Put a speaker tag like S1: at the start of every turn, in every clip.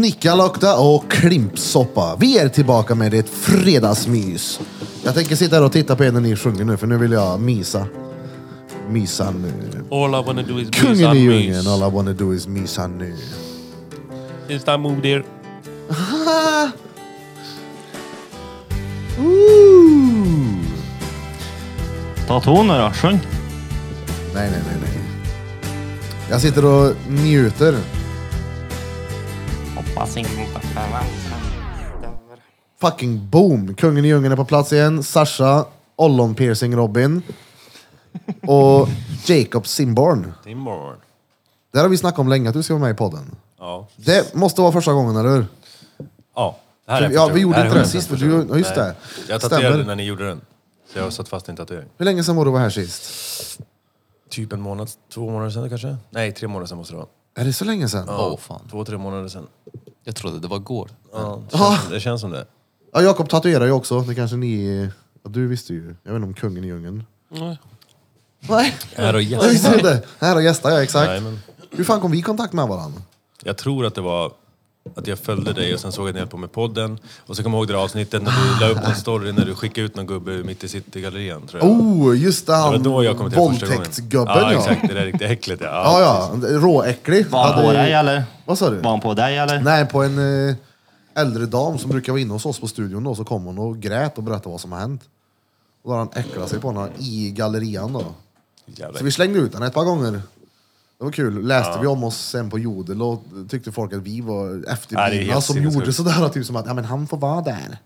S1: Nikkalokta och klimpsoppa. Vi är tillbaka med ett fredagsmys. Jag tänker sitta här och titta på er när ni sjunger nu, för nu vill jag mysa. Mysa nu.
S2: All I wanna do is be
S1: Kungen i
S2: some
S1: djungeln,
S2: mys.
S1: all I wanna do is mysa nu.
S2: It's that move there.
S1: Ah. Ooh.
S3: Ta toner då, sjung.
S1: Nej, nej, nej, nej. Jag sitter och njuter.
S3: Hoppas inte
S1: Fucking boom! Kungen i djungeln är på plats igen. Sasha, Ollon Piercing Robin och Jacob Simborn.
S2: Imorgon.
S1: Det här har vi snackat om länge att du ska vara med i podden.
S2: Ja.
S1: Det måste vara första gången, eller hur?
S2: Ja. Det här är
S1: Ja,
S2: första-
S1: vi gjorde
S2: här är
S1: inte det
S2: hundra
S1: sist, för
S2: första
S1: du-
S2: gången.
S1: ja, just
S2: Nej.
S1: det.
S2: Jag tatuerade
S1: Stämmer.
S2: när ni gjorde den. Så jag har satt fast en tatuering.
S1: Hur länge sedan var du var här sist?
S2: Typ en månad, två månader sedan kanske? Nej, tre månader sedan måste det vara.
S1: Är det så länge sedan?
S4: Åh fan.
S2: Två, tre månader sedan.
S4: Jag trodde det var går.
S2: Ja, det, känns, det känns som det.
S1: Ja, Jakob tatuerar ju också. Det kanske ni... Ja, du visste ju. Jag vet inte om kungen i djungeln. Nej.
S2: Här och
S1: Jag
S2: gäst.
S1: visste inte. Här har gästar jag, exakt.
S2: Nej, men
S1: Hur fan kom vi i kontakt med varandra?
S2: jag tror att det var att jag följde dig och sen såg jag att ni höll på med podden. Och så kommer jag ihåg det där avsnittet när du la upp en story när du skickade ut någon gubbe mitt i citygallerian tror jag.
S1: Oh, just det!
S2: det var
S1: Han
S2: då jag kom till det första gången.
S1: våldtäktsgubben
S2: ja.
S1: ja.
S2: exakt. Det där riktigt äckligt ja.
S1: Ja, ja. Råäcklig.
S3: Var han på
S1: Hade-
S3: dig eller?
S1: Vad sa du?
S3: Var han på dig eller?
S1: Nej, på en eh, äldre dam som brukar vara inne hos oss på studion då, så kom hon och grät och berättade vad som har hänt. Och då har han äcklat sig på henne i gallerian då.
S2: Jävla
S1: Så vi slängde ut henne ett par gånger. Det var kul. Läste vi om oss sen på Jodel och tyckte folk att vi var
S2: Ja, det är
S1: efterblivna
S2: helt
S1: som
S2: sinnessjukt.
S1: gjorde sådär. Typ som att ja, men han får vara där.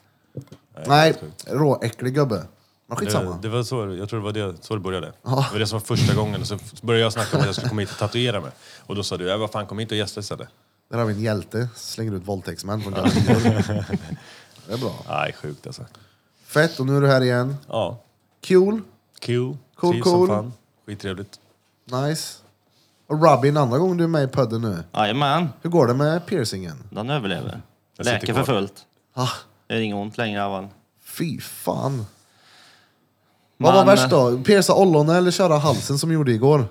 S1: Nej, råäcklig gubbe. Men skitsamma.
S2: Det, det var så, jag tror det var det, så det började. Det var det som var första gången. Och så började jag snacka om att jag skulle komma hit och tatuera mig. Och då sa du, "Ja, vad fan kom hit och gästa istället.
S1: Där har vi en hjälte. Slänger ut våldtäktsmän från gallerian. det är bra.
S2: Nej, sjukt alltså.
S1: Fett, och nu är du här igen.
S2: Ja,
S1: Kul.
S2: cool.
S1: Cool,
S2: Trivs som
S1: cool.
S2: fan. Skittrevligt.
S1: Nice. Och Robin, andra gången du är med i podden nu.
S3: Jajamän,
S1: Hur går det med piercingen?
S3: den överlever.
S2: Jag sitter
S3: Läker för
S2: kvar.
S3: fullt.
S1: Ah,
S3: Det är inget ont längre av han.
S1: fy fan. Vad var
S3: Men-
S1: värst då? Pierca ollonet eller köra halsen som vi gjorde igår?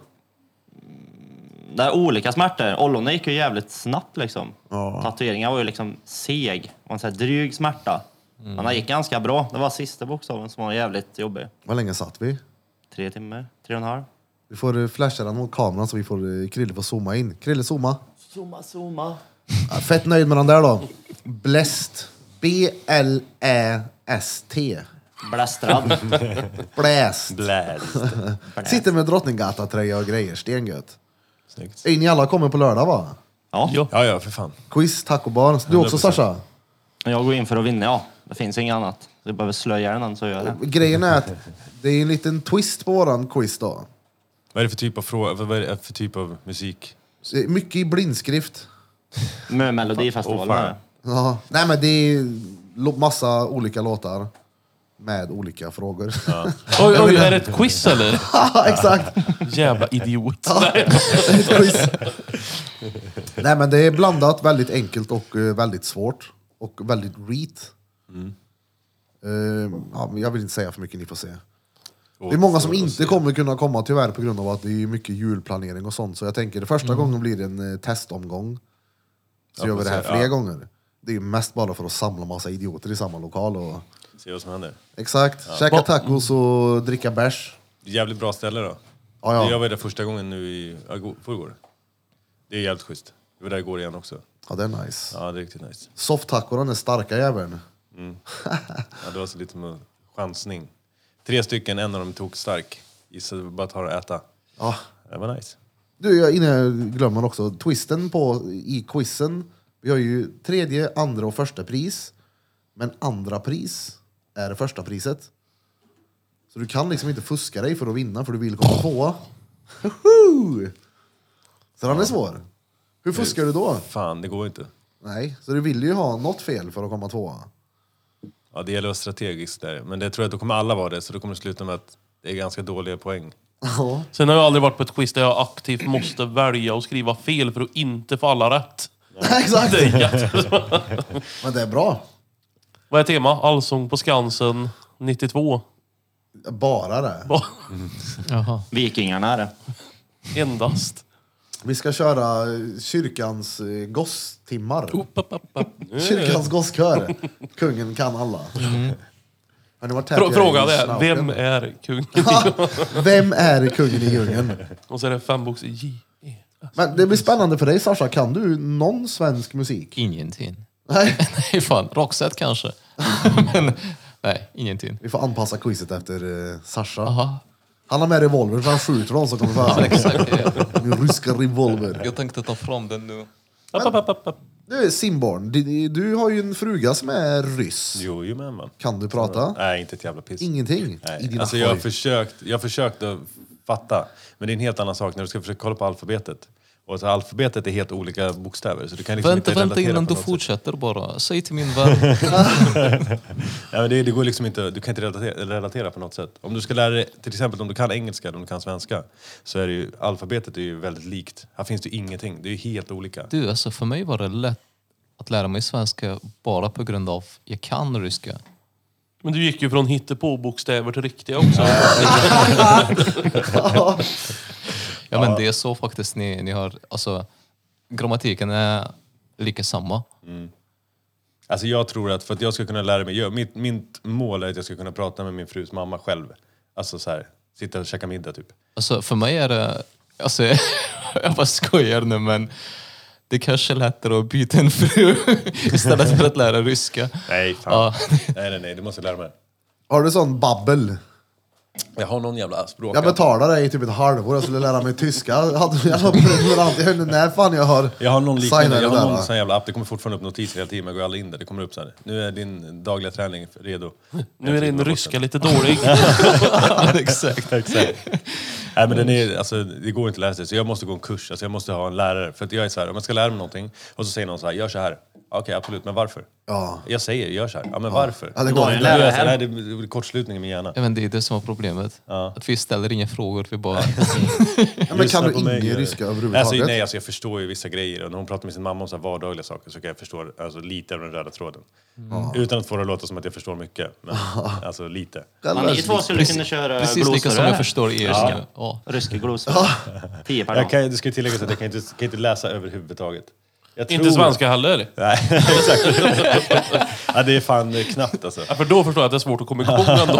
S3: Det är olika smärtor. Ollonet gick ju jävligt snabbt liksom.
S1: Ja.
S3: Tatueringen var ju liksom seg. Man säger dryg smärta.
S1: Mm.
S3: Men den gick ganska bra. Det var sista bokstaven som var jävligt jobbig.
S1: Vad länge satt vi?
S3: Tre timmar, tre och en halv.
S1: Vi får eh, flasha den mot kameran så vi får eh, Krille får zooma in. Krille zooma.
S3: Zooma, zooma.
S1: Ja, Fett nöjd med den där då. Bläst. B-L-Ä-S-T.
S3: Blästrad.
S1: Bläst.
S2: Blast.
S1: Sitter med Drottninggatan-tröja och grejer. Stengött.
S2: Snyggt.
S1: In i alla kommer på lördag va?
S3: Ja,
S2: Ja, ja, för fan.
S1: Quiz, tacobar. Du också
S2: 100%.
S1: Sasha?
S3: jag går in för att vinna ja. Det finns inget annat. Jag behöver slöja den än så gör jag det.
S1: Grejen är att det är en liten twist på våran quiz då.
S2: Vad är det för typ av, fråga, vad är det för typ av musik?
S1: Det är Mycket i blindskrift.
S3: Med Melodifestivalen.
S2: Åh,
S3: Oh,
S2: fan.
S3: är
S1: Ja. Nej men det är lo- massa olika låtar med olika frågor. Ja,
S5: Oj, oj, är det ett quiz eller?
S1: exakt.
S5: Jävla idiot.
S1: Ett quiz. Nej men det är blandat, väldigt enkelt och eh, väldigt svårt. Och väldigt reat. Mm. Eh, ja, men jag vill inte säga för mycket, ni får se. Det är många som inte kommer kunna komma tyvärr på grund av att det är mycket julplanering och sånt. Så jag tänker, det första gången blir det en eh, testomgång. Så
S2: Mm. Ja,
S1: gör vi det här
S2: precis,
S1: fler
S2: ja.
S1: gånger. Det är ju mest bara för att samla massa idioter i samma lokal. Och...
S2: Se vad som händer.
S1: Exakt, käka tacos och dricka bärs.
S2: Jävligt bra ställe då.
S1: Ja,
S2: Jag
S1: ja.
S2: var där första gången nu i ja, förrgår. Det är jävligt schysst. Jag var där igår igen också.
S1: ja, det är nice.
S2: Ja, det är riktigt nice.
S1: Soft-tacorna är starka jäveln.
S2: Ja, det var så lite med chansning. Tre stycken, en av dem tog stark. Gissade bara ta och äta.
S1: Ja.
S2: Det var nice.
S1: Du, jag, innan jag glömmer också, twisten på, i quizen. Vi har ju tredje, andra och första pris. Men andra pris är det första priset. Så du kan liksom inte fuska dig för att vinna, för du vill komma tvåa. Hoho! Så den är svår. Hur fuskar du då?
S2: Fan, det går inte.
S1: Nej, så du vill ju ha något fel för att komma tvåa.
S2: Ja, det gäller att vara strategiskt där. Men det tror jag att då kommer alla vara det, så då kommer det sluta med att det är ganska dåliga poäng.
S1: Ja.
S5: Sen har jag aldrig varit på ett quiz där jag aktivt måste välja och skriva fel för att inte få alla rätt.
S1: Exakt!
S5: Det är jätte-
S1: Men det är bra.
S5: Vad är tema? Allsång på Skansen 92.
S1: Bara det.
S5: Bara-
S4: Jaha.
S3: Vikingarna är det.
S5: Endast.
S1: Vi ska köra eh, kyrkans eh, gosstimmar.
S5: Upp, upp, upp, upp.
S1: Kyrkans gosskör. Kungen kan alla.
S4: Mm.
S1: Har ni varit här
S5: Frå-
S1: i
S5: Frågan är,
S1: Schnauken?
S5: vem är kungen?
S1: Vem är kungen i djungeln?
S5: Och så är det fem box J. E.
S1: Men det blir spännande för dig Sasha, kan du någon svensk musik?
S4: Ingenting.
S1: Nej.
S4: Nej, fan. Roxette kanske. Men, nej, ingenting.
S1: Vi får anpassa quizet efter uh, Sasha.
S4: Aha.
S1: Han har med revolver för han skjuter någon som kommer före.
S4: Exakt, ja.
S1: Min ryska revolver.
S4: Jag tänkte ta fram den nu.
S5: Upp, upp, upp, upp.
S1: Du Simborn, du, du har ju en fruga som är ryss.
S2: Jo, jo men man.
S1: Kan du prata?
S2: Nej, inte ett jävla piss.
S1: Ingenting i
S2: Nej.
S1: dina
S2: Alltså,
S1: alltså,
S2: jag, har försökt, jag har försökt att fatta, men det är en helt annan sak när du ska försöka kolla på alfabetet. Och så alfabetet är helt olika bokstäver. Så du kan liksom
S4: Vänta,
S2: inte
S4: vänta
S2: relatera
S4: innan
S2: på
S4: du
S2: något sätt.
S4: fortsätter bara. Säg till min vän.
S2: Nej, men det, det går liksom inte, du kan inte relatera, relatera på något sätt. Om du ska lära dig, till exempel om du kan engelska eller om du kan svenska, så är det ju, alfabetet är ju väldigt likt. Här finns det ju ingenting, det är ju helt olika.
S4: Du, alltså för mig var det lätt att lära mig svenska bara på grund av jag kan ryska.
S5: Men du gick ju från hittepå-bokstäver till riktiga också.
S4: Ja, men det är så faktiskt ni, ni har, alltså grammatiken är lika samma.
S2: Alltså jag tror att för att jag ska kunna lära mig, jag, mitt, mitt mål är att jag ska kunna prata med min frus mamma själv. Alltså så här, sitta och käka middag typ.
S4: Alltså för mig är det, alltså jag bara skojar nu men det kanske är lättare att byta en fru istället för att lära ryska.
S2: Nej, fan.
S4: Ja.
S2: Nej, nej, nej, det måste jag lära mig.
S1: Har du sån babbel?
S2: Jag har någon jävla språk.
S1: Jag betalade dig i typ ett halvår, jag skulle lära mig tyska. Jag hade jag var prenumerant, jag vet inte när fan jag har
S2: Jag har någon
S1: signat
S2: liknande,
S1: det
S2: jag
S1: där,
S2: har någon
S1: va?
S2: sån jävla app, det kommer fortfarande upp notiser hela tiden, men jag går aldrig in där. Det kommer upp så här. nu är din dagliga träning redo.
S5: Nu är din ryska lite dålig.
S4: Ja, Exakt.
S2: Exakt. Nej, men den är, alltså, det går inte att lära sig, så jag måste gå en kurs. Alltså, jag måste ha en lärare. För att jag är så här, om jag ska lära mig någonting och så säger någon så här, gör så här. Okej, absolut, men varför?
S1: Ja.
S2: Jag säger, gör så här. Ja, men varför?
S1: Ja, det
S2: Då
S1: går
S3: ju
S1: inte.
S2: gör jag
S3: lärare
S2: så här.
S3: här.
S2: Nej, det blir kortslutning i min hjärna.
S4: Ja, men det är det som är problemet. Att vi ställer inga frågor, vi bara...
S1: Ja, Men kan
S2: Lyssna
S1: du
S2: på mig,
S1: ingen
S2: gör-
S1: ryska
S2: Alltså,
S1: överhuvudtaget?
S2: nej, alltså, jag förstår ju vissa grejer. Och när hon pratar med sin mamma om så här vardagliga saker så kan jag förstå alltså, lite av den röda tråden. Utan att få det att låta som att jag förstår mycket. Men, alltså lite.
S1: Eller-
S3: Ja, ni två skulle kunna köra
S4: Precis lika som jag förstår er. Ja.
S3: Ryska glosor. Tio per
S2: Jag
S3: dag.
S2: kan, det ska ju tilläggas att jag kan inte, kan inte läsa överhuvudtaget. Jag
S5: Inte
S2: tror-
S5: svenska heller.
S2: Nej, exakt. ja, det är fan eh, knappt alltså.
S5: Ja, För då förstår jag att det är svårt att komma igång ändå.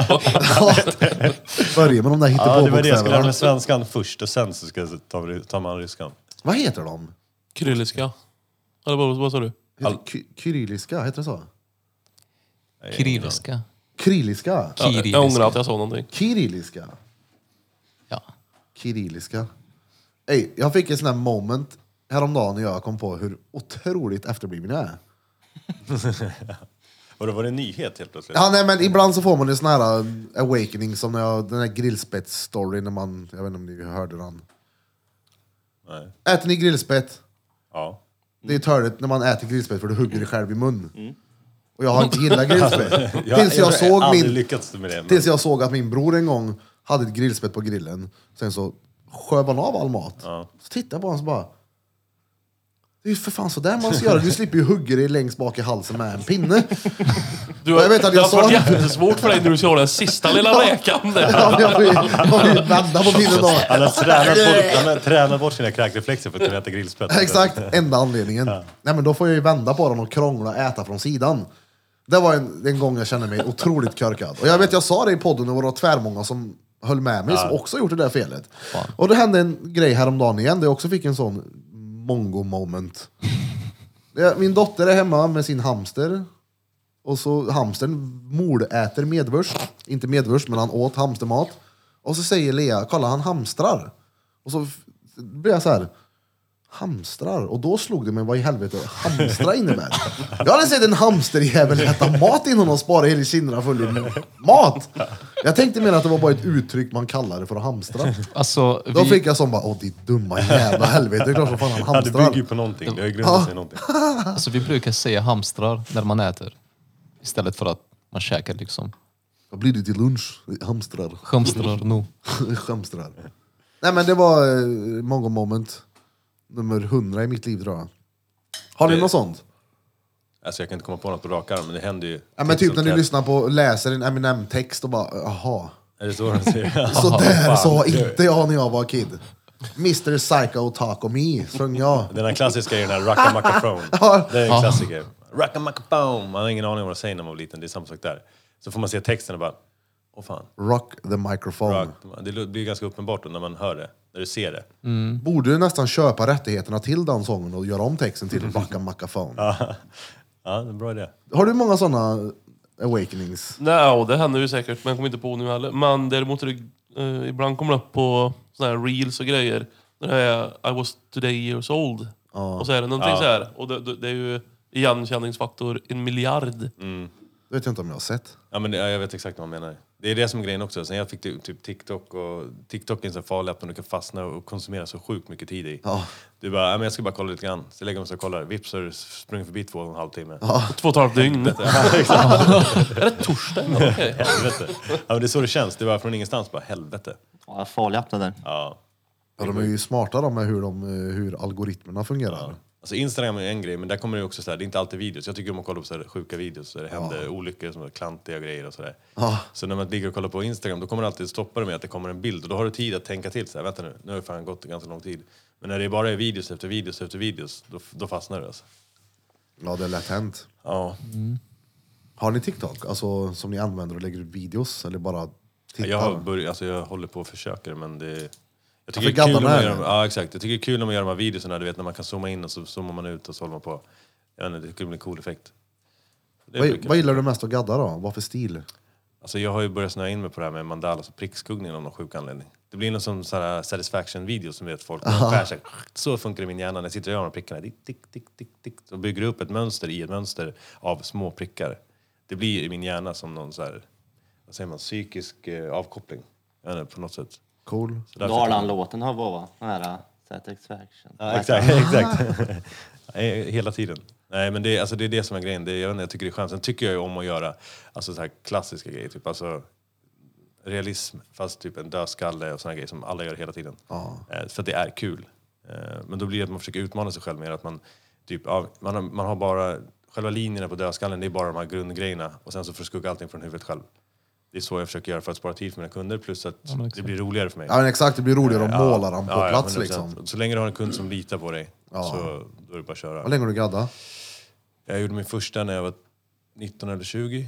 S1: Börja med de där
S2: Ja, det var det. Jag skulle lära mig
S1: hittepåbokstäverna.
S2: svenskan först och sen så ska jag ta, ta man ryskan.
S1: Vad heter de?
S5: Kyrilliska. Eller vad, vad sa du?
S1: Heter ky- Kyrilliska, heter det så?
S4: Kyrilliska.
S1: Kyrilliska?
S5: Ja,
S4: Kyrilliska.
S5: jag ångrar att jag sa någonting.
S1: Kyrilliska?
S4: Ja.
S1: Kyrilliska. Ey, jag fick en sån här moment häromdagen när jag kom på hur otroligt efterbliven jag är.
S2: Och då var det en nyhet helt plötsligt.
S1: Ja, nej, men ibland så får man en sån här äh, awakening som när jag, den här grillspett-storyn när man, jag vet inte om ni hörde den.
S2: Nej.
S1: Äter ni grillspett?
S2: Ja.
S1: Det är törligt när man äter grillspett för du hugger dig själv i mun. Och jag har inte gillat grillspett. tills, jag
S2: tror
S1: såg
S2: aldrig
S1: min,
S2: lyckats med det. Men,
S1: tills jag såg att min bror en gång hade ett grillspett på grillen. Sen så sköv han av all mat. Så tittade jag på honom så bara... Det är ju för fan sådär man ska göra. Du slipper ju hugga dig längst bak i halsen med en pinne.
S5: Du, har-
S1: Jag vet att jag
S5: det har varit
S1: sa-
S5: jättesvårt för dig när du ska ha den sista lilla räkan där.
S1: Ja, men Jag får ju- jag får ju vända på pinnen då.
S2: han har tränat bort, han har tränat bort sina kräkreflexer för att kunna äta grillspett.
S1: Exakt, enda anledningen. Nej men då får jag ju vända på den och krångla och äta från sidan. Det var en, en gång jag kände mig otroligt körkad. Och jag vet, jag sa det i podden och det var tvärmånga som höll med mig som också gjort det där felet. Och det hände en grej häromdagen igen där jag också fick en sån mongo moment. Ja, Min dotter är hemma med sin hamster. Och så hamstern mordäter medvurs. Inte medvurs, men han åt hamstermat. Och så säger Lea, kolla han hamstrar. Och så f- blir jag så här, hamstrar? Och då slog det mig vad i helvete hamstra innebär. Jag hade sett en hamsterjävel äta mat innan och spara hela kinderna full i mat. Jag tänkte mer att det var bara ett uttryck man kallar det för att hamstra.
S4: Alltså,
S1: Då
S4: vi,
S1: fick jag som bara, åh ditt dumma jävla helvete, det är klart som fan han
S2: Ja, det bygger ju
S1: hamstrar.
S2: på någonting. Det har ju grundat sig i någonting.
S4: alltså, vi brukar säga hamstrar när man äter. Istället för att man käkar liksom.
S1: Vad blir det till lunch? Hamstrar.
S4: Hamstrar nu.
S1: Skämstrar. Nej men det var eh, Mongo moment. Nummer 100 i mitt liv tror jag. Har ni
S2: Det-
S1: något sånt?
S2: Alltså jag kan inte komma på något på rak arm, men det händer ju.
S1: Ja, men typ
S2: titt som
S1: när du
S2: tätt.
S1: lyssnar på läser en Eminem-text och bara, jaha.
S2: Är det så de säger?
S1: Så där
S2: fan.
S1: sa inte jag när jag var kid. Mr Psycho Taco Me, sjöng jag.
S2: Den här klassiska är ju den här Rocka Macaphone. Det är en klassiker. Rocka Macaphone! Man har ingen aning om vad de säger när man var liten. Det är samma sak där. Så får man se texten och bara, åh fan.
S1: Rock the microphone.
S2: Rock. Det lu- blir ganska uppenbart då när man hör det, när du ser det.
S1: Borde du nästan köpa rättigheterna till den sången och göra om texten till Rocka Macaphone.
S2: Ja, det är en bra idé.
S1: Har du många sådana awakenings?
S5: Nej, och det händer ju säkert, men jag kommer inte på nu heller. Men däremot är det, eh, ibland kommer det upp på såna här reels och grejer. När det är I was today years old. Och så är det någonting så här. Och det, det, det är ju igenkänningsfaktor en miljard.
S1: Det vet jag inte om jag har sett.
S2: Ja, men det- ja, jag vet exakt vad man menar. Det är det som är grejen också. Sen jag fick ty- typ TikTok och TikTok är en sån farlig app där du kan fastna och konsumera så sjukt mycket tid i.
S1: Ja.
S2: Du bara, ja, men jag ska bara kolla lite grann. Så lägger man sig och kollar. Vips så har du sprungit förbi två och en halv timme.
S5: Två och ett halvt dygn. är det torsdag? Ja, Okej.
S2: Helvete. Ja, men det är så det känns. Det var från ingenstans bara, helvete.
S3: Ja, farlig app det där.
S2: Ja.
S1: Ja, de är ju smarta de med hur, de, eh, hur algoritmerna fungerar.
S2: Alltså Instagram är en grej, men där kommer det också så här, det är inte alltid videos. Jag tycker om att kolla på så här sjuka videos där det händer olyckor, som är klantiga grejer och sådär.
S1: Ja.
S2: Så när man ligger och kollar på Instagram, då kommer det alltid stoppa det med att det kommer en bild och då har du tid att tänka till. Så här, vänta nu, nu har det fan gått ganska lång tid. Men när det bara är videos efter videos efter videos, då, då fastnar du alltså.
S1: Ja, det är lätt hänt.
S2: Ja.
S1: Har ni TikTok alltså, som ni använder och lägger ut videos? Eller bara tittar?
S2: Jag, har börjat, alltså jag håller på att försöka det, men det... Jag tycker,
S1: fick
S2: det är kul
S1: gadda
S2: när man
S1: med
S2: gör,
S1: det.
S2: ja, exakt. jag tycker det är kul när man gör de här videorna, du vet när man kan zooma in och så zoomar man ut och så håller man på. Jag vet inte, det skulle bli en cool effekt. Det
S1: vad,
S2: brukar-
S1: vad gillar du mest att gadda då? Vad för stil?
S2: Alltså jag har ju börjat snöa in mig på det här med mandalas och prickskuggning av någon sjuk anledning. Det blir någon sån här satisfaction-video som vet folk skär sig. Så funkar det i min hjärna när jag sitter och gör de här prickarna. Tick, tick, tick, tick, tick. Och bygger upp ett mönster i ett mönster av små prickar. Det blir i min hjärna som någon så här, vad säger man, psykisk eh, avkoppling. Jag vet inte, på något sätt.
S1: Cool.
S2: Så därför-
S3: Dalan-låten har Vova. Den här uh, Satisfaction.
S2: Ja, exakt, exakt. Nej, Hela tiden. Nej, men det, är- alltså, det är det som är grejen. Det, är- jag, vet inte, jag tycker det är skönt. Sen tycker jag ju om att göra alltså, så här klassiska grejer. Typ, alltså, realism, fast typ en dödskalle och såna grejer som alla gör hela tiden. Eh, för att det är kul. Eh, men då blir det att man försöker utmana sig själv mer. Att man, typ, ja, man, har, man har bara... Själva linjerna på dödskallen, det är bara de här grundgrejerna. Och sen så får du skugga allting från huvudet själv. Det är så jag försöker göra för att spara tid för mina kunder. Plus att det blir roligare för mig.
S1: Ja, men exakt, det blir roligare att
S2: Ja,
S1: måla dem på
S2: ja, ja,
S1: plats
S2: 100%.
S1: liksom.
S2: Så länge du har en kund som litar på dig, så då är det bara att köra.
S1: Hur länge har du gaddat?
S2: Jag gjorde min första när jag var 19 eller 20.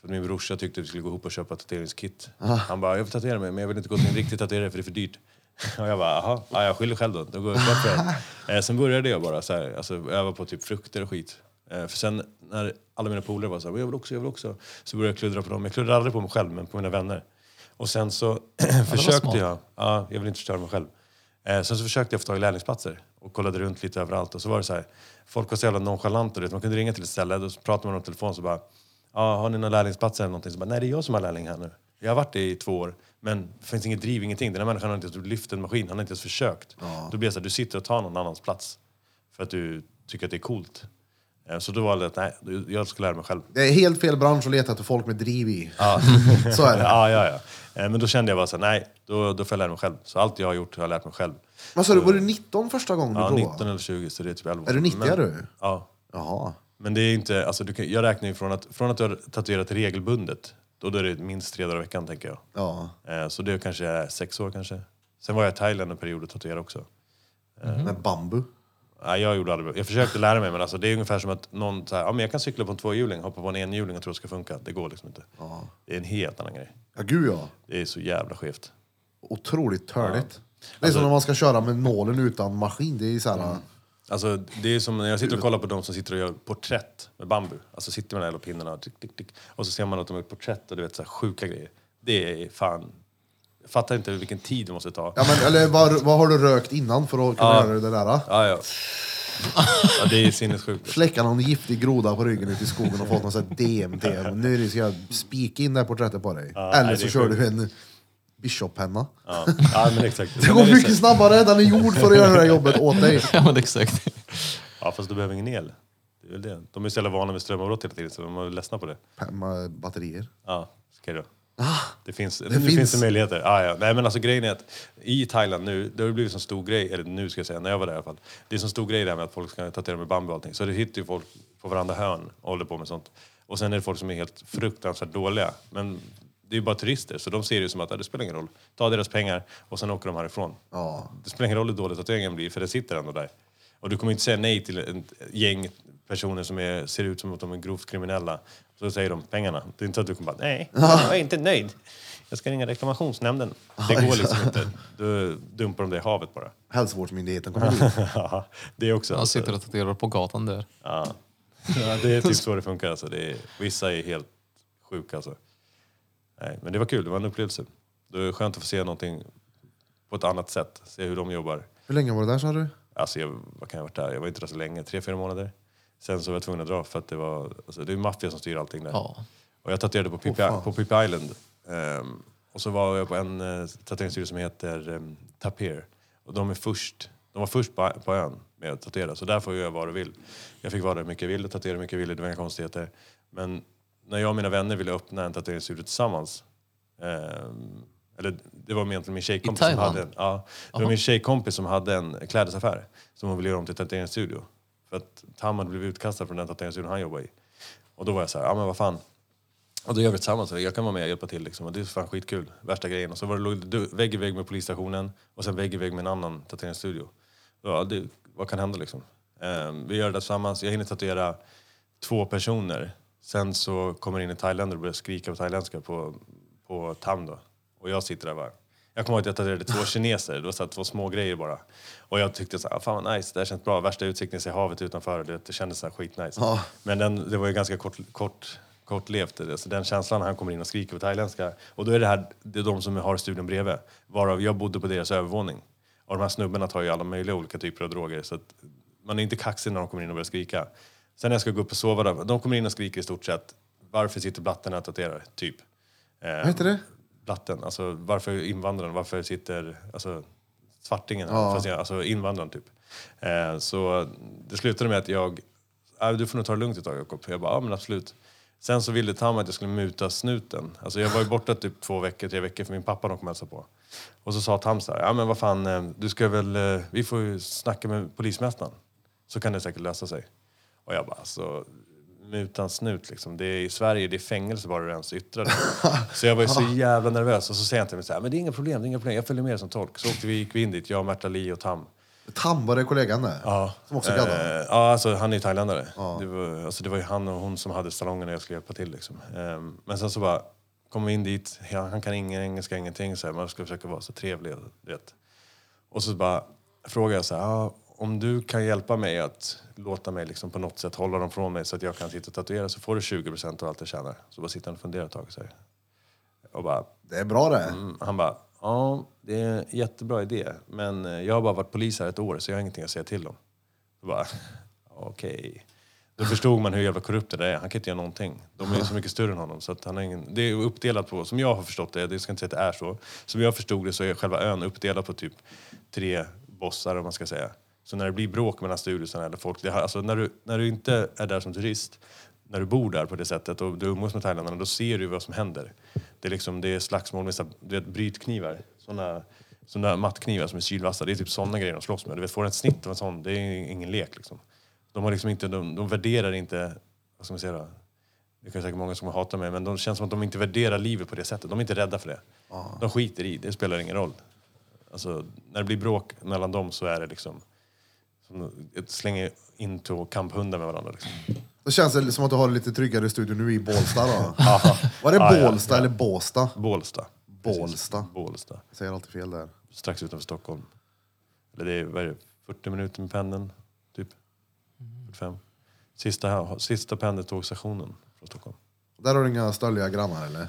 S2: För att min brorsa tyckte vi skulle gå ihop och köpa tatueringskit.
S1: Ah.
S2: Han bara, jag vill tatuera mig men jag vill inte gå till en riktig tatuerare för det är för dyrt. Och jag bara, jaha, ja, jag skyller själv då. Då går jag och köper en. Eh, Sen började jag bara så här, alltså, öva på typ frukter och skit. Eh, För sen när alla mina polare var så här, jag vill också, jag vill också. Så började jag kludra på dem. Jag kluddrade aldrig på mig själv, men på mina vänner. Och sen så försökte
S4: smart.
S2: jag, ja, jag vill inte förstöra mig själv. Eh, sen så försökte jag få tag i lärlingsplatser och kollade runt lite överallt. Och så var det så här, folk var så jävla nonchalanta. du vet. Man kunde ringa till ett ställe och så pratade man om telefon så bara, ja, har ni några lärlingsplatser eller någonting? Så bara, nej det är jag som har lärling här nu. Jag har varit det i två år, men det finns inget driv, ingenting. Den här människan har inte ens lyft en maskin, han har inte ens försökt. Då blir det så här, du sitter och tar någon annans plats för att du tycker att det är coolt. Eh, så då valde jag att, nej, jag ska lära mig själv.
S1: Det är helt fel bransch att leta efter folk med driv i. Så är det.
S2: Ja, ja, ja. Eh, Men då kände jag bara så här, nej, då, då får jag lära mig själv. Så allt jag har gjort har jag lärt mig själv.
S1: Vad sa du, var du 19 första gången du
S2: Ja,
S1: provade?
S2: 19 eller 20, så det är typ 11 år
S1: Är du
S2: sedan.
S1: 90
S2: Men-
S1: du?
S2: Ja.
S1: Jaha.
S2: Men det är inte, alltså du kan, jag räknar ju från att, från att du har tatuerat regelbundet, då, då är det minst tre dagar i veckan tänker jag.
S1: Ja.
S2: Eh, så det kanske är sex år kanske. Sen var jag i Thailand en period och tatuerade också. Mm.
S1: Med bambu.
S2: Nej, jag gjorde aldrig Jag försökte lära mig, men alltså, det är ungefär som att någon säger ja, men jag kan cykla på en tvåhjuling, hoppa på en enhjuling och tro att det ska funka. Det går liksom inte. Det är en helt annan grej.
S1: Ja, gud ja.
S2: Det är så jävla skevt.
S1: Otroligt törligt. Det är som när man ska köra med nålen utan maskin. Det är ju så här,
S2: Alltså, det är som när jag sitter och kollar på de som sitter och gör porträtt med bambu. Alltså sitter med de här jävla pinnarna tick, tick, tick. och så ser man att de har ett porträtt och du vet så här sjuka grejer. Det är fan... Jag fattar inte vilken tid det måste ta.
S1: Ja, men, eller vad, vad har du rökt innan för att kunna
S2: Ja.
S1: göra det där?
S2: Ja, ja. ja det är sinnessjukt.
S1: Släcka någon giftig groda på ryggen ute i skogen och fått någon sån här DMT. Och Nu är det- ska jag spika in det här porträttet på dig. Eller
S2: nej,
S1: så
S2: det är
S1: kör
S2: sjukt.
S1: du en bishoppenna.
S2: Ja. ja, men exakt.
S1: Det går mycket snabbare, den är gjord för att göra det här jobbet åt dig.
S4: Ja, men exakt.
S2: Ja, fast du behöver ingen el. Det är väl det. De är så jävla vana med strömavbrott hela tiden, så de är ledsna på det.
S1: Pemma eh, batterier.
S2: Ja, okej då. det finns, Ah, det
S1: finns.
S2: finns. det möjligheter. Ah, ja. Nej, men alltså, grejen är att i Thailand nu, det har blivit en stor grej, eller nu ska jag säga, när jag var där i alla fall. Det är en stor grej där med att folk ska tatuera med bambu och allting. Så det hittar ju folk på varandra hörn och håller på med sånt. Och sen är det folk som är helt fruktansvärt dåliga. Men Det är ju bara turister, så de ser det som att "Ah, det spelar ingen roll. Ta deras pengar och sen åker de härifrån.
S1: Ja.
S2: Det spelar ingen roll hur dålig tatueringen blir, för det sitter ändå där. Och du kommer inte säga nej till ett gäng personer som är, ser ut som att de är grovt kriminella. Så säger de pengarna. Det är inte så att du kommer bara, nej, jag är inte nöjd. Jag ska ringa reklamationsnämnden. Det går liksom inte. Du dumpar dem det i havet bara.
S1: Hälsovårdsmyndigheten kommer dit.
S2: Ja, det är också...
S4: Han
S2: Alltså,
S4: sitter och tatuerar på gatan där.
S2: ja. Ja, det är typ så det funkar. Alltså. Det är, vissa är helt sjuka. Alltså. Nej, men det var kul, det var en upplevelse. Det är skönt att få se någonting på ett annat sätt. Se hur de jobbar.
S1: Hur länge var det där sa du?
S2: Alltså jag, vad kan jag ha varit där? Jag var inte där så länge, tre, fyra månader. Sen så var jag tvungen att dra för att det var, alltså det är maffia som styr allting där.
S4: Ja.
S2: Och jag tatuerade på Pippi, på Pippi Island. Ehm, och så var jag på en uh, tatueringsstudio som heter um, Tapir. Och de är först, de var först på, på ön med att tatuera. Så där får jag göra vad du vill. Jag fick vara där hur mycket jag ville, tatuera hur mycket jag ville, det var inga konstigheter. Men när jag och mina vänner ville öppna en tatueringsstudio tillsammans ehm, eller det var egentligen min tjejkompis som
S4: Thailand?
S2: hade en, ja, det var min tjejkompis som hade en klädesaffär som hon ville göra om till tatueringsstudio. För att Tam hade blivit utkastad från den tatueringsstudion han jobbar i. Och då var jag så här, ja men vad fan. Och då gör vi det tillsammans. Jag kan vara med och hjälpa till liksom. Och det är fan skitkul. Värsta grejen. Och så var det låg det vägg i vägg med polisstationen och sen vägg i vägg med en annan tatueringsstudio. Ja, det, vad kan hända liksom? Ehm, vi gör det tillsammans. Jag hinner tatuera två personer. Sen så kommer det in en thailändare och börjar skrika på thailändska på, på Tam då. Och jag sitter där bara. Jag kommer ihåg att jag tatuerade två kineser. Det var så här två små grejer bara. Och jag tyckte så här, "Ah, fan vad nice, det här känns bra. Värsta utsikten, se havet utanför. Det, det kändes så här skitnice.
S1: Ja.
S2: Men den, det var ju ganska kort, kort, kortlevt. Så den känslan när han kommer in och skriker på thailändska. Och då är det här det är de som har studion bredvid. Varav jag bodde på deras övervåning. Och de här snubbarna tar ju alla möjliga olika typer av droger. Så att man är inte kaxig när de kommer in och börjar skrika. Sen när jag ska gå upp och sova, där, de kommer in och skriker i stort sett. Varför sitter blatten och tatuerar? Typ.
S1: Vad heter det?
S2: Blatten, alltså varför invandraren, varför sitter alltså, svartingen,
S1: Ja.
S2: fast jag, alltså invandraren typ. Eh, så det slutade med att jag, "Ah, du får nog ta det lugnt ett tag Jakob. Jag bara, ja men absolut. Sen så ville Tam att jag skulle muta snuten. Alltså jag var ju borta typ två veckor, tre veckor för min pappa de kom och hälsade på. Och så sa Tam så här, ja men vad fan, eh, du ska väl, eh, vi får ju snacka med polismästaren. Så kan det säkert lösa sig. Och jag bara, alltså mutan snut liksom. Det är, I Sverige det är fängelse bara du ens yttrar det. Så jag var ju så jävla nervös. Och så säger han till mig så här, men det är inga problem, det är inga problem. Jag följer med er som tolk. Så åkte vi, gick vi in dit, jag, Märta Li och Tam.
S1: Tam var det kollegan där.
S2: Ja.
S1: Som också gaddade.
S2: Eh, ja, alltså han är ju thailändare. Det, var, alltså, det var ju han och hon som hade salongen och jag skulle hjälpa till. Liksom. Ehm, men sen så bara kom vi in dit, ja, han kan ingen engelska, ingenting. Så här, man ska försöka vara så trevlig. och- du Vet. Och så bara frågade jag så här, ah, om du kan hjälpa mig att låta mig liksom på något sätt hålla dem från mig så att jag kan sitta och tatuera så får du 20% av allt jag tjänar. Så bara sitter han och funderar ett tag. Så här. Och bara,
S1: Det är bra det.
S2: Mm, Han bara, ja det är en jättebra idé men eh, jag har bara varit polis här ett år så jag har ingenting att säga till om. Då bara, okej. Då förstod man hur jävla korrupt det där är. Han kan inte göra någonting. De är ju så mycket större än honom. Så att han har ingen, det är uppdelat på, som jag har förstått det, jag ska inte säga att det är så. Som jag förstod det så är själva ön uppdelad på typ tre bossar om man ska säga. Så när det blir bråk mellan styrelserna eller folk, det, har- alltså när du, när du inte är där som turist, när du bor där på det sättet och du umgås med thailändarna, då ser du vad som händer. Det är liksom, det är slagsmål med så här, du vet, brytknivar, sådana såna mattknivar som är sylvassa. Det är typ sådana grejer de slåss med. Du vet, får du ett snitt av en sån, det är ingen lek liksom. De, har liksom inte, de, de värderar inte, vad ska man säga då? Det kan säkert många som hatar mig, men de känns som att de inte värderar livet på det sättet. De är inte rädda för det. De skiter i, det spelar ingen roll. Alltså, när det blir bråk mellan dem så är det liksom, som ett slänga in två kamphundar med varandra. Liksom.
S1: Då känns det som att du har det lite tryggare studio nu i Bålsta då.
S2: Ja.
S1: Var det
S2: Ja, ja,
S1: Bålsta
S2: ja.
S1: eller Båsta?
S2: Bålsta. Precis.
S1: Bålsta.
S2: Bålsta.
S1: Jag säger alltid fel där.
S2: Strax utanför Stockholm. Eller det är, vad är det, 40 minuter med pendeln, typ. 45. Sista, sista pendeltågsstationen från Stockholm.
S1: Där har du inga stöldiga grannar eller?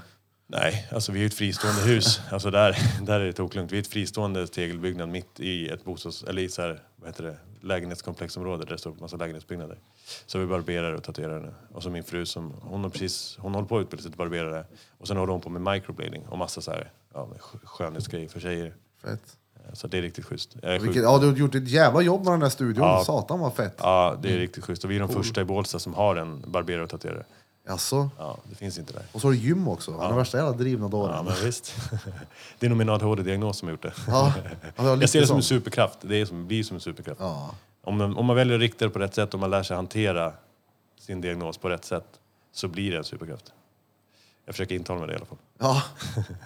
S2: Nej, alltså vi är ju ett fristående hus. Alltså där, där är det toklugnt. Vi är ett fristående tegelbyggnad mitt i ett bostads... Eller i så här, vad heter det? Lägenhetskomplexområde där det står massa lägenhetsbyggnader. Så vi barberar och tatuerar nu. Och så min fru som... Hon har precis... Hon håller på att utbilda sig till barberare. Och sen håller hon på med microblading och massa så här... Ja, men sk- skönhetsgrejer för tjejer.
S1: Fett.
S2: Så det är riktigt schysst. Jag är sjuk-
S1: Vilket, ja, du har gjort ett jävla jobb med den där studion.
S2: Ja.
S1: Satan vad fett.
S2: Ja, det är riktigt schysst. Och vi är de första i Bålsta som har en barberare och tatuerare.
S1: Jaså?
S2: Ja, det finns inte där.
S1: Och så har du gym också. Han är värsta jävla drivna
S2: Ja,
S1: dåren.
S2: men visst. Det är nog min ADHD-diagnos som har gjort det.
S1: Ja, ja, det var lite
S2: Jag ser det som en
S1: sån.
S2: superkraft. Det är som, blir som en superkraft.
S1: Ja.
S2: Om, man, om man väljer att rikta det på rätt sätt och man lär sig hantera sin diagnos på rätt sätt så blir det en superkraft. Jag försöker intala mig det i alla fall.
S1: Ja,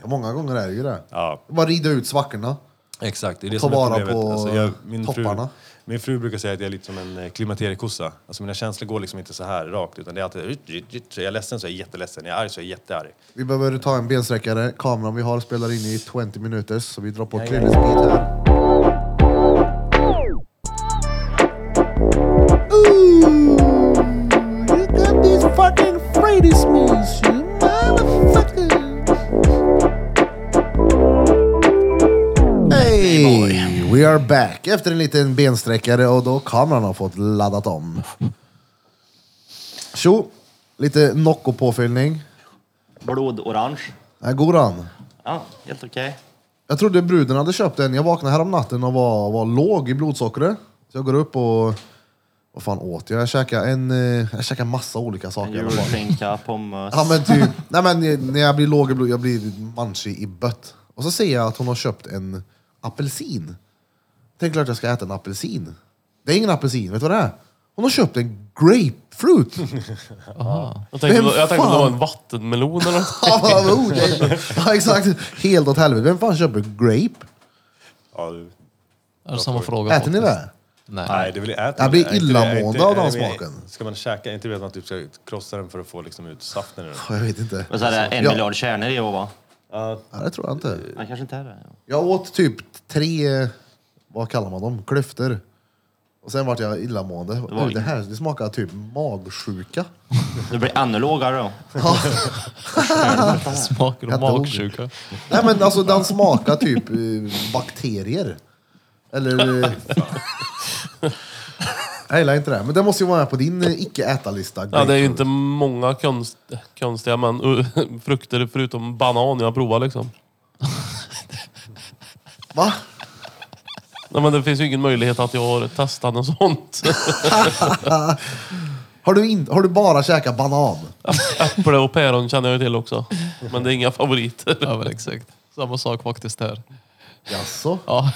S1: många gånger är det ju det.
S2: Ja,
S1: Bara rida ut svackorna.
S2: exakt. Det är det
S1: ta
S2: som är
S1: vara
S2: problemet.
S1: på
S2: Alltså, jag, min, fru,
S1: topparna.
S2: min fru brukar säga att jag är lite som en eh, klimakteriekossa. Alltså mina känslor går liksom inte så här rakt utan det är alltid... Så jag är ledsen så är jag jätteledsen, jag är arg så är jag jättearg.
S1: Vi behöver ta en bensträckare. Kameran vi har spelar in i 20 minuter, så vi drar på klirrningsbeat här.
S6: You got these fucking Freddy's means, you motherfucker.
S1: Hey, we are back! Efter en liten bensträckare och då kameran har fått laddat om. Tjo! Lite Nocco-påfyllning.
S3: Blodorange.
S1: Här går han.
S3: Ja, helt okej.
S1: Jag trodde bruden hade köpt en. Jag vaknade härom natten och var, var låg i blodsockret. Så jag går upp och... Vad fan åt jag? Jag käkade, en, eh, jag käkade massa olika saker. Jag bara-
S3: Julskinka, pommes.
S1: Ja men typ, nej men eh, när jag blir låg i blod, jag blir manchig i bött. Och så ser jag att hon har köpt en apelsin. Det är klart jag ska äta en apelsin. Det är ingen apelsin, vet du vad det är? Hon har köpt en grapefruit!
S5: Jag tänkte,
S1: Vem
S5: jag tänkte att det var
S1: fan?
S5: en vattenmelon eller något.
S1: Ja, vad ord, det är- ja, exakt, helt åt helvete. Vem fan köper grape?
S2: Ja, du-
S4: Är det samma fråga?
S1: Äter ni
S4: faktiskt?
S1: det?
S4: Nej.
S2: Nej, det blir äta.
S1: Jag blir
S2: Är inte det-
S1: illamående
S2: är inte-
S1: av den
S2: är det-
S1: smaken.
S2: Ska man käka, är inte det att man typ ska krossa den för att få liksom ut saften ur den?
S1: Jag vet inte.
S3: Och så är det en
S1: Ja.
S3: miljard kärnor i och va?
S1: Ja, det tror jag inte.
S3: Nej, kanske inte är det. Ja.
S1: Jag åt typ tre, vad kallar man dem, klyftor. Och sen vart jag illamående. Det,
S3: var
S1: det här det smakar typ magsjuka.
S3: Du blir ännu lågare då.
S4: Smakar och
S1: Jätteord.
S4: magsjuka.
S1: Nej men alltså den smakar typ eh, bakterier. Eller... eh, jag gillar inte det. här. Men det måste ju vara med på din eh, icke-äta-lista.
S5: Ja, det är ju inte många konst, konstiga men, frukter förutom banan jag provar liksom.
S1: Va?
S5: Nej, men det finns ju ingen möjlighet att jag har testat något sånt.
S1: Har du, in, har du bara käkat banan?
S5: Äpple och päron känner jag ju till också. Men det är inga favoriter.
S4: Ja men exakt. Samma sak faktiskt här.
S1: Jaså?
S4: Ja.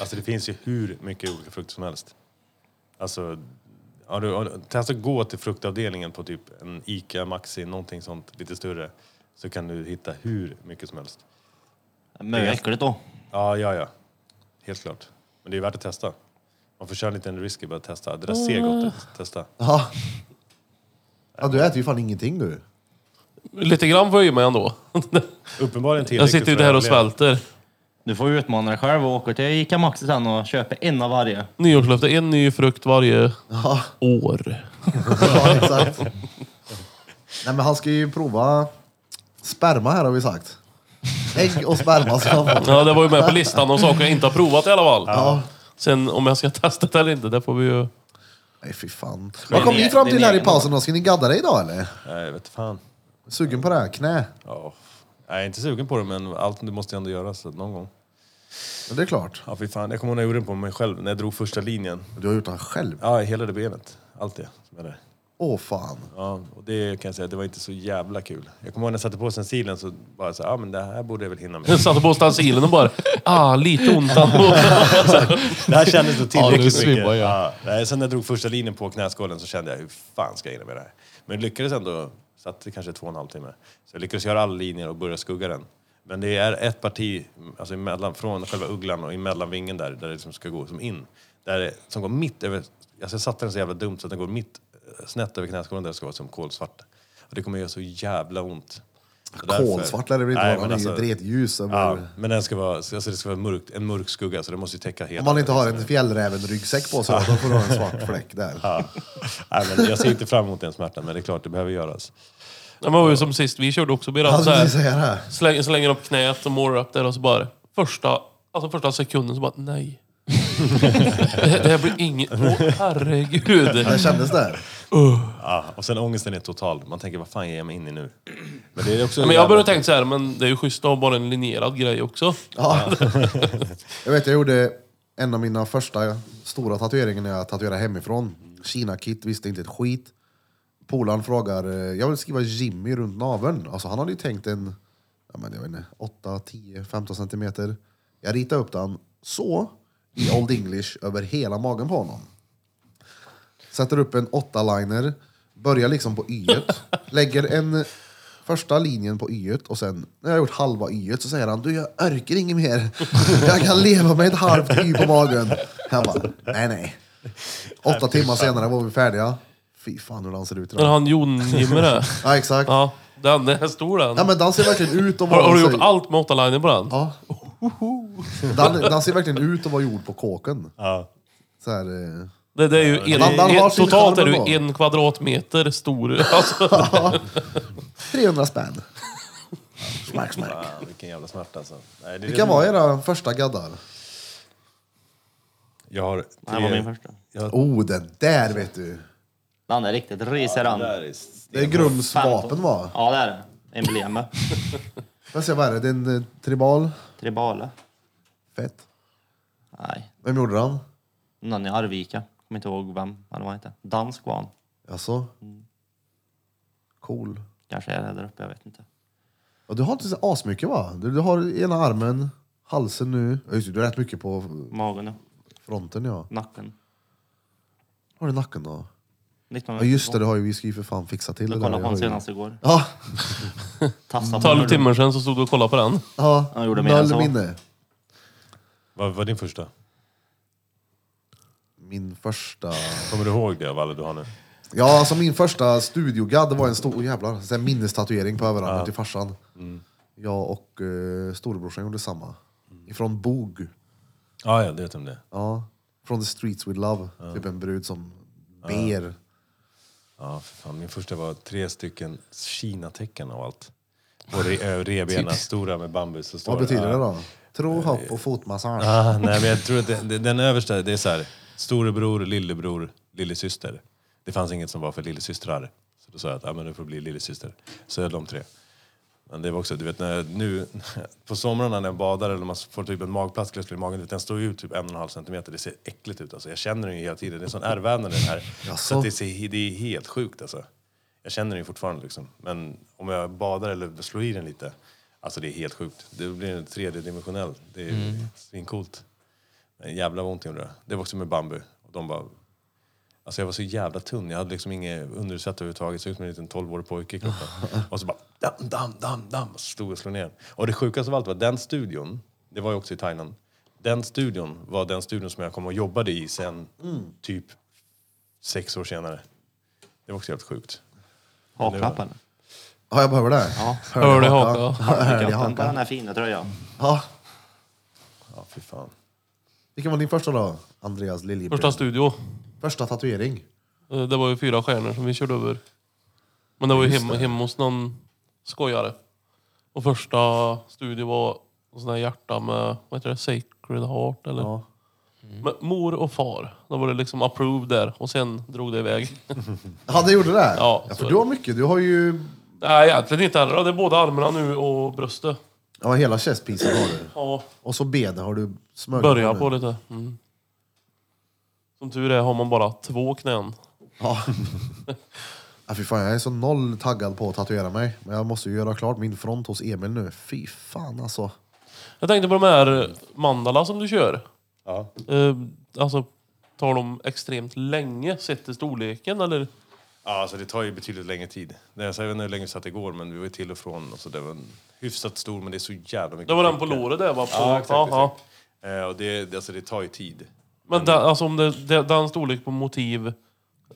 S2: Alltså det finns ju hur mycket olika frukter som helst. Alltså, har du, har du, testa att gå till fruktavdelningen på typ en Ica, Maxi, någonting sånt lite större. Så kan du hitta hur mycket som helst.
S3: Men det är äckligt då.
S2: Ja, ja, ja. Helt klart. Men det är värt att testa. Man får köra en liten risky bara att testa. Det där ser gott ut. Testa.
S1: Ja. ja, du äter ju fan ingenting du.
S5: Lite grann får jag i mig ändå.
S2: Uppenbarligen
S5: Jag
S2: tillräckligt
S5: sitter ju
S2: för att
S5: där och
S2: överleva.
S5: svälter.
S3: Du får utmana dig själv och åka till Ica Maxi sen och köpa en av varje.
S5: Nyårslöfte, en ny frukt varje
S1: Ja.
S5: år.
S1: Ja, exakt. Nej, men han ska ju prova sperma här har vi sagt. Ägg och sperma ska han få.
S5: Ja, det var ju med på listan om saker jag inte har provat i alla fall. Sen om jag ska testa det eller inte, det får vi ju...
S1: Nej, fy fan.
S3: Men
S1: Vad kom
S3: det-
S1: ni fram
S3: det är
S1: till här i
S3: egen-
S1: pausen då? Ska ni gadda dig idag eller?
S2: Nej, jag vet fan.
S1: Sugen på det här? Knä?
S2: Ja. Jag är inte sugen på det, men allt det måste ju ändå göras någon gång.
S1: Ja, det är klart.
S2: Ja, fy fan. Jag kommer ihåg när jag gjorde den på mig själv, när jag drog första linjen.
S1: Du har gjort den själv.
S2: Ja, hela det benet. Allt det som är där.
S1: Åh fan.
S2: Ja, och det kan jag säga, det var inte så jävla kul. Jag kommer ihåg när jag satte på sensilen så bara så ja ah, men det här borde jag väl hinna med.
S5: Jag satte på stansilen och bara... Ah, lite ont ändå.
S2: det här kändes då
S4: Ja, nu
S2: tillräckligt mycket.
S4: svimmar jag.
S2: Ja, nej, sen när jag drog första linjen på knäskålen så kände jag, hur fan ska jag hinna med det här? Men jag lyckades ändå, satt kanske två och en halv timme. Så jag lyckades göra alla linjer och börja skugga den. Men det är ett parti, alltså emellan, från själva ugglan och emellan vingen där, där det liksom ska gå som in. Där det, som går mitt över, alltså jag satte den så jävla dumt så att den går mitt eh, snett över knäskålen där det ska vara som kolsvart. Och det kommer göra så jävla ont. Så därför-
S1: Kolsvart lär det väl inte
S2: Nej,
S1: vara?
S2: men
S1: Det är ju
S2: alltså-
S1: dretljus.
S2: Ja,
S1: över-
S2: men den ska vara, alltså det ska vara mörkt, en mörk skugga så den måste ju täcka hela.
S1: Om man inte har en fjällräven-ryggsäck på sig då får du ha en svart fläck där.
S2: Ja. Nej, men jag ser inte fram emot den smärtan, men det är klart det behöver göras.
S5: Det var ju som sist, vi körde också Birra.
S1: Alltså,
S5: Så
S1: det är
S5: här,
S1: så här.
S5: slänger, slänger upp knät och morrar upp där och så bara... Första, alltså första sekunden så bara, nej. det, här- det här blir inget... Åh, herregud.
S1: Det kändes det?
S2: Ja, och sen ångesten är total. Man tänker, vad fan ger jag mig in i nu? Men det är också
S5: Men jag började tänka så här, men det är ju schysst att ha bara en linjerad grej också.
S1: Ja. jag vet, jag gjorde en av mina första stora tatueringar när jag tatuerade hemifrån. Kina-kit, visste inte ett skit. Polaren frågar, eh, jag vill skriva Jimmy runt naveln. Alltså han hade ju tänkt en, ja, men jag vet inte, 8, 10, 15 centimeter. Jag ritade upp den så, i Old English, över hela magen på honom. Sätter upp en åtta-liner, börjar liksom på y lägger en Första linjen på y och sen när jag har gjort halva y så säger han du jag orkar inget mer. Jag kan leva med ett halvt y på magen. Jag bara, nej nej. Åtta timmar senare var vi färdiga. Fy fan hur han ser ut
S5: Men
S1: idag.
S5: han Jon-Jimmy där.
S1: Ja exakt.
S5: Ja, den, den är stor den.
S1: Ja men den ser verkligen ut att
S5: har,
S1: vara...
S5: har du gjort allt med åtta linjer på den?
S1: Ja. Den, den ser verkligen ut att vara gjord på kåken.
S2: Ja.
S1: Så här, eh,
S5: Det, det är ju en,
S1: Den- den har
S5: en,
S1: sin
S5: totalt är
S1: charm
S5: du
S1: ändå.
S5: en kvadratmeter stor. Alltså,
S1: 300 spänn. Smack smack.
S2: Fan, vilken jävla smärta alltså. Nej, det är
S1: Vilka
S2: det-
S1: var era första gaddar?
S2: Jag har
S3: Det här var min
S2: tre...
S3: första.
S1: Oh, den där vet du.
S3: Den är riktigt risig den.
S2: Där är
S1: Det är Grums vapen va?
S3: Ja det är det. Emblemet.
S1: Vad säger jag, vad är det? Det är en eh, tribal?
S3: Tribala.
S1: Fett.
S3: Nej.
S1: Vem gjorde den?
S3: Någon i Arvika. Kommer inte ihåg vem. Eller vad han hette. Dansk var han.
S1: Jaså? Cool.
S3: Kanske är det där uppe, jag vet inte.
S1: Ja, du har inte så asmycket va? Du, du har ena armen, halsen nu. Ja, just det, du har rätt mycket på
S3: Magen och
S1: fronten ja.
S3: nacken.
S1: Har du nacken då? Ja
S3: 1992.
S1: just det, det har ju, vi ska ju för fan fixa till det
S3: Jag
S1: där.
S3: kollade
S1: Jag har
S3: på honom
S1: ju-
S3: senast igår.
S1: Ja,
S3: Tassa på
S5: 12
S3: honom.
S5: timmar sedan så stod du och kollade på den.
S1: ja.
S3: Han gjorde mer än
S1: noll
S3: så.
S1: minne.
S2: Vad var din första?
S1: Min första...
S2: Kommer du ihåg det Valle du har nu?
S1: Ja, alltså min första studiogadd det var en stor oh, jävlar, så här minnestatuering på överarmen till farsan. Jag och uh, storebrorsan gjorde samma. Ifrån Bog.
S2: Ja, ja, det vet jag om det är.
S1: Ja. Från The Streets With Love. Typ en brud som ber.
S2: Ja, för fan. Min första var tre stycken Kina-tecken av allt. Och re- revbena, stora med bambus. Så står
S1: Vad betyder
S2: ja.
S1: det då? Tro, hopp och fotmassage.
S2: Ah, nej, men jag tror att det, det, den översta, det är så här, storebror, lillebror, lillesyster. Det fanns inget som var för lillasystrar. Så då sa jag att ah, men du får bli lillasyster. Så jag de tre. Men det var också, du vet när jag, nu på somrarna när jag badar eller man får typ en magplats plötsligt i magen, du vet, den står ju ut typ en och en halv centimeter. Det ser äckligt ut alltså. Jag känner den ju hela tiden. Det är en sån ärrvävnad i den här. Så
S1: Jaså?
S2: att det, ser, det är helt sjukt alltså. Jag känner den ju fortfarande liksom. Men om jag badar eller slår i den lite, alltså det är helt sjukt. Det blir en tredjedimensionell. Det är svincoolt. Men jävla vad ont det gjorde. Det var också med bambu. Och de bara... Alltså jag var så jävla tunn. Jag hade liksom inget undersätt överhuvudtaget. Såg ut som en liten 12-årig pojke i kroppen. Och så bara dam, dam, dam, dam. Och så stod jag och slog ner. Och det sjukaste av allt var den studion, det var ju också i Thailand. Den studion var den studion som jag kom och jobbade i sen typ sex år senare. Det var också helt sjukt.
S3: Haklapp eller?
S1: Ja, jag behöver det.
S3: Ja.
S5: Hör du
S1: haka?
S5: haka?
S1: Hör dig
S3: På den
S1: haka.
S3: här fina tröjan.
S1: Ja.
S2: Ja, fy fan.
S1: Vilken var din första då? Andreas Liljebring.
S5: Första studio.
S1: Första tatuering.
S5: Eh, Det var ju fyra stjärnor som vi körde över. Men det var ju hemma, hemma hos någon skojare. Och första studio var en sån här hjärta med, vad heter det, Sacred Heart eller?
S1: Ja.
S5: Men mor och far, då var det liksom approved där och sen drog det iväg.
S1: Ja, det gjorde det?
S5: Ja,
S1: ja
S5: så
S1: för
S5: är
S1: du
S5: det.
S1: har mycket. Du har ju
S5: Nej egentligen inte heller. Det är båda armarna nu och bröstet.
S1: ja, hela chestpisen har du.
S5: Ja,
S1: Och så benet har du smörjt
S5: börja
S1: nu.
S5: på lite. Mm. Som tur är har man bara två knän.
S1: Ja. ja, fy fan, jag är så noll taggad på att tatuera mig. Men jag måste ju göra klart min front hos Emil nu. Fy fan alltså.
S5: Jag tänkte på de här mandala som du kör.
S2: Ja.
S5: Eh, alltså, tar de extremt länge sett till storleken eller?
S2: Ja, alltså det tar ju betydligt längre tid. Det är så Jag vet inte hur länge vi satt igår, men vi var ju till och från. Och så det var en hyfsat stor, men det är så jävla mycket.
S5: Det var den på
S2: prickar.
S5: låret där va? På,
S2: Ja, exakt.
S5: ja, ja.
S2: exakt. Eh, och det, det- alltså det tar ju tid.
S5: Men den, alltså om det, det, den storlek på motiv,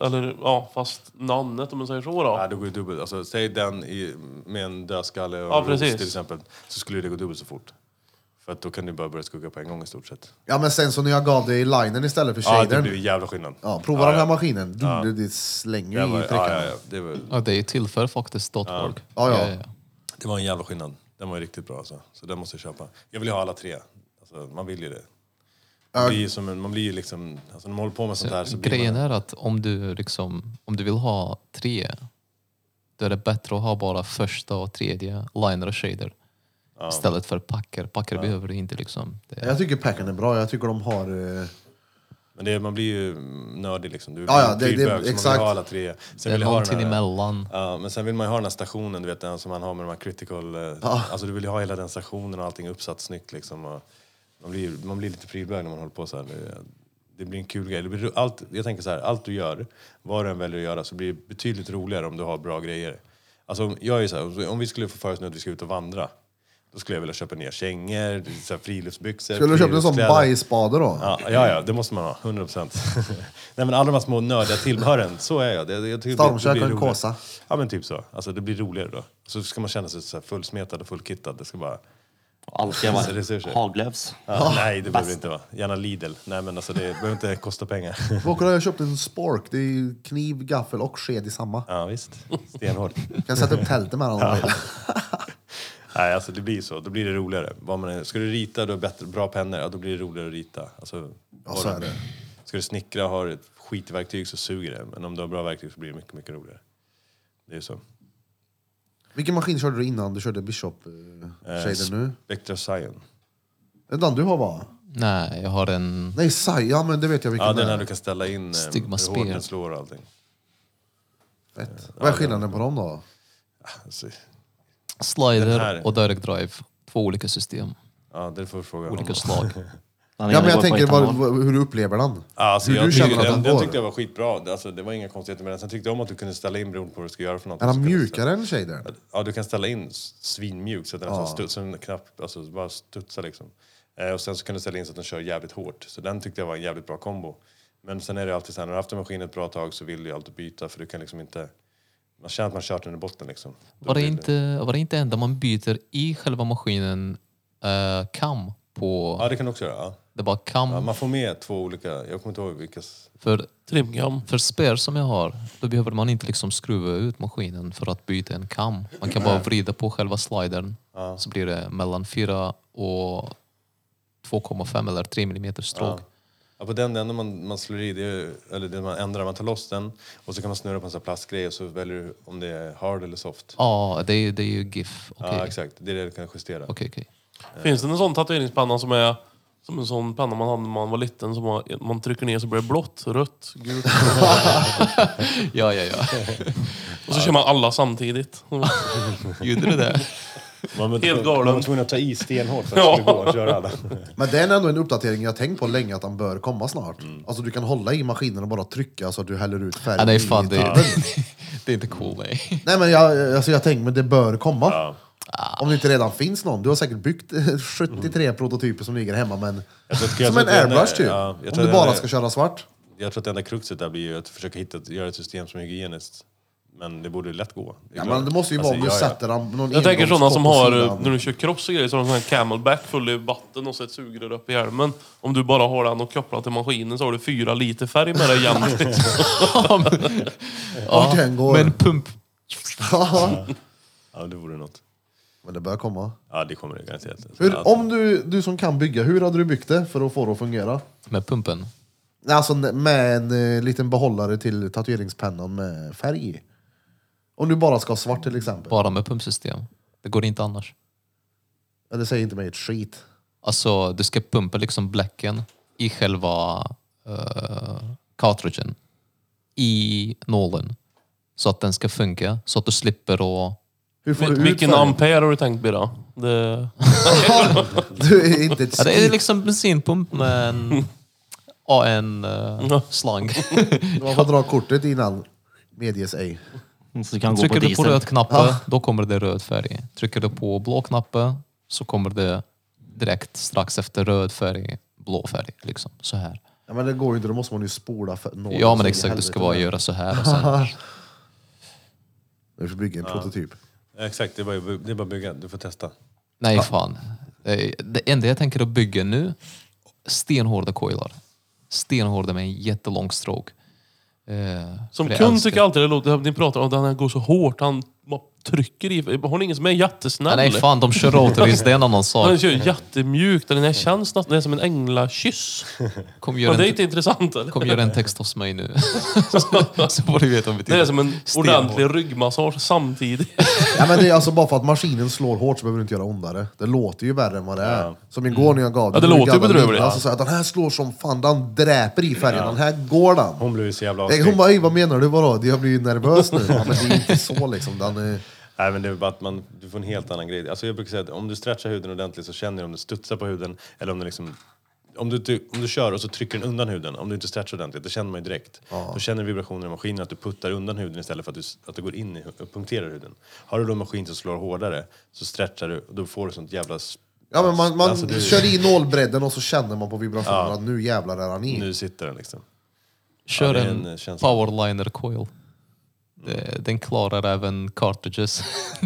S5: eller ja, fast nannet om man säger så då.
S2: Ja, det går ju dubbelt. Alltså, säg den i, med en dödskalle och
S5: Ja,
S2: en ros
S5: precis.
S2: till exempel, så skulle det gå dubbelt så fort. För att då kan du bara börja skugga på en gång i stort sett.
S1: Ja, men sen så när jag gav dig linern istället för
S2: Ja, det
S1: shadern.
S2: blir ju jävla skillnad.
S1: Ja, prova den här maskinen. Du, du, det slänger
S2: Det
S1: ju i
S2: var,
S1: prickarna.
S2: ja, ja, ja. Det, var,
S4: Ja, det är ju till för faktiskt .org.
S1: Ja, ja.
S2: det var en jävla skillnad. Den var ju riktigt bra alltså. Så den måste jag köpa. Jag vill ju ha alla tre. Alltså, man vill ju det. Man blir ju som en, man blir ju liksom, alltså när man håller på med sånt här så blir man...
S4: Grejen är att om du, liksom, om du vill ha tre, då är det bättre att ha bara första och tredje liner och shader. Istället för packer. Packer behöver du inte liksom. Det är,
S1: Jag tycker packen är bra. Jag tycker de har... eh,
S2: Men det, man blir ju nördig liksom. Du,
S1: Ja, ja,
S2: du är
S1: det- det-
S2: bög, så man
S1: exakt.
S2: vill ha alla tre.
S4: det
S2: Sen
S4: är
S2: vill jag ha den
S4: någonting
S2: här-
S4: emellan.
S2: Ja, men sen vill man ju ha den här stationen, du vet den som man har med de här critical... eh, Alltså du vill ju ha hela den stationen och allting uppsatt snyggt liksom. Och man, blir, man blir lite prylbög när man håller på så här. Det, det blir en kul grej. Det blir, ro- allt, jag tänker så här, allt du gör, vad du än väljer att göra, så blir det betydligt roligare om du har bra grejer. Alltså, om- jag är ju så här, om vi skulle få för oss nu att vi ska ut och vandra, då skulle jag vilja köpa nya kängor, så här friluftsbyxor,
S1: Skulle du köpa en sån
S2: friluftskläder.
S1: bajsspade då?
S2: Ja, ja, ja, det måste man ha. 100 procent. Nej, men alla de här små nördiga tillbehören, så är jag. Det, det- jag tycker det blir- det
S1: Stormkök
S2: blir
S1: och en
S2: roligare.
S1: kåsa.
S2: Ja, men typ så. Alltså, det blir roligare då. Så ska man känna sig så här fullsmetad och fullkittad. Det ska bara...
S3: Allt ska vara
S2: Resurser.
S3: Haglöfs.
S2: Ja, nej, det behöver det inte vara. Gärna Lidl. Nej, men alltså, det behöver inte kosta pengar.
S1: Vad kolla, jag köpte en spork. Det är ju kniv, gaffel och sked i samma.
S2: Ja, visst. Stenhårt.
S1: Kan sätta upp tältet med den om du vill.
S2: Nej, alltså det blir så. Då blir det roligare. Vad man är. Ska du rita, du har bättre, bra pennor. Ja, då blir det roligare att rita. Alltså,
S1: Ja, så är det.
S2: Ska du snickra och har ett skitverktyg så suger det. Men om du har bra verktyg så blir det mycket, mycket roligare. Det är ju så.
S1: Vilken maskin körde du innan du körde
S2: Eh,
S1: Bishop-shaden nu?
S2: Spectra Scion.
S1: Den där du har va?
S4: Nej, jag har en...
S1: Nej, Sai. Ja, men det vet jag vilken
S2: Ja, det är
S1: det
S2: när du
S1: är.
S2: kan ställa in eh,
S4: Stigma
S2: hur hårt
S4: spel.
S2: den slår och allting. Eh,
S1: Fett. Vad är skillnaden på dem då?
S2: Alltså, Den här.
S4: Slider och direct drive. Två olika system,
S2: ja, det får du fråga
S4: olika
S2: honom.
S4: slag.
S3: Den
S1: Ja,
S3: ena
S1: men jag
S3: går på
S1: tänker vad,
S3: etanol.
S1: vad- hur du upplever den.
S2: Ja, Alltså,
S1: Hur
S2: jag,
S1: du
S2: tyckte,
S1: känner att
S2: den,
S1: den
S2: den
S1: går?
S2: tyckte jag var skitbra. Det- Alltså, det var inga konstigheter med den. Sen tyckte jag om att du kunde ställa in beroende på vad du ska göra för något.
S1: Är
S2: Så
S1: den
S2: kan du
S1: mjukare än shadern?
S2: ställa- Ja, du kan ställa in s- svinmjuk så att den nästan studsar, den knappt, alltså bara studsar liksom. Eh, och sen så kan du ställa in så att den kör jävligt hårt. Så den tyckte jag var en jävligt bra kombo. Men sen är det alltid så här, när du har haft en maskin ett bra tag så vill du ju alltid byta för du kan liksom inte... Man känner att man kört den i botten liksom. Då
S4: Var det
S2: blir
S4: inte, var det inte enda man byter i själva maskinen eh, kam på...
S2: Ja, det kan du också göra. Ja.
S4: Det var kam.
S2: Ja, man får med två olika, jag kommer inte ihåg vilka... s-
S4: För,
S5: Trimgam.
S4: för spär som jag har, då behöver man inte liksom skruva ut maskinen för att byta en kam. Man kan bara vrida på själva slidern så blir det mellan 4 och 2,5 eller 3 mm stråk.
S2: Ja, på den, det enda man, man slår i, det är, ju- eller det man ändrar, man tar loss den och så kan man snurra på en sån här plastgrej och så väljer du om det är hard eller soft.
S4: Ja, det, är- det är ju GIF. Okej,
S2: Ja, exakt. Det är det du kan justera.
S4: okej, okej.
S5: Finns det en sån tatueringspenna som är som en sån penna man hade när man var liten som man, man trycker ner så blir det blått, rött, gult.
S4: Ja, ja, ja.
S5: Och så kör man alla samtidigt.
S4: Gjorde du det?
S2: Man var,
S5: Helt
S2: Man var
S5: galen.
S2: tvungen att ta i stenhårt för att det skulle gå att köra alla.
S1: Men det är ändå en uppdatering jag har tänkt på länge att den bör komma snart.
S2: Mm.
S1: Alltså du kan hålla i maskinen och bara trycka så att du häller ut färgen.
S4: Ja, det är
S1: i
S4: fan, det,
S1: tuben.
S4: det är inte cool, nej.
S1: Nej men jag, alltså, jag tänker, men det bör komma. Om det inte redan finns någon. Du har säkert byggt eh, 73 prototyper som ligger hemma men...
S2: tror att- Mm.
S1: Som
S2: jag tror
S1: en
S2: att det enda-
S1: airbrush typ.
S2: ja, jag
S1: Om
S2: tror att
S1: du
S2: det
S1: bara
S2: enda-
S1: ska köra svart.
S2: Jag tror att det enda kruxet där blir ju att försöka hitta, ett- göra ett system som är hygieniskt. Men det borde ju lätt gå. är
S1: Ja,
S2: klart.
S1: men det måste ju
S2: Alltså,
S1: vara om du
S2: ja, ja.
S1: sätter den någon
S5: Jag tänker sådana som
S1: engångspott
S5: har, eh,
S1: på sidan.
S5: när du kör cross och grejer, så har de sån här camelback full i vatten och så ett sugrör upp i hjälmen. Om du bara har den och kopplar till maskinen så har du fyra liter färg med dig jämt.
S1: Ja, den går.
S4: Men pump...
S1: Ja,
S2: Ja, det vore något.
S1: men det bör komma.
S2: Ja, det kommer det garanterat.
S1: Hur, om du, du som kan bygga, hur hade du byggt det för att få det att fungera?
S4: Med pumpen?
S1: Nej, Alltså med en eh, liten behållare till tatueringspennan med färg i. Om du bara ska ha svart till exempel.
S4: Bara med pumpsystem. Det går inte annars.
S1: Ja, det säger inte mig ett skit.
S4: Alltså, du ska pumpa liksom bläcken i själva uh, cartridgen, i nålen, så att den ska funka, så att du slipper att...
S1: Hur får du ut
S5: Vilken
S1: färgen?
S5: ampere har du tänkt Birra? Det...
S1: Du är inte ett
S4: Ja, det är
S1: skit.
S4: liksom bensinpump med en eh, AN-slang. liksom-
S1: Man får dra kortet innan. Medges ej.
S3: Så kan gå på
S4: Trycker du på
S3: diesel.
S4: röd knapp, då kommer det röd färg. Trycker du på blå knapp, så kommer det direkt strax efter röd färg, blå färg. Liksom, så här.
S1: Ja, men det går ju inte, då måste man ju spola för nålen
S4: Ja, men
S1: så i
S4: exakt. Du
S1: helvete
S4: ska bara
S1: med.
S4: göra så här och sen...
S1: Du får bygga en prototyp.
S2: Exakt, det är, bara, det är bara att bygga. Du får testa.
S4: Nej, fan. Eh, Det enda jag tänker att bygga nu, stenhårda coilar. Stenhårda med en jättelång stråk. Eh,
S5: Som
S4: för jag
S5: kund
S4: älskar-
S5: tycker jag alltid det låter, ni pratar om att han går så hårt, han bara trycker i. Har ni ingen som är
S4: Ah,
S5: jättesnäll?
S4: Nej, fan, de kör rotaries. Det är en annan
S5: Han
S4: sak.
S5: kör jättemjukt, den här känns nästan det är som en änglakyss.
S4: Kom
S5: Men
S4: göra
S5: det är
S4: en,
S5: inte intressant eller?
S4: kom gör en text hos mig nu. så får du veta om vi
S5: Det är som en
S4: Stenhård.
S5: ordentlig ryggmassage samtidigt.
S1: Ja, men det är alltså bara för att maskinen slår hårt så behöver det inte göra ondare. Det låter ju värre än vad det är. Som igår när jag gav
S5: Ja, det
S1: den
S5: låter ju
S1: gamla
S5: bedrövligt.
S1: linan, Så sa jag att den här slår som fan, den dräper i färgen. Den här går den.
S2: Hon blev ju så jävla
S1: Nej, Eh,
S2: avskräckt.
S1: Hon bara, "Ey, vad menar du? Vadå? Jag blir ju nervös nu. Ja, men det är inte så liksom. Den är...
S2: Nej, men det är bara att man, du får en helt annan grej. Alltså jag brukar säga att om du stretchar huden ordentligt så känner du om du studsar på huden eller om du liksom om, du, inte- om du kör och så trycker den undan huden, om du inte stretchar ordentligt, det känner man ju direkt. Då känner vibrationen i maskinen att du puttar undan huden istället för att, du, att det går in i, hu- och punkterar huden. Har du då en maskin som slår hårdare så stretchar du och då får du sånt jävla... s-
S1: Ja, men man man
S2: Alltså, du-
S1: kör i nålbredden och så känner man på vibrationen att nu jävlar är han i.
S2: Nu sitter den liksom.
S4: Kör
S2: det är
S4: en,
S2: en känsla.
S4: powerliner coil. Det, den klarar även cartridges.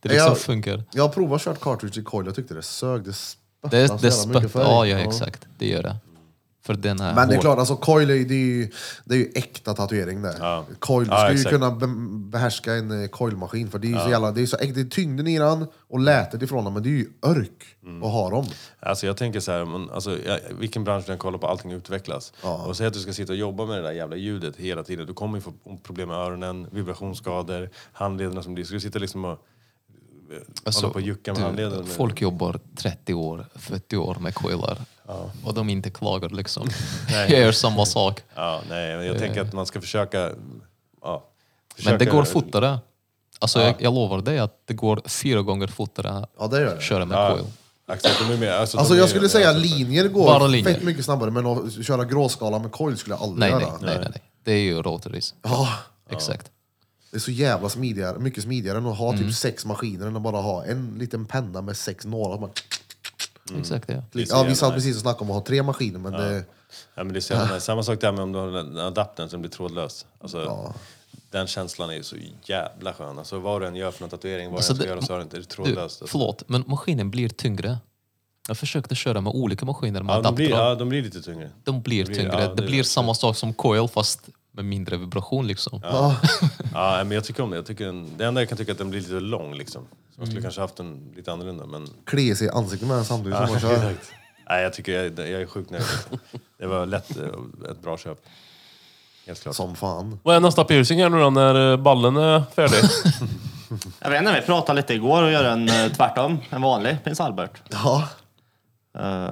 S4: det liksom
S1: Jag-
S4: funkar.
S1: Jag har provat kört cartridge i coil, jag tyckte det sög. Det spöttade
S4: Det,
S1: så
S4: det
S1: Alltså, jävla mycket
S4: spöttar,
S1: färg.
S4: ja, ja exakt. Det gör det. För den är
S1: Men det är
S4: hård.
S1: klart, alltså coil är ju, det är ju, det är ju äkta tatuering det. Coil, du
S2: Ja,
S1: ska ju
S2: exakt.
S1: kunna be- behärska en eh, coilmaskin för det är ju så jävla, det är så äkta, det är tyngden i den och lätet ifrån den, men det är ju örk
S2: Mm.
S1: att ha dem.
S2: Alltså jag tänker så här, man, alltså, ja, vilken bransch du än kollar på, allting utvecklas. Och säg att du ska sitta och jobba med det där jävla ljudet hela tiden. Du kommer ju få problem med öronen, vibrationsskador, handlederna som blir... Ska du sitta liksom och
S4: Alltså,
S2: hålla på och jucka med
S4: du,
S2: handlederna?
S4: Folk jobbar 30 år, 40 år med coilar. Och de inte klagar liksom. jag gör samma sak.
S2: Ja, nej, men jag tänker att man ska försöka... Ja,
S4: Men det
S2: försöka-
S4: går fortare. Alltså jag, jag lovar dig att det går fyra gånger fortare
S1: Ja, det gör
S4: att
S1: det.
S4: köra med
S2: Ja,
S4: coil.
S2: exakt, de är med, alltså, de
S1: Alltså
S2: är
S1: jag
S2: ju-
S1: skulle säga linjer
S4: Bara
S1: går
S4: linjer.
S1: fett mycket snabbare, men att köra gråskala med coil skulle jag aldrig
S4: Nej, nej,
S1: göra.
S4: nej, nej, nej. Det är ju rotaries.
S1: Ja,
S4: Exakt.
S1: det är så jävla smidigare, mycket smidigare än att ha
S2: Mm.
S1: typ sex maskiner än att bara ha en liten penna med sex nålar. Man-
S2: Mm.
S4: Exakt det.
S2: Det är så
S1: Ja, vi
S2: jävla
S1: satt
S2: nice.
S1: precis och snackade om att ha tre maskiner, men det...
S2: Ja, men det är så jävla nice. Samma sak där med om du har den här adaptern som blir trådlös. Alltså, Den känslan är ju så jävla skön. Alltså, vad du än gör för någon tatuering, vad
S4: Alltså,
S2: du än
S4: det-
S2: ska göra så är det inte det är
S4: Du,
S2: trådlöst. alltså.
S4: förlåt, men maskinen blir tyngre. Jag försökte köra med olika maskiner med
S2: Ja, de, blir,
S4: adaptrar.
S2: ja, de blir lite tyngre.
S4: De blir
S2: blir-
S4: tyngre.
S2: ja,
S4: det,
S2: det är
S4: blir
S2: det.
S4: samma sak som coil fast med mindre vibration liksom.
S2: Ja, nej, men jag tycker om det. Jag tycker den, det enda jag kan tycka är att den blir lite lång. Liksom. Så man
S1: Mm.
S2: skulle kanske haft den lite annorlunda. Men,
S1: klia sig i ansiktet med den samtidigt som man kör.
S2: Exakt. nej, jag tycker jag, jag är sjukt nöjd. liksom. Det var lätt eh, ett bra köp. Helt klart.
S1: Som fan.
S5: Vad är nästa piercing här nu då när eh, ballen är färdig?
S3: Jag vet inte, vi pratade lite igår och gör en eh, tvärtom, en vanlig prins Albert.
S1: Ja,
S3: Eh,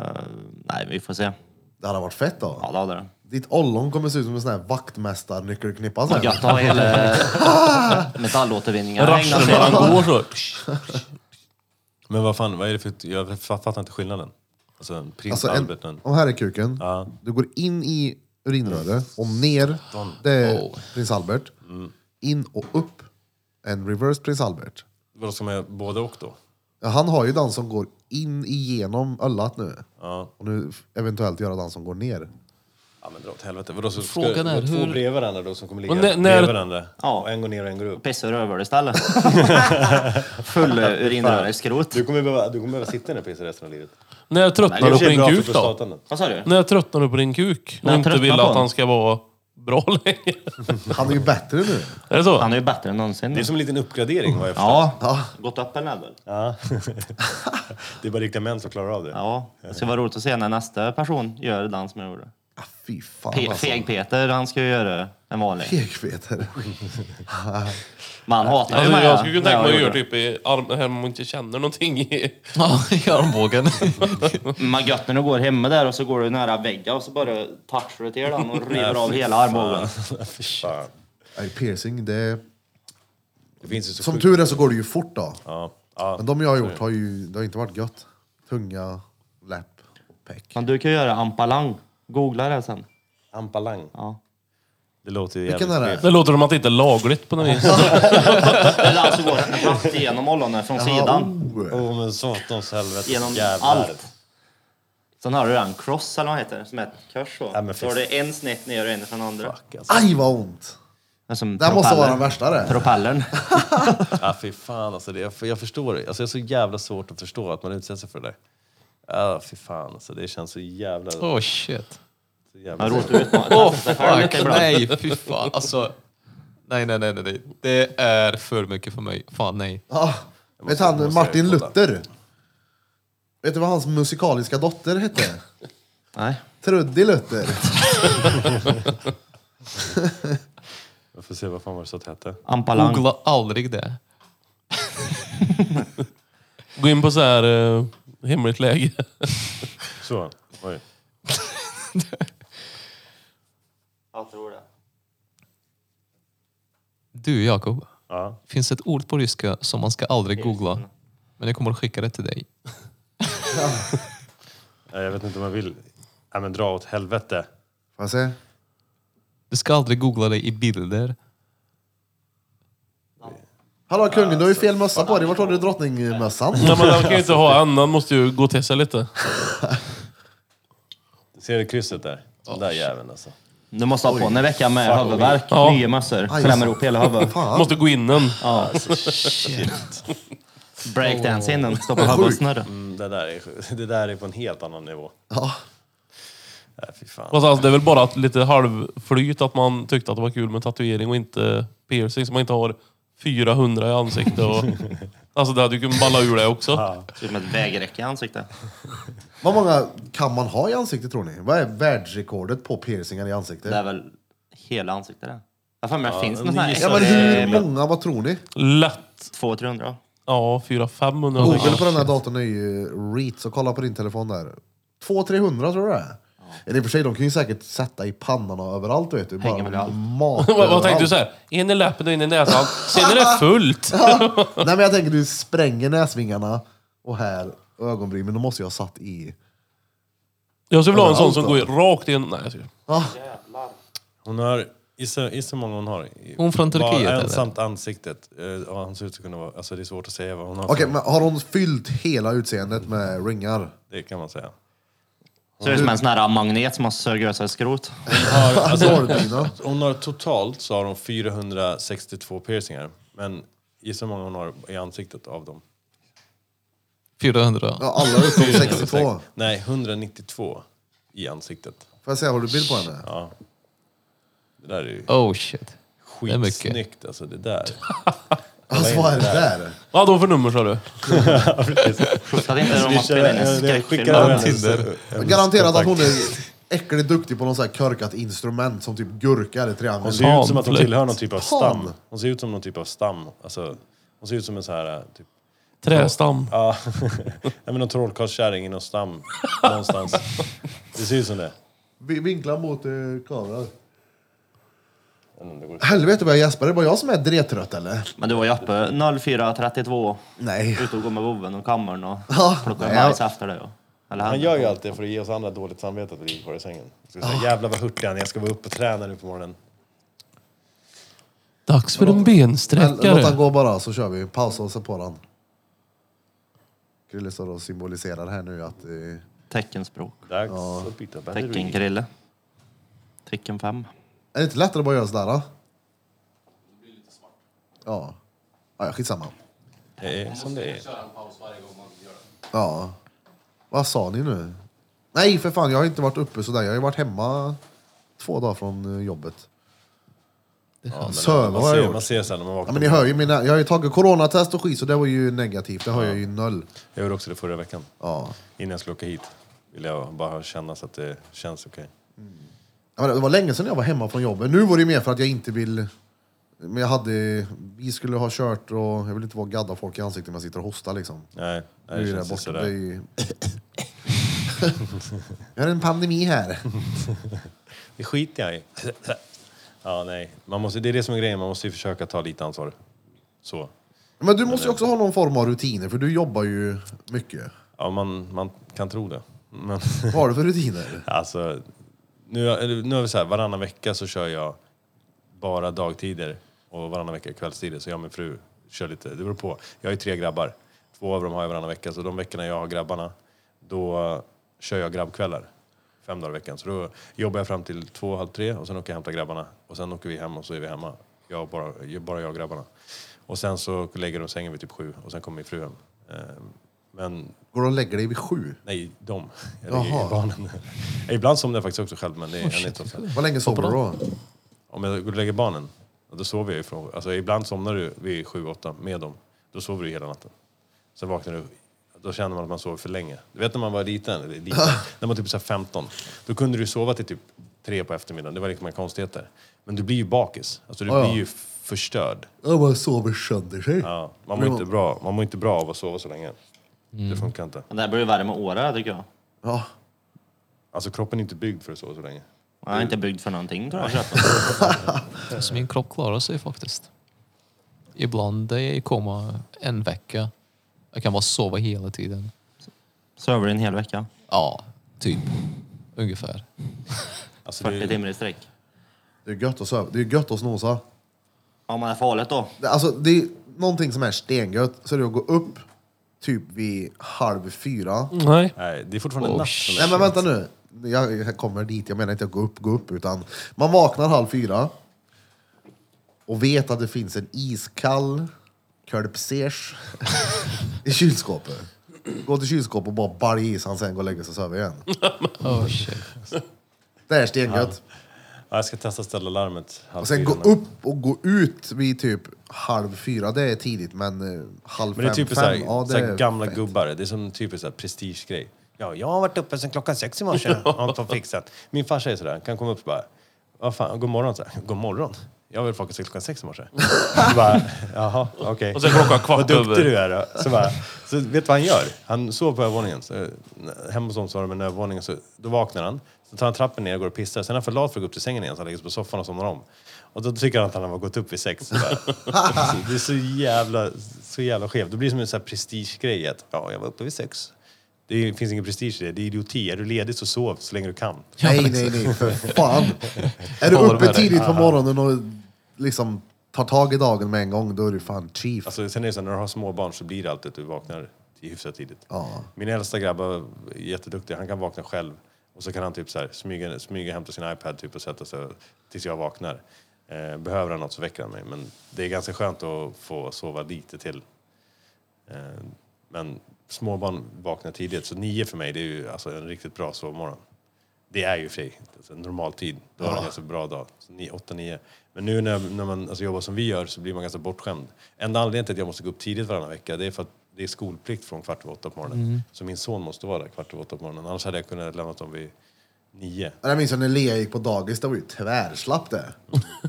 S3: nej, vi får se.
S1: det hade varit fett då.
S3: Ja, det hade den.
S1: Ditt ollon kommer se ut som en sån här vaktmästarnyckelknippa sen.
S3: Gött att ha hela metallåtervinningen.
S5: Raschlar när han går så.
S2: Men vad fan, vad är det för... Jag fattar inte skillnaden. Alltså, en prins
S1: Alltså en,
S2: Albert. En...
S1: om här är kuken,
S2: Ja.
S1: du går in i urinröret och ner, det är prins Albert. In och upp, en reverse prins Albert.
S2: Vad ska man göra både och då?
S1: Ja, Han har ju den som går in igenom öllat nu. Och nu eventuellt göra den som går ner.
S2: Ja men dra åt helvete. Vadå, så ska
S4: Frågan är
S2: två
S4: hur-
S2: bredvid varandra då som kommer ligga
S5: Och när-
S2: bredvid
S5: när-
S2: varandra?
S3: Ja.
S2: Och en går ner och en går upp.
S3: Pissar över det istället. Full eh, urinrörelseskrot.
S2: Du kommer behöva, du kommer behöva sitta i den här pissen resten av livet.
S5: När jag tröttnar du på din kuk då?
S3: Vad sa du?
S5: När jag tröttnar du på din kuk och
S3: jag
S5: inte
S3: tröttnar
S5: vill
S3: på
S5: att
S3: den.
S5: han ska vara bra längre.
S1: Han är ju bättre nu.
S5: Är det så?
S3: Han är ju bättre än någonsin.
S2: Det är som en liten uppgradering vad jag förstår.
S3: Ja. Gått upp en level.
S2: Ja. det är bara riktiga män som klarar av det.
S3: Ja. Det ska vara roligt att se när nästa person gör den som jag gjorde.
S1: Ah, fy fan
S3: Pe-
S1: alltså.
S3: Feg-Peter, han ska ju göra en vanlig.
S1: Fegfeter.
S3: Man hatar ju
S5: Alltså,
S3: mig,
S5: jag skulle kunna
S3: när
S5: tänka mig att
S3: jag
S5: göra
S3: gjorde.
S5: typ i armen här man inte känner någonting i.
S4: Ja, i armbågen.
S3: Man gött när du går hemma där och så går du nära väggen och så bara touchar du till den och river av hela armbågen.
S2: Fy fan.
S1: Nej, piercing, det är...
S2: Det finns ju så
S1: Som
S2: sjukt-
S1: tur är så går det ju fort då.
S2: Ja. Ja.
S1: Men de jag har gjort har ju det har inte varit gött. Tunga, läpp, peck.
S3: Men du kan göra ampalang. Googla det sen.
S2: Ampalang.
S3: Ja.
S2: Det låter ju
S1: Vilken
S2: jävligt
S1: är det?
S5: Det låter som att det inte är lagligt på något vis.
S3: Det är alltså går rakt igenom ollonet från sidan.
S2: fel.
S1: Oh.
S2: Åh men satans helvete.
S3: Genom
S2: Jävlar.
S3: allt. Sen har du den cross eller vad den heter som är ett kors så.
S2: Ja, men fy
S3: så har du en snett ner och en från andra.
S2: Fuck, alltså.
S1: Aj vad ont!
S3: Det är som
S1: Det här måste vara den värsta det.
S3: propellern. Propellern.
S2: Ja, fy fan alltså. Det, jag, jag förstår det. Alltså, jag är så jävla svårt att förstå att man utsätter sig för det där. Ja, fy fan alltså. Det känns så jävla... Så
S4: Oh shit.
S3: Man
S2: jävla
S3: rotar ut man-
S4: Oh
S3: Det här är
S4: fuck,
S3: lite ibland.
S4: nej fy fan. Alltså, nej, nej, nej, nej, nej. Det är för mycket för mig. Fan nej.
S1: Ja. Vet
S2: jag
S1: han
S2: måste
S1: Martin
S2: kolla.
S1: Luther? Vet du vad hans musikaliska dotter hette?
S3: Nej.
S1: Truddy Luther.
S2: Jag får se vad fan var det så att det hette.
S3: Ampalang.
S4: Googla aldrig det.
S5: Gå in på så här eh, hemligt läge.
S2: Så. Oj.
S3: Jag tror det.
S4: Du Jakob,
S2: Ja.
S4: finns ett ord på ryska som man ska aldrig googla. Men jag kommer att skicka det till dig.
S2: Eh, Jag vet inte om jag vill. Nej men dra åt helvete.
S1: Får jag se?
S4: Du ska aldrig googla dig i bilder.
S1: Hallå kungen, du har ju fel mössa på dig. Vart har du drottningmössan?
S5: Nej, men han kan ju inte ha en, han måste ju gå och testa lite.
S2: Ser du krysset där? Den
S1: Oh,
S2: där jäveln alltså.
S3: Du måste ha på en vecka med huvudvärk,
S5: Ja.
S3: nya mössor,
S1: Aj, alltså.
S3: klämmer
S1: så.
S3: upp hela huvudet.
S1: Fan.
S5: Måste gå in en.
S3: Ja. Breakdance innan, stoppa huvudet och snurra.
S2: Mm, det, där är, sjukt. det där är på en helt annan nivå.
S1: Ja.
S2: Nej, fy fan.
S5: Fast alltså, det är väl bara att lite halvflyt att man tyckte att det var kul med tatuering och inte piercing så man inte har 400 i ansiktet. Och, alltså det hade ju kunnat balla ur det också.
S3: Ser ut som Typ ett vägräcke i ansiktet.
S1: Vad många kan man ha i ansiktet tror ni? Vad är världsrekordet på piercingar i ansiktet?
S3: Det är väl hela ansiktet det. Jag har för mig det finns
S2: en
S3: någon sån här.
S2: ny
S1: Ja, men hur många, vad tror ni?
S5: Lätt.
S3: 200-300.
S5: Ja, 400-500.
S1: Google på den här datorn eh, är ju reet, så kolla på din telefon där. 200-300 tror du det är? Eller i och för sig, de kan ju säkert sätta i pannan och överallt vet du.
S3: Hänger väl
S1: Bara
S3: allt.
S1: mat
S5: Vad, vad tänkte du
S1: överallt.
S5: såhär? In i läppen och in i näsan. Sen är det fullt.
S1: Nej men jag tänker du spränger näsvingarna och här och ögonbryn, men de måste ju ha satt i.
S5: Jag skulle vilja ha en sån
S1: Överallt
S5: som
S1: då.
S5: går rakt in. Nej, jag ska...
S2: Hon har, gissa gissa hur många hon har. I-
S4: Hon från
S2: bara
S4: Turkiet, eller?
S2: ensamt ansiktet. Eh, Ja, hon ser ut att kunna vara, alltså det är svårt att säga vad hon har.
S1: Okej,
S2: för-
S1: men har hon fyllt hela utseendet med ringar?
S2: Det kan man säga.
S3: Ser ut som en sån här magnet som har sugit ur sig skrot.
S2: Har, alltså,
S1: Dårdina?
S2: hon har totalt så har hon 462 piercingar. Men gissa hur många hon har i ansiktet av dem.
S4: 400.
S1: Ja, alla utom 62. Får
S2: Nej, 192 i ansiktet.
S1: jag se, har du bild på henne?
S2: Ja. Det där är ju
S4: Oh shit. Det är mycket.
S2: skitsnyggt alltså det där.
S1: Alltså vad är det där?
S5: Vad då för nummer sa du?
S3: Så att inte de har spelat in en skräckfilm.
S2: över
S3: över den.
S2: hennes- hennes
S1: Garanterat att
S2: kontakt.
S1: hon är äckligt duktig på någon sån här körkat instrument som typ gurka eller triangel.
S2: Hon ser ut som att hon
S5: Panflöjt.
S2: tillhör någon typ av
S1: Pan.
S2: stam. Hon ser ut som någon typ av stam. Alltså, hon ser ut som en så här... eh, Typ,
S5: Trästam.
S2: ja, Nej, men någon trollkarlskärring i någon stam någonstans. Det ser ut som det.
S1: Vi- Vinkla mot eh, kameran.
S2: Jag undrar om det går.
S1: Helvete vad jag gäspar. Det är bara jag som är dretrött eller?
S3: Men du var ju uppe 04.32.
S1: Nej.
S3: Ute och gå med vovven och kammaren och
S1: Ja,
S3: plocka
S1: nej,
S3: majs efter det. och- Eller
S2: Han
S3: han.
S2: gör ju allt det för att ge oss andra dåligt samvete att vi ligger kvar i sängen. Jag Ska säga, Jävlar vad hurtig han är. jag ska vara uppe och träna nu på morgonen.
S5: Dags för en
S1: Men Låt han
S5: bensträckare.
S1: gå bara så kör vi. Pausa och se på den. Krille står och symboliserar här nu att... Eh,
S3: Teckenspråk.
S2: Dags att byta batteri.
S3: Teckenkrille. Tecken 5.
S1: är det inte lättare att bara göra sådär? Då? Ja. Ja, ja, skitsamma.
S2: Det är som det är.
S1: Ja. Vad sa ni nu? Nej, för fan. Jag har inte varit uppe sådär. Jag har ju varit hemma två dagar från eh, jobbet.
S2: Ja,
S1: Söva har
S2: men man,
S1: jag
S2: ser,
S1: gjort.
S2: man ser sen när man
S1: Ja,
S2: vaknar.
S1: men ni hör ju mina, jag har ju tagit coronatest och skit, så det var ju negativt. Det har jag ju noll.
S2: Jag gjorde också det förra veckan.
S1: Ja.
S2: Innan jag skulle åka hit ville jag bara känna så att det känns okej.
S1: Ja, men det var länge sedan jag var hemma från jobbet. Nu var det ju mer för att jag inte vill... Men jag hade... Vi skulle ha kört och jag vill inte vara gadda folk i ansiktet när jag sitter och hostar liksom.
S2: Nej, nej,
S1: Nu
S2: det
S1: är det
S2: känns
S1: borta.
S2: ju
S1: Det är
S2: sådär.
S1: ju... jag har en pandemi här.
S2: Det skiter jag i. ja, nej. Man måste, det är det som är grejen, man måste ju försöka ta lite ansvar. Så.
S1: Men du måste ju också ha någon form av rutiner, för du jobbar ju mycket.
S2: Ja, man, man kan tro det. Men
S1: Vad har du för rutiner?
S2: alltså, nu, eller nu är vi så här, varannan vecka så kör jag bara dagtider och varannan vecka kvällstider. Så jag och min fru kör lite, det beror på. Jag har ju tre grabbar. Två av dem har jag varannan vecka, så de veckorna jag har grabbarna, då kör jag grabbkvällar. Fem dagar i veckan. Så då jobbar jag fram till två, halv tre och sen åker jag och hämtar grabbarna. Och sen åker vi hem och så är vi hemma. Jag och bara, bara jag och grabbarna. Och sen så lägger de sängen vid typ sju och sen kommer min fru hem. Ehm, Men
S1: Går du och lägger dig vid sju?
S2: Nej, de. Eller
S1: Jaha.
S2: barnen. Ibland somnar jag faktiskt också själv, men det är jag inte ofta.
S1: Vad länge sover du då?
S2: Om jag går och lägger barnen, då sover jag ju från... Alltså ibland somnar du vid sju, åtta med dem. Då sover du hela natten. Sen vaknar du, då känner man att man sover för länge. Du vet när man var liten, eller liten
S1: Ah.
S2: när man var typ så här 15, då kunde du sova till typ tre på eftermiddagen. Det var liksom inga konstigheter. Men du blir ju bakis. Alltså du
S1: Ah, Ja, ja.
S2: blir ju förstörd.
S1: Jag bara sover sönder sig.
S2: Ja, man, mår inte bra, man mår inte bra av att sova så länge. Det funkar inte.
S3: Men det här blir ju värre med åren tycker jag.
S1: Ja.
S2: Alltså kroppen är inte byggd för att sova så länge.
S3: Jag är inte byggd för någonting tror Mm. jag.
S4: Alltså min kropp klarar sig faktiskt. Ibland är jag i komma en vecka. Jag kan bara sova hela tiden.
S3: Söver du en hel vecka?
S4: Ja, Typ. Ungefär.
S2: Alltså, det
S3: 40
S2: är,
S3: timmar i sträck.
S1: Det är gött att söva. Det är gött att snosa.
S3: Ja, man är farligt då.
S1: Det- Alltså, det är någonting som är stengött, så är det att gå upp typ vid halv fyra.
S2: Mm.
S5: Nej.
S2: nej, det är fortfarande
S4: Oh,
S2: natt.
S4: shit.
S1: Nej men vänta nu. Jag jag kommer dit, jag menar inte att gå upp, gå upp, utan man vaknar halv fyra och vet att det finns en iskall kölpsers i kylskåpet. Gå till kylskåpet och bara balja i sig, sen gå och lägga sig och sova igen.
S4: Oh, shit.
S1: Det är stengött.
S2: Ja, jag ska testa att ställa larmet. halv
S1: Och sen gå
S2: fyra.
S1: upp och gå ut vid typ halv fyra, det är tidigt, men eh, halv
S2: Men det är
S1: fem,
S2: typ typiskt såhär,
S1: fem, ja, det
S2: såhär
S1: är
S2: gamla
S1: fett.
S2: gubbar. Det är som typiskt såhär prestigegrej. Ja, jag har varit uppe sen klockan sex i morse och hållit på och fixat. Min farsa är sådär, han kan komma upp och bara, vad fan, god morgon. Så här, god morgon? Jag vill faktiskt klockan sex i morse. Så bara, jaha, okej.
S5: Och sen klockan kvart
S2: Vad duktig
S5: över.
S2: du är då. Så, bara, så vet du vad han gör? Han sover på övervåningen. Så, eh, hemma hos dem så har de en övervåning. Så, då vaknar han. Så tar han trappen ner och går och pissar. Sen är han för lat för att gå upp till sängen igen så han lägger sig på soffan och somnar om. Och då tycker han att han har gått upp vid sex. Så bara, det är så jävla, så jävla skevt. Det blir som en sån här prestigegrej att ja, jag var uppe vid sex. Det är- finns ingen prestige i det. Det är idioti. Är du ledig så sov så länge du kan.
S1: Nej, nej, nej, för fan. Är du
S4: Håller
S1: uppe
S4: med dig.
S1: tidigt på morgonen och liksom tar tag i dagen med en gång, då är du fan chief.
S2: Alltså, sen är det så här, när du har småbarn så blir det alltid att du vaknar hyfsat tidigt.
S1: Ja.
S2: Min äldsta grabb är jätteduktig, han kan vakna själv. Och så kan han typ så här, smyga, smyga hämta sin iPad typ, och sätta sig tills jag vaknar. Eh, behöver han något så väcker han mig. Men det är ganska skönt att få sova lite till. Eh, men småbarn vaknar tidigt, så nio för mig det är ju alltså, en riktigt bra sovmorgon. Det är ju i och för sig alltså, en normal tid. Då har man en ganska bra dag. Så nio- åtta, nio. Men nu när, när man alltså, jobbar som vi gör så blir man ganska bortskämd. Enda anledningen till att jag måste gå upp tidigt varannan vecka det är för att det är skolplikt från kvart över åtta på morgonen.
S1: Mm.
S2: Så min son måste vara där kvart över åtta på morgonen. Annars hade jag kunnat lämna dem vid nio.
S1: Jag minns när Lea gick på dagis, det var ju tvärslapp det.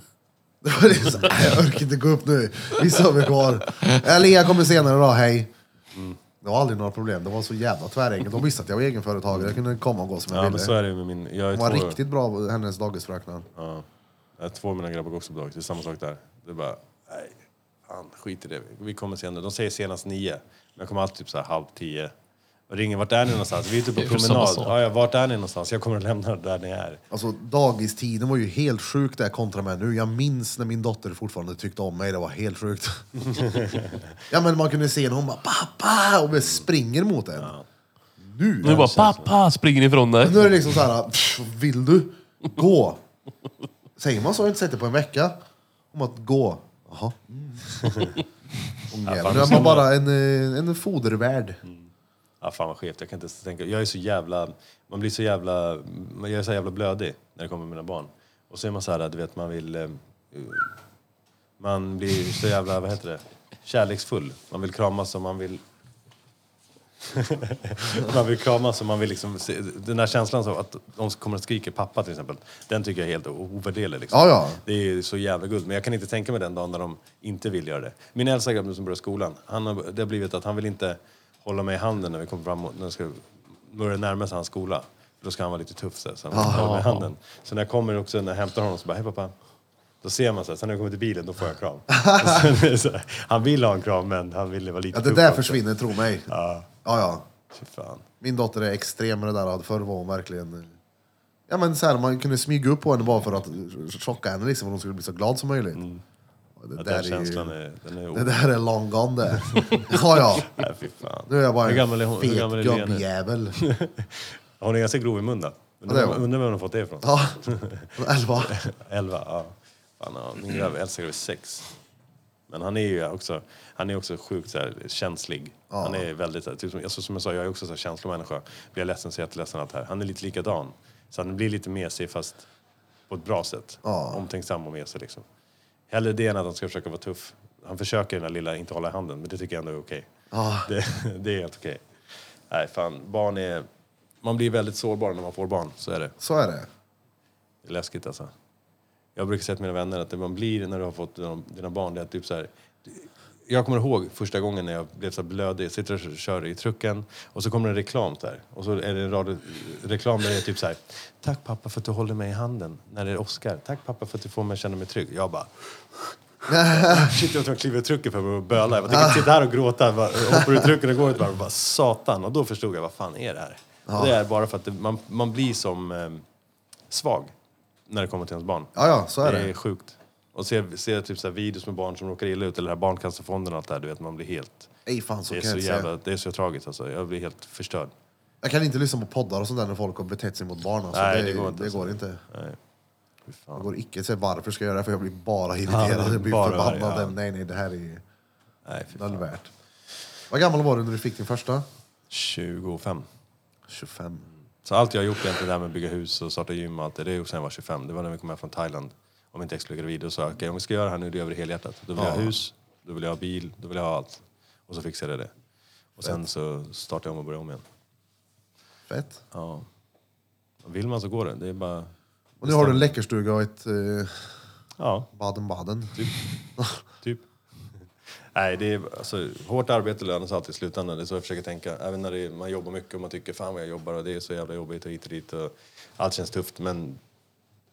S1: Det var liksom, "Nej, jag orkar inte gå upp nu, vi sover kvar. "Äh, Lea kommer senare idag, hej.
S2: Mm.
S1: Det var aldrig några problem, det var så jävla tvärenkelt. De visste att jag var egenföretagare, jag kunde komma och gå som jag
S2: Ja, men
S1: ville.
S2: så är det ju med min... Jag är
S1: Hon var
S2: två,
S1: riktigt bra, hennes dagisfröknar.
S2: ja, jag har två av mina grabbar går också på dagis. Det är samma sak där. Det är bara, nej, fan, skit i det. Vi kommer senare. De säger senast nio. Men jag kommer alltid typ så här halv tio. Och ringer, vart är ni någonstans? Vi är ute på
S4: Det är ju samma
S2: promenad.
S4: sak.
S2: Ja, ja, vart är ni någonstans? Jag kommer att lämna er där ni är.
S1: Alltså dagistiden var ju helt sjuk där kontra med nu. Jag minns när min dotter fortfarande tyckte om mig, det var helt sjukt. ja men man kunde se när hon bara pappa och bara springer mot en. Nu!
S5: Nu bara pappa springer ifrån dig.
S1: Nu är det liksom så här, "Pff, vill du? Gå! Säger man så har jag inte sett det på en vecka. Om att gå. Jaha. Mm. Åh, jävlar. Nu är Mm. man bara en, eh, en fodervärd.
S2: Ja, fan vad skevt. Jag kan inte ens tänka. Jag är så jävla... Man blir så jävla... Jag är så jävla blödig när det kommer mina barn. Och så är man så här, du vet, man vill... eh, Man blir så jävla, vad heter det? Kärleksfull. Man vill kramas och man vill... man vill kramas och man vill liksom... se- Den där känslan så att de kommer och skriker pappa till exempel. Den tycker jag är helt ovärderlig. Liksom.
S1: Ja, ja.
S2: Det är så jävla guld. Men jag kan inte tänka mig den dagen när de inte vill göra det. Min äldsta grabb nu som börjar skolan, han har, det har blivit att han vill inte hålla mig i handen när vi kommer fram och- när vi ska börja närma sig hans skola. För då ska han vara lite tuff så, här, så han
S1: Ah,
S2: håller mig i handen. Så när jag kommer också, när jag hämtar honom så bara, hej pappa. Då ser man så här, sen när jag kommer till bilen då får jag kram. Så det är så här, han vill ha en kram men han vill vara lite
S1: Ja, det
S2: tuff
S1: där
S2: också.
S1: försvinner, tro mig. Ja,
S2: Ja,
S1: ja.
S2: fy fan.
S1: Min dotter är extrem med det där. Förr var hon verkligen... Ja, men så här, man kunde smyga upp på henne bara för att chocka henne, liksom, för hon skulle bli så glad som möjligt. Det, där
S2: Att Mm. den
S1: är ju,
S2: känslan är, den är
S1: det
S2: o...
S1: där är long gone det. ja, ja.
S2: Nej, fy fan.
S1: Nu är jag bara
S2: Hur gammal är hon?
S1: en
S2: Hur gammal är
S1: fet
S2: Lea nu?
S1: gubbjävel.
S2: Hon är ganska grov i munnen.
S1: det är
S2: Undrar
S1: hon.
S2: undrar var hon har fått det ifrån.
S1: Ja, elva.
S2: 11, ja. Fan, ja. Min grabb älskar ju sex. Men han är ju också, han är också sjukt så här, känslig. Han är väldigt, så här, typ som, alltså, som jag sa, jag är också så här, känslomänniska. Blir jag ledsen så är jag jätteledsen. Allt det här. Han är lite likadan. Så han blir lite mesig fast på ett bra sätt.
S1: Ja.
S2: Omtänksam och mesig liksom. Hellre det än att han ska försöka vara tuff. Han försöker den där lilla inte hålla i handen, men det tycker jag ändå är okej. Det, det är helt okej. Nej, fan. Barn är... Man blir väldigt sårbar när man får barn, så är det.
S1: Så är det.
S2: Det är läskigt alltså. Jag brukar säga till mina vänner att det man blir när du har fått dina- dina barn, det är typ så här. Jag kommer ihåg första gången när jag blev så här blödig, jag sitter och kör i trucken och så kommer det en reklam där. Och så är det en rad reklam där det är typ så här. Tack pappa för att du håller mig i handen när det är Oscar. Tack pappa för att du får mig att känna mig trygg. Jag bara... Shit, jag tror jag kliver ur trucken för att böla. Jag bara, tänker sitta här och gråta. Jag bara, Hoppar ur trucken och går ut bara, bara satan. Och då förstod jag, vad fan är det här? Det är bara för att det, man, man blir som eh, svag när det kommer till ens barn.
S1: Ja, ja, så är
S2: det
S1: det.
S2: är sjukt. Och se, se typ så här videos med barn som råkar illa ut, eller det här Barncancerfonden och allt det här, du vet, man blir helt...
S1: Ej, fan, så
S2: det, är
S1: kan jag
S2: så
S1: inte säga.
S2: jävla, det är så tragiskt alltså, jag blir helt förstörd.
S1: Jag kan inte lyssna på poddar och sånt där när folk har betett sig mot barn. Alltså.
S2: Nej, det går inte,
S1: Det
S2: alltså.
S1: går inte.
S2: Nej. Fy
S1: Det
S2: fan.
S1: går icke. Så varför ska jag göra det? För jag blir bara irriterad.
S2: det är
S1: jag blir
S2: bara
S1: förbannad.
S2: arg, ja.
S1: Nej, nej, det här är
S2: Nej, fy fan.
S1: nullvärt. Vad gammal var du när du fick din första?
S2: 25.
S1: 25.
S2: Så allt jag har gjort egentligen, det här med att bygga hus och starta gym och allt det, det är ju sen jag var 25. Det var när vi kom hem från Thailand. Om inte exkluderade vidare så okej, om vi ska göra det här nu, då gör vi det helhjärtat. Då vill jag ha hus, då vill jag ha bil, då vill jag ha allt. Och så fixade jag det. Och sen så startade jag om och började om igen.
S1: Fett.
S2: Ja. Och Vill man så går det. Det är bara...
S1: Och nu har du en läckerstuga och ett eh,
S2: Ja,
S1: Baden-Baden.
S2: typ. Nej, det är alltså, hårt arbete lönar sig alltid i slutändan. Det är så jag försöker tänka. Även när det är, man jobbar mycket och man tycker fan vad jag jobbar och det är så jävla jobbigt och hit och dit och allt känns tufft. Men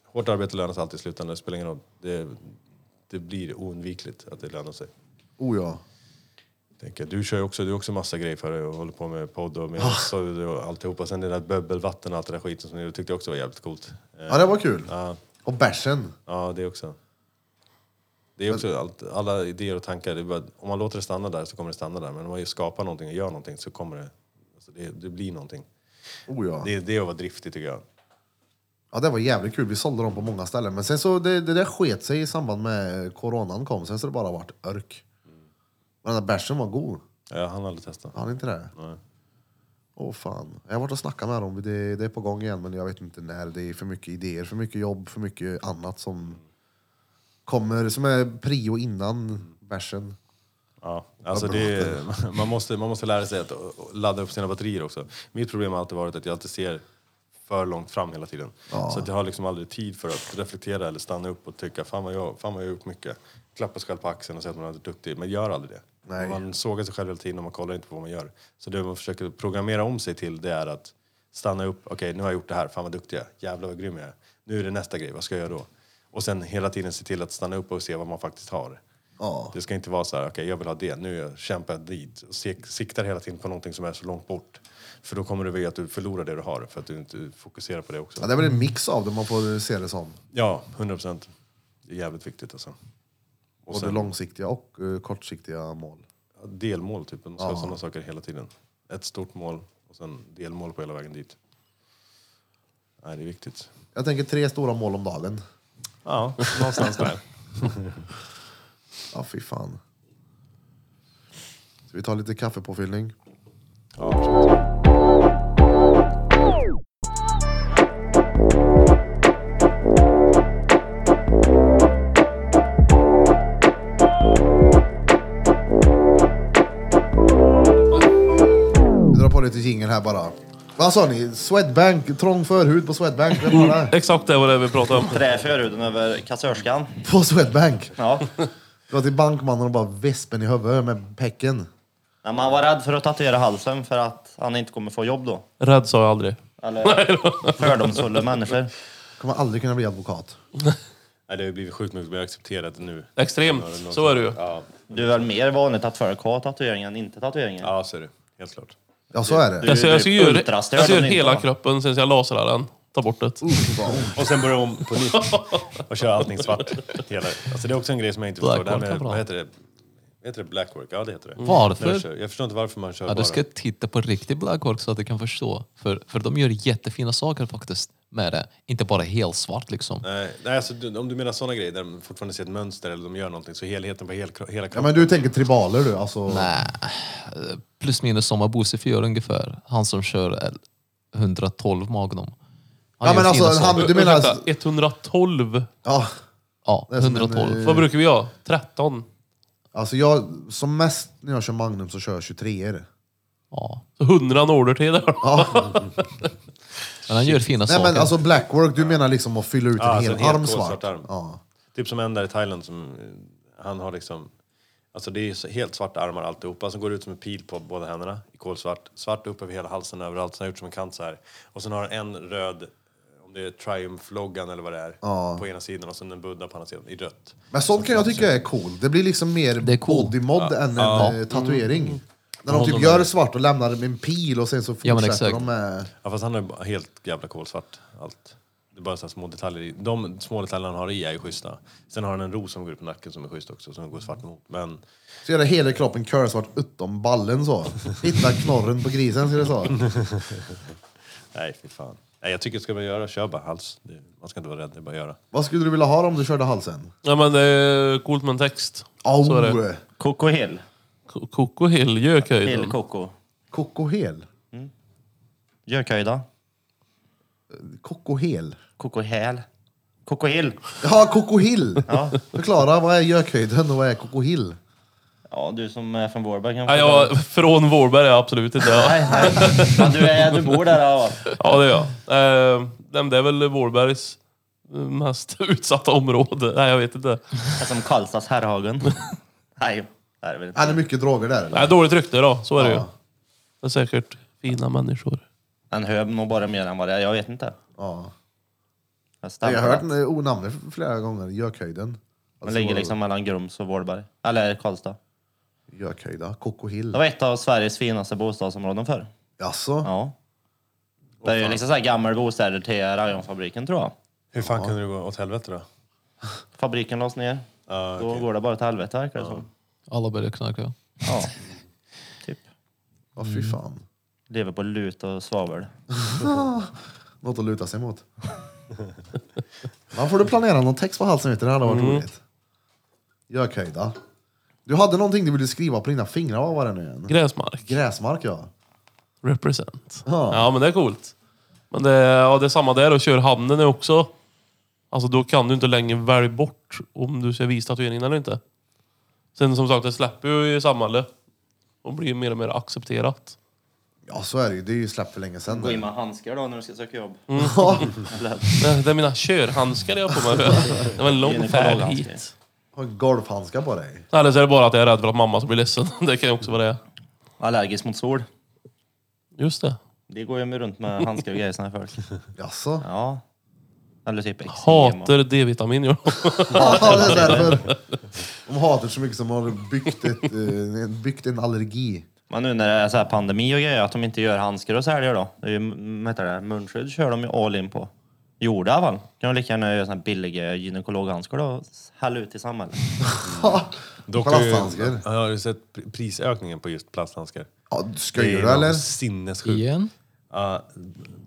S2: hårt arbete lönar sig alltid i slutändan. Det spelar ingen roll. Det, det blir oundvikligt att det lönar sig.
S1: Oh ja.
S2: Tänker, jag. du kör ju också, du har också massa grejer för dig och håller på med podd och med ah. och alltihopa. Sen det där bubbelvatten och allt det där skiten som ni tyckte jag också var jävligt coolt. Eh,
S1: Ja, det var kul.
S2: ja.
S1: Och bärsen.
S2: Ja, det också. Det är också allt, alla idéer och tankar. Det är bara, om man låter det stanna där så kommer det stanna där. Men om man ju skapar någonting och gör någonting så kommer det... Alltså det, det blir någonting.
S1: Oh ja.
S2: Det, är- det är att vara driftig tycker jag.
S1: Ja, det var jävligt kul. Vi sålde dem på många ställen. Men sen så, det, det där sket sig i samband med coronan kom. Sen så det bara varit örk. Men den där bärsen var god.
S2: Jag hann aldrig testa.
S1: Har ni inte det?
S2: Nej.
S1: Åh fan. Jag har varit och snackat med dem. Det, det är på gång igen, men jag vet inte när. Det är för mycket idéer, för mycket jobb, för mycket annat som kommer, som är prio innan bärsen.
S2: Ja, alltså det, man, måste, man måste lära sig att ladda upp sina batterier också. Mitt problem har alltid varit att jag alltid ser för långt fram hela tiden. Så att jag har liksom aldrig tid för att reflektera eller stanna upp och tycka fan vad jag, fan vad jag har gjort mycket. Klappa sig själv på axeln och säga att man är duktig, men gör aldrig det.
S1: Nej.
S2: Man sågar sig själv hela tiden och man kollar inte på vad man gör. Så det man försöker programmera om sig till det är att stanna upp, okej nu har jag gjort det här, fan vad duktig jag är, jävlar vad grym jag är. Nu är det nästa grej, vad ska jag göra då? Och sen hela tiden se till att stanna upp och se vad man faktiskt har.
S1: Ja.
S2: Det ska inte vara så här, okej jag vill ha det, nu kämpar jag dit. Och sek- siktar hela tiden på någonting som är så långt bort. För då kommer det bli att du förlorar det du har, för att du inte fokuserar på det också.
S1: ja det är väl en mix av det man får se det som.
S2: Ja, 100 procent. Det är jävligt viktigt alltså. Och
S1: Både
S2: sen
S1: långsiktiga och eh, kortsiktiga mål.
S2: delmål typ, man ska ha sådana saker hela tiden. Ett stort mål och sen delmål på hela vägen dit. Nej, det är viktigt.
S1: Jag tänker tre stora mål om dagen.
S2: Ja, någonstans där.
S1: Ja, fy fan. Ska vi ta lite kaffepåfyllning?
S2: Ja, absolut.
S1: Vi drar på lite jingel här bara. Vad sa ni? Swedbank, trång förhud på Swedbank. Det var det.
S5: Exakt det var det vi pratade om.
S3: Trä förhuden över kassörskan.
S1: På Swedbank.
S3: Ja.
S1: Du var till bankmannen och bara vespen i huvudet med pecken.
S3: Nej, men han var rädd för att tatuera halsen för att han inte kommer få jobb då.
S5: Rädd sa jag aldrig.
S3: Eller fördomsfulla människor.
S1: Kommer aldrig kunna bli advokat.
S2: Nej, det har ju blivit sjukt mycket mer accepterat nu.
S5: Extremt, så är det ju.
S2: Ja,
S3: Det är väl mer vanligt att folk har tatueringar än inte tatueringar.
S2: ja så är det. Helt klart.
S1: Ja, så är
S5: Jag
S1: det.
S5: ska, Alltså, jag ska
S3: det är
S5: göra, jag
S3: ultrastört
S5: ska
S3: om
S5: göra
S3: det inte
S5: hela
S3: var.
S5: kroppen, sen ska jag lasra den. Ta bort det.
S1: Mm.
S2: Och sen börjar om på nytt och kör allting svart. Hela. Alltså det är också en grej som jag inte förstår. Det här med,
S4: Blackwork,
S2: vad heter det? Heter det blackwork? Ja, det heter det. När du
S4: Varför?
S2: kör. Jag förstår inte varför man kör
S4: Ja,
S2: bara...
S4: du ska titta på riktig blackwork så att du kan förstå. För, för de gör jättefina saker faktiskt med det. Inte bara helt svart liksom.
S2: Nej, nej alltså, du, om du menar såna grejer där de fortfarande ser ett mönster eller de gör någonting så helheten på hel, hela
S1: Ja,
S2: kroppen.
S1: men du tänker tribaler du, alltså.
S4: Nej. Plus minus som Abuse gör ungefär. Han som kör L- 112 Magnum. Han
S1: Ja,
S4: gör
S1: men
S4: fina
S1: alltså,
S4: saker.
S1: han, du menar...
S5: Ursäkta, 112.
S1: Ja,
S4: Ja,
S1: är som en,
S4: 112.
S5: Vad brukar vi ha? 13.
S1: alltså jag, som mest när jag kör Magnum så kör jag 23 er.
S4: Ja.
S5: Så 100 order till där.
S1: Ja.
S4: Men han gör fina
S1: Nej
S4: saker.
S1: men alltså blackwork, du menar liksom att fylla ut
S2: Ja,
S1: en
S2: alltså
S1: hel
S2: en hel
S1: arm
S2: kolsvart
S1: svart?
S2: arm.
S1: Ja.
S2: Typ som en där i Thailand som... eh, Han har liksom... Alltså det är så helt svarta armar alltihopa som går ut som en pil på båda händerna i kolsvart. Svart upp över hela halsen överallt, sen har han gjort som en kant så här. Och sen har han en röd, eh, om det är Triumph-loggan eller vad det är, på ena sidan och sen en Buddha på andra sidan i rött.
S1: Men sånt kan jag tycka är cool. Det blir liksom mer
S4: är cool.
S1: bodymod än en eh, tatuering. När de typ
S4: honom
S1: gör
S4: är-
S1: svart och lämnar det med en pil och sen så
S4: Ja, men
S1: fortsätter de
S4: exakt.
S1: med...
S2: Ja, fast han är bara helt jävla kolsvart allt. Det är bara så här små detaljer i. De små detaljerna han har i är ju schyssta. Sen har han en ros som går upp på nacken som är schysst också, som går svart mot. Men
S1: Så gör det hela kroppen curlsvart utom ballen så. Hitta knorren på grisen, ska det så.
S2: nej, fy fan. Nej, jag tycker ska man göra, kör bara hals. Det, man ska inte vara rädd, det är bara att göra.
S1: Vad skulle du vilja ha om du körde halsen?
S5: Ja men det är coolt med en text.
S1: Au!
S5: Så är det.
S3: Coco Hill.
S5: Ko- Koko Hill,
S3: Hill
S5: gökhöjden.
S3: Coco.
S1: Kokohel.
S3: Gökhöjda.
S1: Kokohel.
S3: Coco Häl. Coco Hill.
S1: Ja, kokohill!
S3: Ja.
S1: Förklara, vad är gökhöjden och vad är kokohill?
S3: ja, du som är från Vårberg kan
S5: Nej, jag, från Vårberg är jag absolut inte. Ja,
S3: Nej, nej. Men du, är, du bor där ja.
S5: ja det är jag. Eh, nej, men det är väl Vårbergs eh, mest utsatta område. Nej, jag vet inte.
S3: Det är Som Karlstads Herrhagen. Nej, det är det väl inte.
S1: Är det mycket droger där eller?
S5: Nej, dåligt rykte då, så är det ju.
S1: Ja.
S5: Men säkert fina människor.
S3: En höb nog bara mer än vad det är. Jag vet inte.
S1: Ja.
S3: Jag, stämmer.
S1: Jag har hört den- oh, namnet flera gånger, gökhöjden.
S3: Den ligger liksom mellan Grums och Vårberg. Eller Karlstad.
S1: Alltså, Gökhöjda,
S3: Det
S1: kokohill.
S3: var ett av Sveriges finaste bostadsområden förr.
S1: Jaså?
S3: Ja. Det är ju liksom så här gamla bostäder till rayonfabriken tror jag.
S2: Hur fan kunde det gå åt helvete då? Uh,
S3: Fabriken lades ner.
S2: Ja,
S3: Då
S2: okej.
S3: går det bara till helvete verkar det som.
S4: Alla började knarka.
S3: Ja. Typ.
S1: Ja, fy fan.
S3: Lever på lut och svavel.
S1: Något att luta sig mot. Man får du planera någon text på halsen, vet du. det hade
S3: Mm.
S1: varit roligt. Gökhöjda. Du hade någonting du ville skriva på dina fingrar, vad var det nu igen?
S5: Gräsmark.
S1: Gräsmark ja.
S5: Represent.
S1: Ja.
S5: Ja, men det är coolt. Men det, är- ja, det är samma där, och kör hamnen är också... Alltså då kan du inte längre välja bort om du ska visa tatueringen eller inte. Sen som sagt, det släpper ju i samhället och blir mer och mer accepterat.
S1: Ja, så är det ju. Det är ju släppt för länge sedan.
S3: Gå in med handskar då när du ska söka jobb.
S1: Ja.
S3: Eller-
S5: Det, det är mina körhandskar jag har på mig. Det var en
S3: Det är
S5: lång
S3: en
S5: färd
S3: långhandske.
S5: hit.
S1: Har golfhandskar på dig.
S5: Eller så är det bara att jag är rädd för att mamma ska bli ledsen. Det kan ju också vara det.
S3: Allergisk mot sol.
S5: Just det.
S3: Det går ju med runt med handskar och grejer såna här folk.
S1: Jaså?
S3: Ja. Eller typ eksem. och-
S5: Hater D-vitamin gör de.
S1: Ja, det är därför. De hatar så mycket som har byggt, ett, eh, byggt en allergi.
S3: Men nu när det är så här pandemi och grejer, att de inte gör handskar och säljer då. Det är ju, m- vad heter det, munskydd kör de ju all in på. Gjorde i alla fall. Kan de lika gärna göra såna här billiga gynekologhandskar då och hälla ut i samhället.
S2: Dock har ju-
S1: Plasthandskar.
S2: Ja, Har du sett pr- prisökningen på just plasthandskar?
S1: Ja, du ska
S2: Det är
S1: göra
S2: något
S1: eller?
S2: Sinnessjukt.
S4: Igen?
S2: Ja,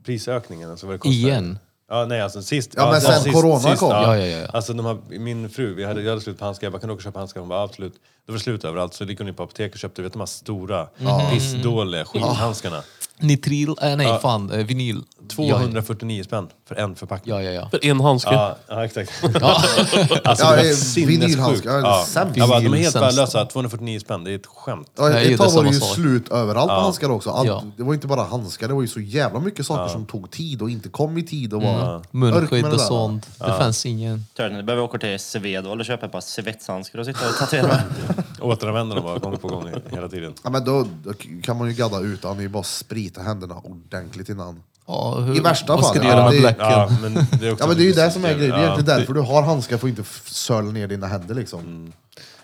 S2: prisökningen, alltså vad det kostar.
S4: Igen?
S2: Ja, nej alltså sist.
S1: Ja, men sen corona kom.
S4: Ja, ja, ja.
S2: Alltså de här, min fru, vi hade, jag hade slut på handskar, jag bara, kan du åka och köpa handskar? Hon bara, absolut. Det var slut överallt, så gick hon in på apoteket och köpte, vet du, de här stora, pissdåliga skithandskarna.
S4: Nitril? Äh, nej, fan. eh, vinyl.
S2: 249 spänn för en förpackning.
S4: Ja, ja, ja.
S5: För en handske.
S2: Ja, ja exakt. alltså,
S1: Ja,
S2: det var
S1: eh,
S2: sinnessjukt.
S1: vinylhandskar,
S2: Ja.
S1: sämst.
S2: Jag bara, de är helt
S4: Vinylsämst.
S2: värdelösa, 249 spänn, det är ett skämt.
S1: Ja,
S4: Nej, det
S1: ett
S4: är
S1: tag var
S4: samma
S1: det ju
S4: sak.
S1: slut överallt på handskar också. Allt,
S4: Ja.
S1: Det var inte bara handskar, det var ju så jävla mycket saker som tog tid och inte kom i tid. Och var mörk med
S4: Mm. Munskydd
S1: det
S4: och
S1: där.
S4: sånt. Det fanns ingen.
S3: Törnen, du behöver åka till Svedala och köpa ett par svetshandskar och sitta och tatuera med.
S2: Återanvänder dem bara gång på gång i- hela tiden.
S1: Ja, men då, då kan man ju gadda utan, det är ju bara att sprita händerna ordentligt innan.
S4: Ja, hur,
S1: I värsta
S4: vad ska
S1: fall,
S4: du
S1: ja,
S4: göra
S1: det-
S4: med bläcken?
S2: Ja, men det är, också
S1: Ja men det är ju
S2: lite
S1: det som är
S2: stil.
S1: grejen, det är
S2: Ja.
S1: egentligen därför du har handskar för att inte f- söla ner dina händer liksom.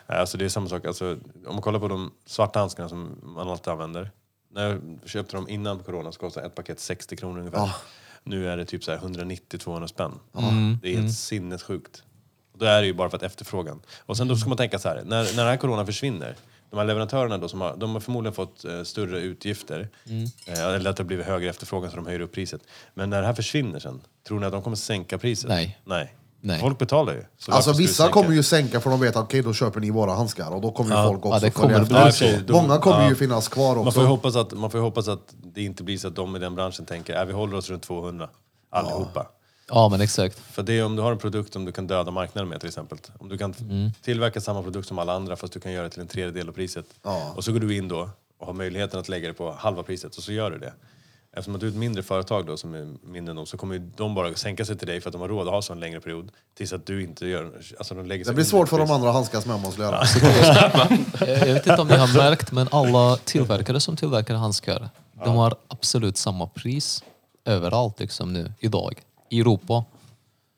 S2: Nej, Alltså det är samma sak. Alltså, om man kollar på de svarta handskarna som man alltid använder. När jag köpte dem innan corona så kostade ett paket 60 kronor ungefär. Nu är det typ så här 190-200 spänn. Det är helt sinnessjukt. Och det är det ju bara för att efterfrågan. Och sen då ska man tänka så här, när, när den här corona försvinner, de här leverantörerna då, som har, de har förmodligen fått eh, större utgifter, eh, eller att det har blivit högre efterfrågan så de höjer upp priset. Men när det här försvinner sen, tror ni att de kommer sänka priset?
S4: Nej.
S2: Nej.
S4: Nej.
S2: Folk betalar ju. Så varför
S1: Alltså
S2: ska du
S1: vissa
S2: sänka?
S1: kommer ju sänka för de vet att okej då köper ni våra handskar och då kommer ju folk också
S4: det
S1: följa
S4: kommer
S1: efter.
S2: bli så. Ja,
S1: Många kommer
S2: ja.
S1: ju finnas kvar
S2: Man får,
S1: också.
S2: ju hoppas att, man får ju hoppas att det inte blir så att de i den branschen tänker att vi håller oss runt 200 allihopa.
S4: Ja, men exakt.
S2: För det är om du har en produkt som du kan döda marknaden med till exempel. Om du kan
S1: Mm.
S2: tillverka samma produkt som alla andra fast du kan göra det till en tredjedel av priset.
S1: Ja.
S2: Och så går du in då och har möjligheten att lägga det på halva priset och så gör du det. Eftersom att du är ett mindre företag då som är mindre än dem så kommer ju de bara sänka sig till dig för att de har råd att ha så en längre period. Tills att du inte gör... Alltså de lägger sig
S1: Det blir
S2: under
S1: svårt för de
S2: priset.
S1: andra handskars med måste göra.
S4: Eh, Jag vet inte om ni har märkt, men alla tillverkare som tillverkar handskar, de har absolut samma pris överallt liksom nu, idag. I Europa.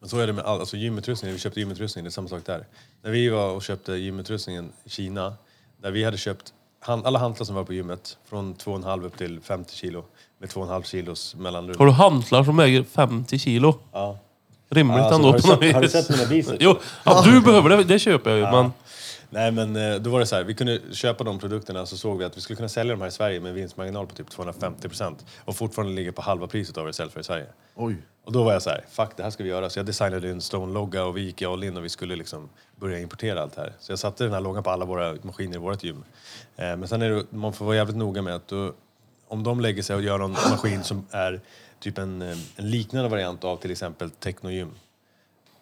S2: Men så är det med all, alltså gymutrustning, vi köpte gymutrustning, det är samma sak där. När vi var och köpte gymutrustningen i Kina, där vi hade köpt han, alla hantlar som var på gymmet, från 2,5 upp till 50 kilo, med 2,5 kilos mellanrum.
S5: Har du hantlar som väger 50 kilo?
S2: Ja.
S5: Rimligt
S2: Alltså,
S5: ändå
S2: har du
S5: på
S2: sett-
S5: något vis.
S2: har du sett mina biceps?
S5: Jo, ja, du behöver det. Det köper jag ju. Men
S2: Nej men eh, då var det så här, vi kunde köpa de produkterna så såg vi att vi skulle kunna sälja de här i Sverige med en vinstmarginal på typ 250% och fortfarande ligga på halva priset av vad det säljer för i Sverige.
S1: Oj.
S2: Och då var jag så här, fuck det här ska vi göra. Så jag designade en Stone-logga och vi gick all in och vi skulle liksom börja importera allt det här. Så jag satte den här loggan på alla våra maskiner i vårt gym. Eh, men sen är det, man får vara jävligt noga med att då, om de lägger sig och gör någon maskin som är typ en, eh, en liknande variant av till exempel Technogym.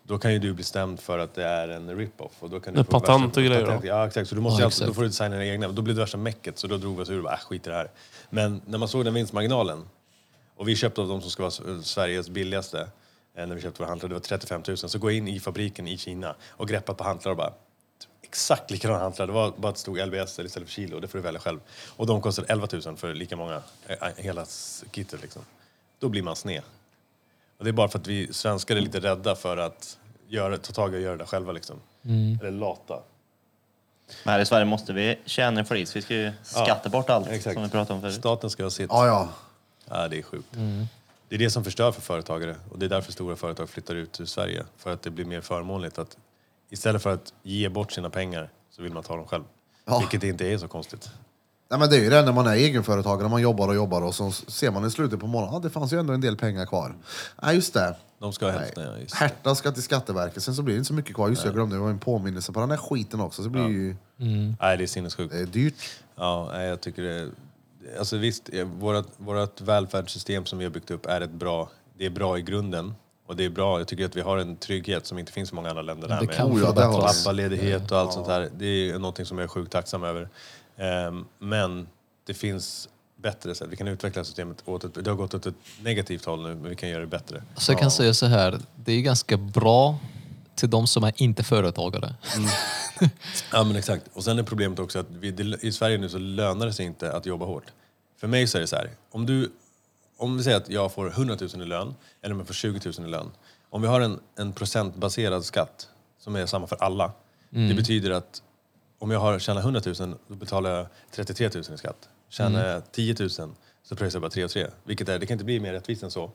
S2: Då kan ju du bli stämd för att det är en rip-off. Och då kan du
S5: Det är
S2: få
S5: patent
S2: värsta-
S5: och grejer då.
S2: patent, Ja exakt, så du måste
S4: Ja,
S2: ju alltid, då
S4: exakt.
S2: får du designa dina egna. Då blir det värsta mecket så då drog vi oss ur och bara, äh, skit i det här. Men när man såg den vinstmarginalen och vi köpte av de som ska vara s- eh, Sveriges billigaste eh, när vi köpte våra hantlar, det var 35 000. Så gå in i fabriken i Kina och greppa på hantlar och bara exakt likadana hantlar. Det var bara ett stort LBS eller istället för kilo, det får du välja själv. Och de kostar 11 000 för lika många, eh, eh, hela s- kittet liksom. Då blir man sned. Och det är bara för att vi svenskar är lite rädda för att göra, ta tag i och göra det själva liksom.
S4: Mm.
S2: Eller lata.
S3: Men här i Sverige måste vi tjäna en flis. Vi ska ju skatta bort allt
S2: exakt.
S3: som vi pratade om förut.
S2: Staten ska ha sitt.
S1: Ja, Mm. ja.
S2: Ja, det är sjukt. Det är det som förstör för företagare och det är därför stora företag flyttar ut ur Sverige. För att det blir mer förmånligt att istället för att ge bort sina pengar så vill man ta dem själv.
S1: Ja.
S2: Vilket inte är så konstigt.
S1: Nej, men det är ju det när man är egenföretagare, man jobbar och jobbar och så ser man i slutet på morgonen, ah, det fanns ju ändå en del pengar kvar. Nej, just det.
S2: De ska ha hälften. ja,
S1: Nej.
S2: just det.
S1: Herta ska till Skatteverket, sen så blir det inte så mycket kvar. Just det, jag glömde, det var en påminnelse på den här skiten också. Så blir det ju Mm.
S2: Nej, det är sinnessjukt.
S1: det är dyrt.
S2: Ja, nej, jag tycker det... Alltså visst, eh, vårat, vårat välfärdssystem som vi har byggt upp är ett bra... Det är bra i grunden. Och det är bra, jag tycker att vi har en trygghet som inte finns i många andra länder. Där
S4: Det
S2: med.
S4: kan
S1: Oh, ja, det har vi.
S4: förbättras.
S2: pappaledighet och allt sånt där. Det är ju någonting som jag är sjukt tacksam över. Ehm, men det finns bättre sätt. Vi kan utveckla systemet åt ett, det har gått åt ett negativt håll nu, men vi kan göra det bättre.
S4: Så jag kan säga så här, det är ganska bra till de som är inte företagare.
S2: Ja men exakt. Och sen är problemet också att vi, det, i Sverige nu så lönar det sig inte att jobba hårt. För mig så är det så här, om du, om vi säger att jag får 100 000 i lön, eller om jag får 20 000 i lön. Om vi har en, en procentbaserad skatt som är samma för alla, det
S4: Mm.
S2: betyder att om jag har, tjänar 100 000 då betalar jag 33 000 i skatt. Tjänar
S4: Mm.
S2: jag 10 000 så pröjsar jag bara 3 och 3. Vilket är, det kan inte bli mer rättvist än så.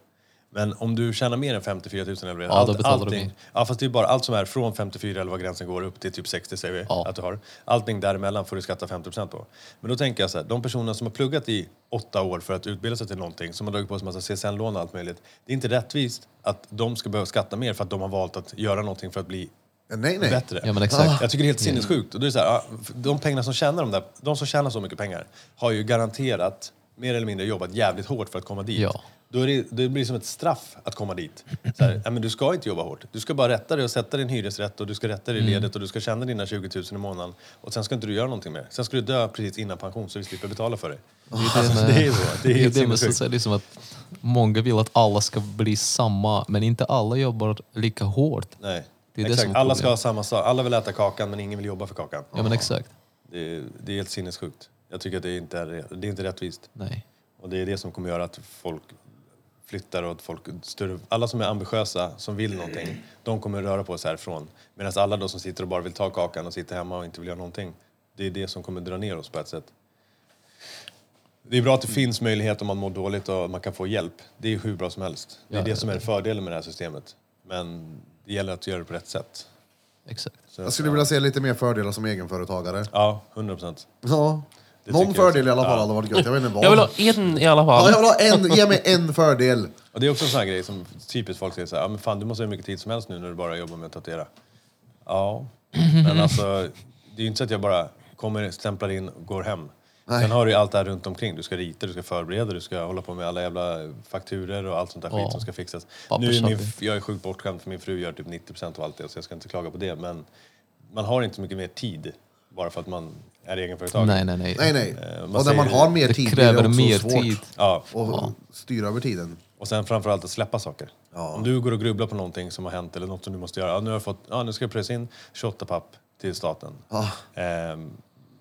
S2: Men om du tjänar mer än 54 000 eller
S4: Ja, då betalar du mer.
S2: Ja, fast det är bara allt som är från 54 eller vad gränsen går upp till typ 60 säger vi
S4: Ja.
S2: att du har. Allting däremellan får du skatta 50 på. Men då tänker jag så här, de personer som har pluggat i åtta år för att utbilda sig till någonting, som har dragit på sig massa CSN-lån och allt möjligt. Det är inte rättvist att de ska behöva skatta mer för att de har valt att göra någonting för att bli
S1: Eh, Nej, nej.
S2: bättre.
S4: Ja, men exakt. Mm.
S2: Jag tycker det är helt sinnessjukt. Och då är det så här, ja, för de pengarna som tjänar de där, de som tjänar så mycket pengar har ju garanterat mer eller mindre jobbat jävligt hårt för att komma dit.
S4: Ja.
S2: Då är det, det blir som ett straff att komma dit. Så här, ja, men du ska inte jobba hårt. Du ska bara rätta dig och sätta din hyresrätt och du ska rätta dig
S4: Mm.
S2: i ledet och du ska tjäna dina 20 000 i månaden. Och sen ska inte du göra någonting mer. Sen ska du dö precis innan pension så vi slipper betala för dig. Alltså, det är ju så. Det är
S4: Det är
S2: helt
S4: det med så
S2: sinnessjukt.
S4: säga liksom att många vill att alla ska bli samma, men inte alla jobbar lika hårt.
S2: Nej.
S4: Det är det
S2: Exakt.
S4: som är
S2: Alla ska ha
S4: problemet.
S2: samma sak. Alla vill äta kakan men ingen vill jobba för kakan.
S4: Ja men exakt.
S2: Det är, det är helt sinnessjukt. Jag tycker att det inte är, det är inte rättvist.
S4: Nej.
S2: Och det är det som kommer göra att folk flyttar och att folk större, alla som är ambitiösa, som vill någonting, de kommer röra på sig härifrån. Medan alla de som sitter och bara vill ta kakan och sitter hemma och inte vill göra någonting, det är det som kommer dra ner oss på ett sätt. Det är bra att det finns möjlighet om man mår dåligt och man kan få hjälp. Det är hur bra som helst. Det är
S4: Ja,
S2: det
S4: ja,
S2: som är fördelen med det här systemet. Men det gäller att göra det på rätt sätt.
S4: Exakt.
S2: Så,
S1: Jag skulle vilja se lite mer fördelar som egenföretagare.
S2: Ja, 100 procent.
S1: Ja.
S2: Det
S1: Någon
S2: tycker jag
S1: fördel i
S2: också.
S1: alla fall
S2: Ja.
S1: hade varit gött. Jag vet inte vad.
S5: jag vill ha en i alla
S1: ja, jag
S5: fall.
S1: vill ha en, ge mig en fördel.
S2: Och det är också en sån här grej som typiskt folk säger så här, "Ja, men fan du måste ha hur mycket tid som helst nu när du bara jobbar med att tatuera. Ja, men alltså det är ju inte så att jag bara kommer, stämplar in och går hem. Sen har du ju allt det här runt omkring. Du ska rita, du ska förbereda, du ska hålla på med alla jävla fakturer och allt sånt där
S4: Ja.
S2: skit som ska fixas. Nu är min,
S4: Pappershopping.
S2: jag är sjukt bortskämd för min fru gör typ 90% av allt det så jag ska inte klaga på det. Men man har inte så mycket mer tid bara för att man är egenföretagare.
S4: Nej, nej, nej.
S1: Nej, nej.
S2: Eh, man
S1: Och när man
S2: säger-
S1: har mer
S4: Det
S1: tid
S4: kräver
S1: blir det
S4: mer
S1: också svårt
S4: tid.
S2: Ja.
S1: att styra över tiden.
S2: Och sen framförallt att släppa saker. Om du går och grubblar på någonting som har hänt eller något som du måste göra. Ja, nu, har jag fått, ja, nu ska jag pröjsa in 28 papp till staten.
S1: Ah.
S2: Ehm,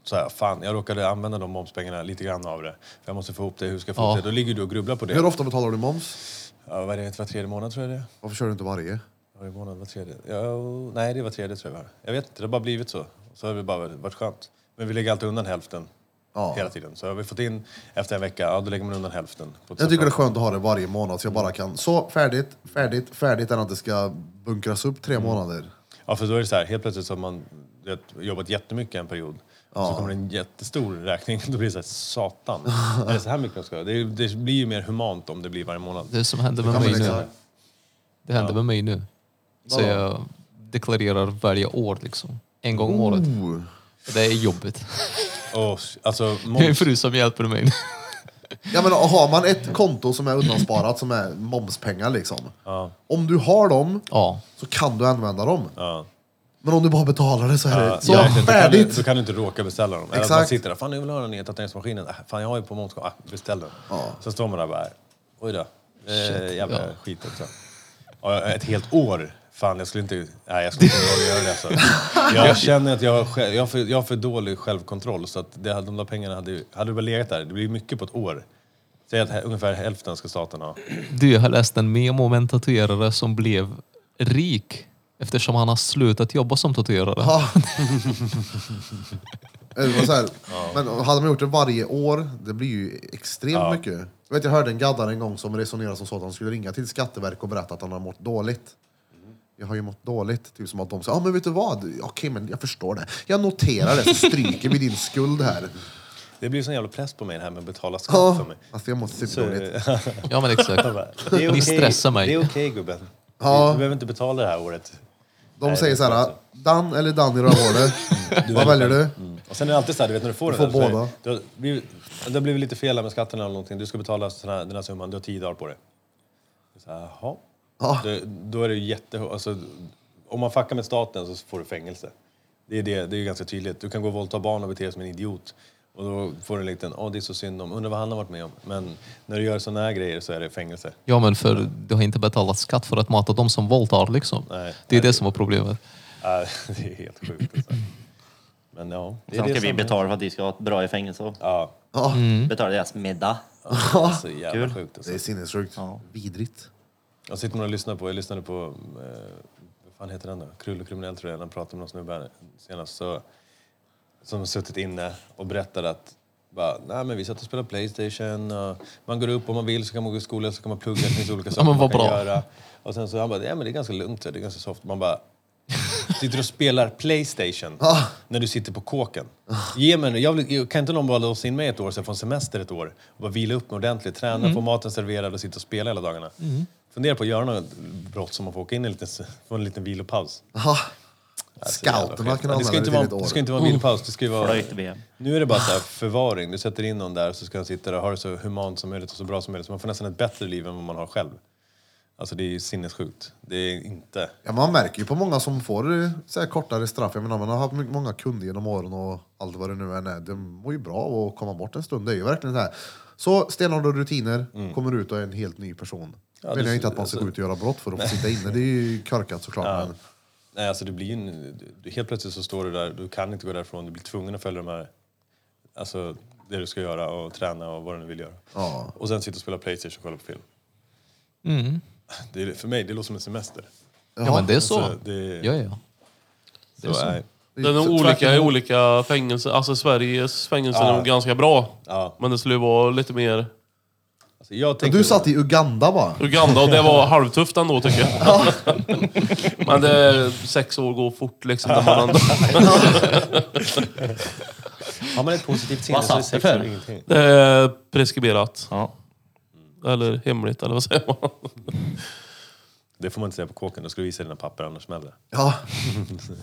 S2: så här, fan, jag råkade använda de momspengarna lite grann av det. För jag måste få ihop det, hur ska jag få ihop
S4: Ja.
S2: det? Då ligger du och grubblar på det.
S1: Hur ofta betalar du moms?
S2: Ja, vad är det, var tredje månad tror jag det är.
S1: Varför kör du inte varje?
S2: Varje månad, var tredje. Ja, nej, det var tredje tror jag. det var. Jag vet inte, det har bara blivit så. Så har det bara varit skönt. Men vi lägger alltid undan hälften
S1: Ja.
S2: hela tiden. Så har vi fått in efter en vecka, ja, då lägger man undan hälften. På ett
S1: Jag tycker det är
S2: separat-
S1: skönt att ha det varje månad så jag bara kan, så färdigt, färdigt, färdigt, än att det ska bunkras upp
S2: Mm.
S1: tre månader.
S2: Ja, för då är det så här, helt plötsligt så har man du vet, jobbat jättemycket en period. Så kommer det en jättestor räkning. Då blir det så här, satan. är det så här mycket man ska ha? det, det blir ju mer humant om det blir varje månad.
S4: Det som hände
S1: Ja,
S4: med
S1: men
S4: mig nu.
S1: exakt.
S4: Det hände med mig nu. Så jag deklarerar varje år liksom. En gång om året.
S1: Oh.
S4: Det är jobbigt.
S2: Och, alltså,
S4: Min
S2: moms,
S4: fru som hjälper mig nu.
S1: Ja, men har man ett konto som är undansparat som är momspengar liksom.
S2: Ja.
S1: Om du har dem
S4: Ja.
S1: så kan du använda dem.
S2: ja.
S1: Men om du bara betalar det så är det Eh, så
S2: Ja, exakt. Då kan du-
S1: färdigt.
S2: Då kan du inte råka beställa dem. Eller att man
S1: Exakt.
S2: sitter där, fan jag vill ha den nya tatueringsmaskinen. Äh, fan jag har ju på momskom, ah, beställ den. Sen står man där och bara, oj då. Eh, jävla
S4: ja.
S2: skit också. Ja, ett helt år. Fan, jag skulle inte... Nej, jag skulle inte behöva göra det. Alltså. Jag känner att jag har, själv, jag, har för, jag har för dålig självkontroll. Så att det, hade- de där pengarna hade, ju- hade du bara legat där. Det blir mycket på ett år. Säg att här- ungefär hälften ska staten ha.
S4: Du, jag har läst en memo om en tatuerare som blev rik eftersom han har slutat jobba som tatuerare.
S1: Eller vad så här. Men hade man gjort det varje år, det blir ju extremt mycket. Jag, vet, jag hörde en gaddare en gång som resonerade som så att han skulle ringa till Skatteverket och berätta att han har mått dåligt. Jag har ju mått dåligt. Typ som att de säger, ja ah, men vet du vad? Okej, men jag förstår det. Jag noterar det, så stryker vi din skuld här.
S2: Det blir sån jävla press på mig det här med att betala skatt
S1: Ja,
S2: för mig.
S1: alltså jag mår
S2: Så,
S1: superdåligt.
S4: Ja men exakt.
S2: Jag bara, Det är
S4: Ni
S2: okej.
S4: stressar mig.
S2: Det är okej gubben.
S1: Ja.
S2: Du behöver inte betala det här året.
S1: De
S2: Nej,
S1: säger
S2: det
S1: så
S2: är Mm.
S1: här,
S2: klart.
S1: Dan eller Dan i rövhålet. Vad väljer du?
S2: Och sen är det alltid så här, du vet när du får,
S1: Du får
S2: den där, så
S1: båda.
S2: är- Du har blivit, det har blivit lite fel här med skatterna eller någonting. Du ska betala sån här, den här summan, du har tio dagar på dig. Så här, Jaha.
S1: Ja.
S2: Det, då är det ju jätte... Alltså, om man fuckar med staten så får du fängelse. Det är, det, det är ju ganska tydligt. Du kan gå och våldta barn och bete dig som en idiot. Och då får du en liten, åh det är så synd om, undrar vad han har varit med om. Men när du gör såna här grejer så är det fängelse.
S4: Ja men för du har inte betalat skatt för att mata de som våldtar liksom.
S2: Nej.
S4: det är det som var problemet.
S2: Äh, det är helt sjukt. Alltså. Men ja. Det är
S3: Sen
S2: det
S3: ska vi
S2: som-
S3: betala för att de ska ha ett bra i fängelse. och
S2: Ja,
S1: Ja,
S2: Mm.
S3: Betala deras middag.
S2: det är så jävla
S3: Kul.
S2: sjukt. Alltså.
S1: det är sinnessjukt. Vidrigt.
S2: Jag sitter nog och lyssnar på, jag lyssnade på, eh, vad fan heter den då? Krull och kriminell tror jag, när jag pratade med någon snubbe här senast. Så, som har suttit inne och berättade att bara, nej men vi satt och spelade Playstation och man går upp om man vill så kan man gå i skolan så kan man plugga, det finns olika saker
S4: men vad
S2: man kan
S4: bra.
S2: göra. Och sen så han bara, ja men det är ganska lugnt, det är ganska soft. Man bara, sitter och spelar Playstation när du sitter på kåken. Ge mig nu, jag vill, kan inte någon bara låsa in mig ett år så jag får en semester ett år och bara vila upp mig ordentligt, träna,
S1: Mm.
S2: få maten serverad och sitta och spela hela dagarna. Fundera på att göra något brott som man får åka in i en liten, få en liten vilopaus.
S1: Aha.
S2: Alltså, jävla
S1: Scouterna
S2: skit.
S1: kan
S2: Ja, det
S1: använda
S2: ska
S1: det
S2: inte
S1: till
S2: vara,
S1: ett
S2: Det ska
S1: år. Ah.
S2: inte vara en vilopaus, det ska ju vara...
S3: Flöjt-VM.
S2: Nu är det bara så här förvaring. Du sätter in någon där så ska han sitta där och ha det så humant som möjligt och så bra som möjligt. Så man får nästan ett bättre liv än vad man har själv. Alltså det är ju sinnessjukt. Det är inte...
S1: Ja, man märker ju på många som får eh, så här, kortare straff. Jag menar, man har haft my- många kunder genom åren och allt vad det nu än är. Det mår ju bra av att komma bort en stund. Det är ju verkligen så här. Så stenhårda rutiner,
S5: Mm.
S1: kommer ut och är en helt ny person.
S2: Ja,
S1: Menar
S2: det-
S1: jag inte att man ska
S2: alltså-
S1: gå ut och göra brott för att få sitta inne. Det är ju korkat såklart. Men,
S2: Nej, alltså det blir ju en, du- helt plötsligt så står du där, du kan inte gå därifrån, du blir tvungen att följa de här, alltså det du ska göra och träna och vad du nu vill göra.
S1: Ja.
S2: Och sen sitta och spela Playstation och kolla på film.
S4: Mm.
S2: Det är, för mig, det låter som en semester.
S4: Ja, men det är så.
S2: Alltså, det-
S4: Ja, ja. Det är
S2: Så,
S4: så.
S2: nej.
S5: Det är nog
S1: Så
S5: olika i
S1: tvärtom.
S5: olika fängelser. Alltså Sveriges fängelser är nog ganska bra.
S2: Ja.
S5: Men det skulle vara lite mer...
S2: Alltså, jag
S1: Men
S2: tänkte,
S1: Du satt i Uganda bara.
S5: Uganda, och det var halvtufft ändå tycker jag. men det är, sex år går fort liksom. När man ändå,
S2: Har man ett positivt sinne
S3: Vad
S2: så är
S3: satt det
S2: sex
S3: för?
S2: ingenting.
S5: det är preskriberat.
S3: Ja.
S5: Eller hemligt, eller vad säger man?
S2: Det får man inte säga på kåken, då ska du visa dina papper annars smäller det.
S1: Ja.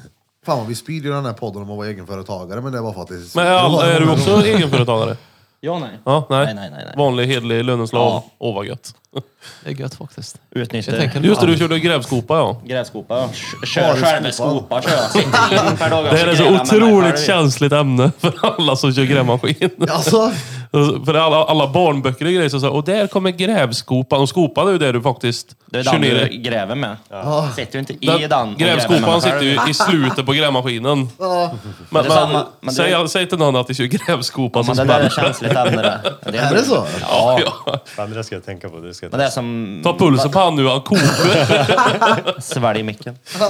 S1: Fan vad vi spyr i den här podden om att vara egenföretagare, men det var för att det är så-
S5: Men är, är du också egenföretagare?
S3: Ja, nej.
S5: Ja, nej.
S3: Nej, nej, nej, nej.
S5: Vanlig hederlig löneslav.
S3: Ja.
S5: Åh vad gött.
S4: Det är gött faktiskt.
S3: Utnyttja
S4: Jag tänker-
S5: Just det, du körde grävskopa ja.
S3: grävskopa. ja. Kö- Kör själva skopa. Kör jag. Sitter in per dag.
S5: Det här är så otroligt känsligt ämne för alla som kör grävmaskin.
S1: Alltså,
S5: För alla, alla barnböcker och grejer så säger och där kommer grävskopan. Och skopan är ju det du faktiskt
S3: Det är
S5: kör
S3: den
S5: ner
S3: du
S5: i.
S3: gräver med. Sätter du inte i
S5: Den-
S3: den. och gräver med
S5: grävskopan
S3: den
S5: sitter
S3: själv.
S5: ju i slutet på grävmaskinen.
S1: ja.
S5: Men,
S3: det är
S5: men,
S3: samma- men det-
S5: säg, säg till någon att de kör grävskopa
S3: Men
S5: som
S3: det där är
S5: smäller.
S3: känsligt ämne det. det.
S1: är det så?
S3: Ja.
S2: Fan, det där ska jag tänka på. Det ska jag
S3: Men det är som...
S5: Ta pulsen på han nu, han kokar.
S3: Svälj micken. Nej,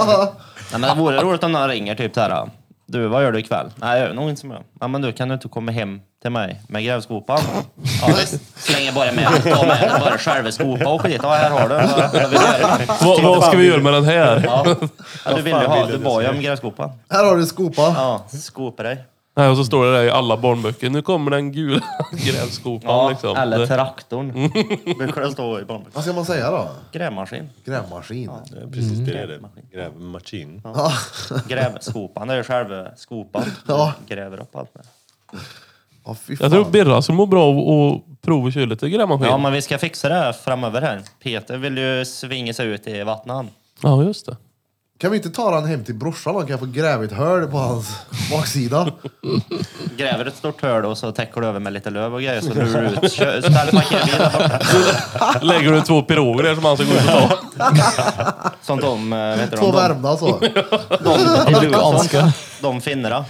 S3: men det vore roligt om någon ringer typ så här. Du, vad gör du ikväll? Nej, jag gör nog inte som jag. Ja, men du, kan du inte komma hem till mig med grävskopan? Ja, visst. Slänger bara med. Ta med den, bara själva skopa och skit. Ja, här har du. Vad, vad vill du göra?
S5: Vad, vad ska vi göra med den här?
S3: Ja. Ja, du ville ju ha,
S2: vill
S3: du
S2: du
S3: var ju om grävskopan.
S1: Här har du skopan.
S3: Ja, skopa dig.
S5: Nej, och så står det där i alla barnböcker. Nu kommer den gula grävskopan
S3: Ja,
S5: liksom.
S3: eller
S5: Det-
S3: traktorn. Brukar det stå i barnböckerna.
S1: Vad ska man säga då?
S3: Grävmaskin.
S1: Grävmaskin.
S2: Det är precis det det är
S4: Mm.
S2: det. Grävmaskin.
S1: Ja.
S3: Grävskopan, det är ju själva skopan.
S1: Ja.
S3: Du gräver upp allt med.
S1: Ja, fy
S5: Jag tror
S1: fan.
S5: Birra skulle må bra av att prova köra lite grävmaskin.
S3: Ja,
S5: Ja,
S3: men vi ska fixa det här framöver här. Peter vill ju svinga sig ut i vattnan.
S5: just det.
S1: Kan vi inte ta den hem till brorsan då? Kan jag få gräva ett hål på hans baksida?
S3: Gräver ett stort hål och så täcker du över med lite löv och grejer så lurar du ut kö- ställparkerbilar borta.
S5: Lägger du två piroger där som alltså han ska gå ut och ta.
S3: Som de, eh, vad heter
S1: Två
S3: de? De,
S1: värmda så.
S3: de, de,
S4: Amerikanska.
S3: de finnarna.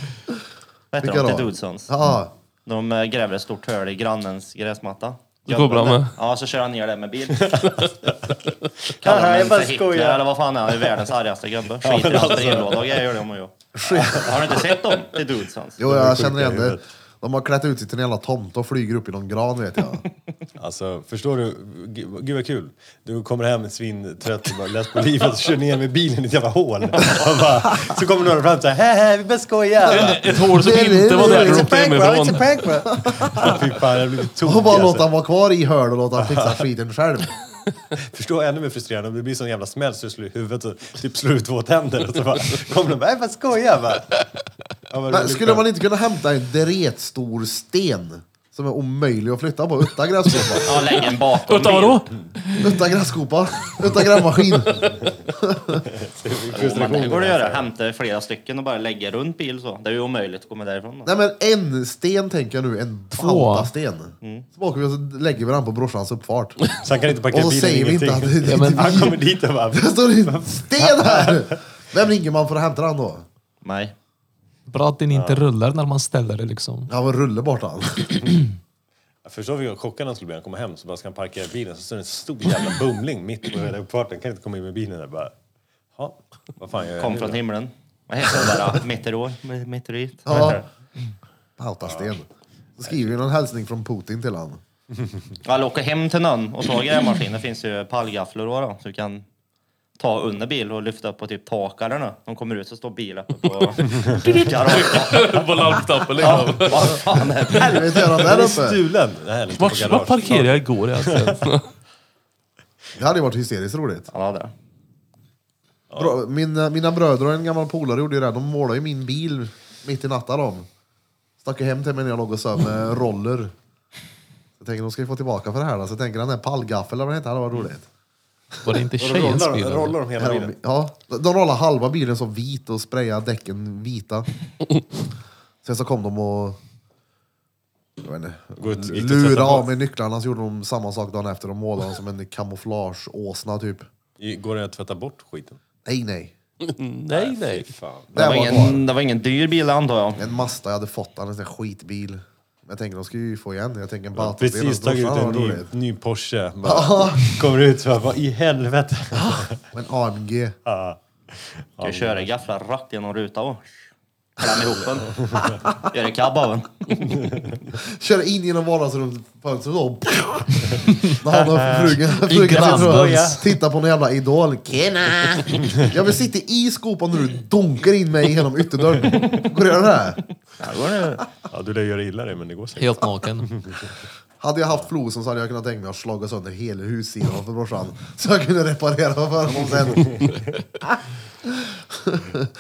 S3: Vad heter
S1: Vilka
S3: de?
S1: då?
S3: The Dudesons.
S1: Ja.
S3: De eh, gräver ett stort hål i grannens gräsmatta.
S5: Det går bra med.
S3: Ja, så kör han ner det med bil. Kallar honom för Hitler eller vad fan är han? är världens argaste gubbe. Skiter i hans
S1: alltså.
S3: brevlåda och grejer gör de ju. Har du inte sett dem? The Dudesons.
S1: Jo,
S2: De är
S1: jag
S2: sjuka
S1: känner
S2: i
S1: igen det.
S2: huvudet.
S1: De har klätt ut sig till en jävla tomte och flyger upp i någon gran vet jag.
S2: Alltså, förstår du? G- Gud vad kul. Du kommer hem svintrött och bara läst på livet och kör ner med bilen i ett jävla hål. Och bara, så kommer några fram så här, hä hä, vi bara skojar.
S5: Ett hål som inte var där
S1: liksom
S5: du åkte hemifrån.
S6: prank, bro.
S2: Bara, Fy fan, jag blir
S1: Och
S2: tokig.
S1: bara låta
S2: Alltså.
S1: han vara kvar i hål och låta han fixa skiten själv.
S2: Förstår ännu mer frustrerande om det blir sån jävla smäll så du slår i huvudet och typ slår ut två tänder. Och så bara, kommer de bara, jag bara skojar. Bara. Ja, vad
S1: Men
S2: roligt.
S1: skulle man inte kunna hämta en dretstor sten? Som är omöjlig att flytta på. Utan grävskopa.
S3: Ja, lägg en bakom
S5: Vänta,
S3: bil.
S5: vadå?
S1: Utan grävskopa. Utan grävmaskin.
S3: Jo, men det går att göra. Hämta flera stycken och bara lägga runt bil så. Det är ju omöjligt att komma därifrån. Då.
S1: Nej men en sten tänker jag nu. En bautasten. Så åker vi och så lägger vi den på brorsans uppfart.
S2: Så han kan inte
S1: Och
S2: parkera
S1: så
S2: bilen
S1: säger vi inte att det
S2: ingenting.
S1: det
S4: Ja,
S1: är
S4: men-
S1: inte
S2: Han
S1: vi.
S2: kommer dit och bara,
S1: Det står en sten här! Vem ringer man för att hämta den då?
S3: Nej.
S4: Bra att den inte rullar när man ställer det liksom.
S1: Ja, vad rulle bort han.
S2: Jag förstår vilken chockad han skulle bli när han kommer hem så bara ska han parkera bilen så står det en stor jävla bumling mitt på hela uppfarten. Kan inte komma in med bilen där bara. Ja, vad fan gör jag
S3: Kom
S2: nu
S3: från
S2: då?"
S3: himlen. Vad heter det där? då? Meteor? Me- Meteorit? Vad heter
S1: Ja.
S3: det?
S1: Pautasten. Så skriver vi någon hälsning från Putin till han.
S3: Ja, Eller åka hem till någon och ta grävmaskin. Det finns ju pallgafflor då, då, så du kan ta under bil och lyfta på typ tak eller något. De kommer ut så står bilen uppe på garaget.
S5: På larmknappen liksom.
S3: Vad fan är det?
S1: Helvete gör han där uppe?
S2: Stulen! Nej, lite på
S5: Vart, vart
S2: garage.
S5: parkerade jag igår alltså? egentligen?
S1: Det hade ju varit hysteriskt roligt.
S3: Ja, det är det.
S1: Bra, mina, mina bröder och en gammal polare gjorde ju det. De målade ju min bil mitt i natten de. Stack ju hem till mig när jag låg och sov med roller. Jag tänker de ska ju få tillbaka för det här då. Så jag tänker den där pallgaffeln eller vad den heter, det var roligt.
S4: Var det inte
S2: Och då
S4: tjejens
S2: Rollar,
S4: bil? eller?
S2: rollar de hela bilen?
S1: Ja, de rollade halva bilen som vit och sprayade däcken vita. Sen så kom de och jag vet
S2: Gå ut-
S1: inte,
S2: gick det att sätta
S1: lura
S2: på?
S1: av med nycklarna så gjorde de samma sak dagen efter. De målade den som en kamouflageåsna typ.
S2: I- Går det att tvätta bort skiten?
S1: Nej, nej.
S5: Nej, nej.
S2: Fy fan.
S1: Det
S3: Det
S1: här
S3: var,
S1: var kvar.
S3: ingen, det var ingen dyr bil antar jag.
S1: En Mazda jag hade fått, en sån där skitbil. Jag tänker de ska ju få igen. Jag tänker en Batus.
S2: Precis tagit ut en ny, ny Porsche. Bara, kommer ut så här, vad i helvete?
S1: En AMG.
S3: Du kan ju köra gafflar rakt genom rutan och klämma ihop den. Göra cab av den.
S1: Kör in genom vardagsrumsfönstret och När han
S2: Äh,
S1: och frugan, frugan sitter
S4: grannens.
S1: och tittar på någon jävla idol. Kena! Jag vill sitta i skopan när du dunkar in mig genom ytterdörren. Går det att göra det här?
S3: Ja, det går nu.
S2: Ja, du lär göra illa dig men det går säkert.
S4: Helt naken.
S1: Hade jag haft flosen så hade jag kunnat tänka mig att slå sönder hela hussidan för brorsan. Så jag kunde reparera för honom sen.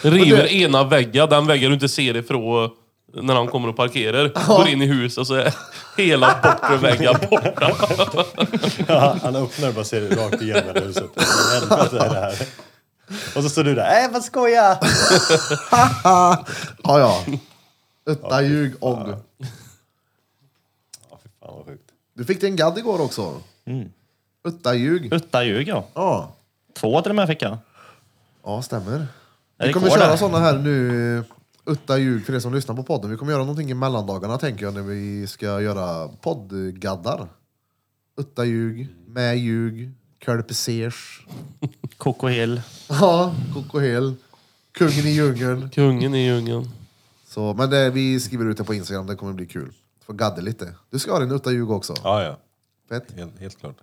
S5: River ena väggen, den väggen du inte ser ifrån när han kommer och parkerar. Går in i huset och så är hela bortre väggen borta.
S2: Ja, han öppnar och bara ser det rakt igenom hela huset. Vad i helvete är det här? Och så står du där, äh vad skojar!
S1: Ah, ja, ja. Utta ljug om.
S2: Ja, fy fan vad sjukt.
S1: Du fick dig en gadd igår också. Utta ljug.
S3: Utta ljug ja.
S1: Ja,
S3: Två till och med fick jag.
S1: ja stämmer.
S3: Det
S1: Vi kommer
S3: går där.
S1: köra sådana här nu, utta ljug för er som lyssnar på podden. Vi kommer göra någonting i mellandagarna tänker jag när vi ska göra poddgaddar. Utta ljug, med ljug, kölpesers,
S3: Coco Hill.
S1: ja, kokohel, kungen i djungeln.
S5: Kungen i djungeln.
S1: Så, men det, vi skriver ut det på Instagram, det kommer bli kul. Får gadda lite. Du ska ha din utta ljug också.
S2: Ja, ja.
S1: Fett.
S2: Helt, helt klart.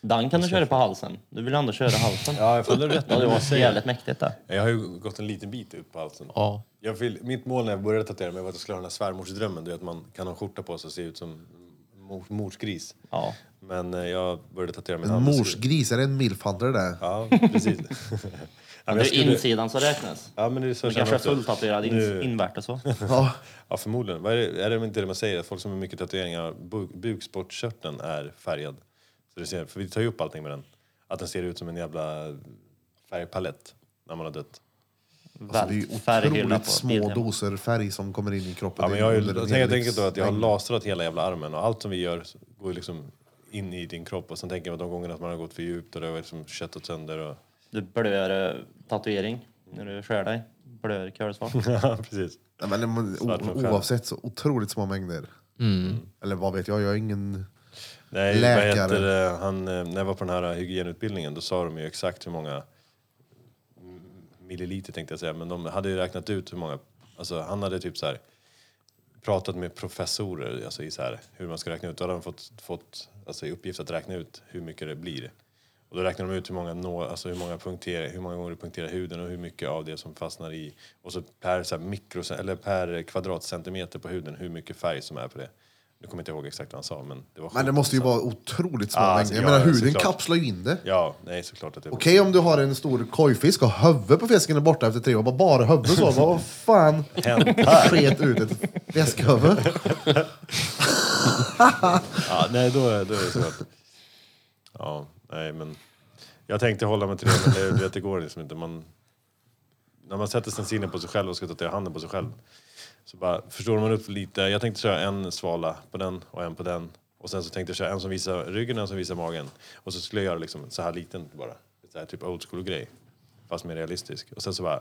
S3: Den kan du köra på halsen. Du vill ändå köra halsen.
S2: Ja, jag faller rätt.
S3: Ja, det var jävligt mäktigt det.
S2: Jag har ju gått en liten bit upp på halsen.
S4: Ja.
S2: Jag vill, mitt mål när jag började tatuera mig var att jag skulle ha den här svärmorsdrömmen. Du vet, man kan ha en skjorta på sig och se ut som mor, morsgris.
S3: Ja.
S2: Men eh, jag började tatuera mig
S1: En morsgris, är det en milfhandlare det?
S2: Ja, precis. ja, men jag
S3: Det är
S2: skulle-
S3: insidan som räknas.
S2: Ja, men det är så
S3: Du
S2: jag
S3: kanske
S2: känner
S3: är
S2: också.
S3: fulltatuerad
S2: Nu-
S3: in, invärtes så.
S1: Ja.
S2: Ja, förmodligen. Vad är, det, är det inte det man säger? Att folk som har mycket tatueringar, bu, bukspottkörteln är färgad. Så du ser, för vi tar ju upp allting med den. Att den ser ut som en jävla färgpalett när man har dött.
S1: Alltså, det är ju
S3: Väldigt färghylla
S1: otroligt
S3: på
S1: små
S3: bilden.
S1: doser färg som kommer in i kroppen.
S2: Ja, men jag har ju, jag tänker helt enkelt då att jag har
S1: livslängd.
S2: lasrat hela jävla armen och allt som vi gör går ju liksom in i din kropp. Och sen tänker jag att de gångerna att man har gått för djupt och det har liksom köttat sönder och...
S3: Du blör eh, tatuering när du skär dig. Blör kölsvart.
S2: Ja, precis.
S1: Nej, men, det- men,
S2: Svart som
S1: o,
S2: stjärna.
S1: oavsett så otroligt små mängder. Eller vad vet jag, jag är ingen...
S2: Nej,
S1: Läkare.
S2: vad heter det? Han, eh, när jag var på den här hygienutbildningen då sa de ju exakt hur många mm, milliliter tänkte jag säga, men de hade ju räknat ut hur många, alltså han hade typ så här pratat med professorer alltså i så här, hur man ska räkna ut. Då hade han fått, fått alltså, i uppgift att räkna ut hur mycket det blir. Och då räknar de ut hur många, nå, alltså hur många, punkter, hur många gånger du punkterar huden och hur mycket av det som fastnar i. Och så per, så här, mikros, eller per kvadratcentimeter på huden hur mycket färg som är på det. Nu kommer jag inte ihåg exakt vad han sa men det var
S1: Men det måste ju
S2: sjukt
S1: vara otroligt små
S2: Ja, alltså,
S1: mängder. Jag
S2: ja,
S1: menar, huden
S2: såklart.
S1: kapslar ju in det.
S2: Ja, nej såklart att det
S1: Okej om du har en stor kojfisk och huvudet på fisken är borta efter tre år, bara, bara huvudet så. Bara, vad fan? Sket ut ett fiskhuvud.
S2: Ja, nej då är, då är det såklart. Ja, nej men. Jag tänkte hålla mig till det, men det, du vet, det går liksom inte. Man, när man sätter stencilen på sig själv och ska tatuera handen på sig själv så bara förstår man upp lite. Jag tänkte köra en svala på den och en på den. Och sen så tänkte jag köra en som visar ryggen och en som visar magen. Och så skulle jag göra liksom så här liten bara. Så här typ old school grej. Fast mer realistisk. Och sen så bara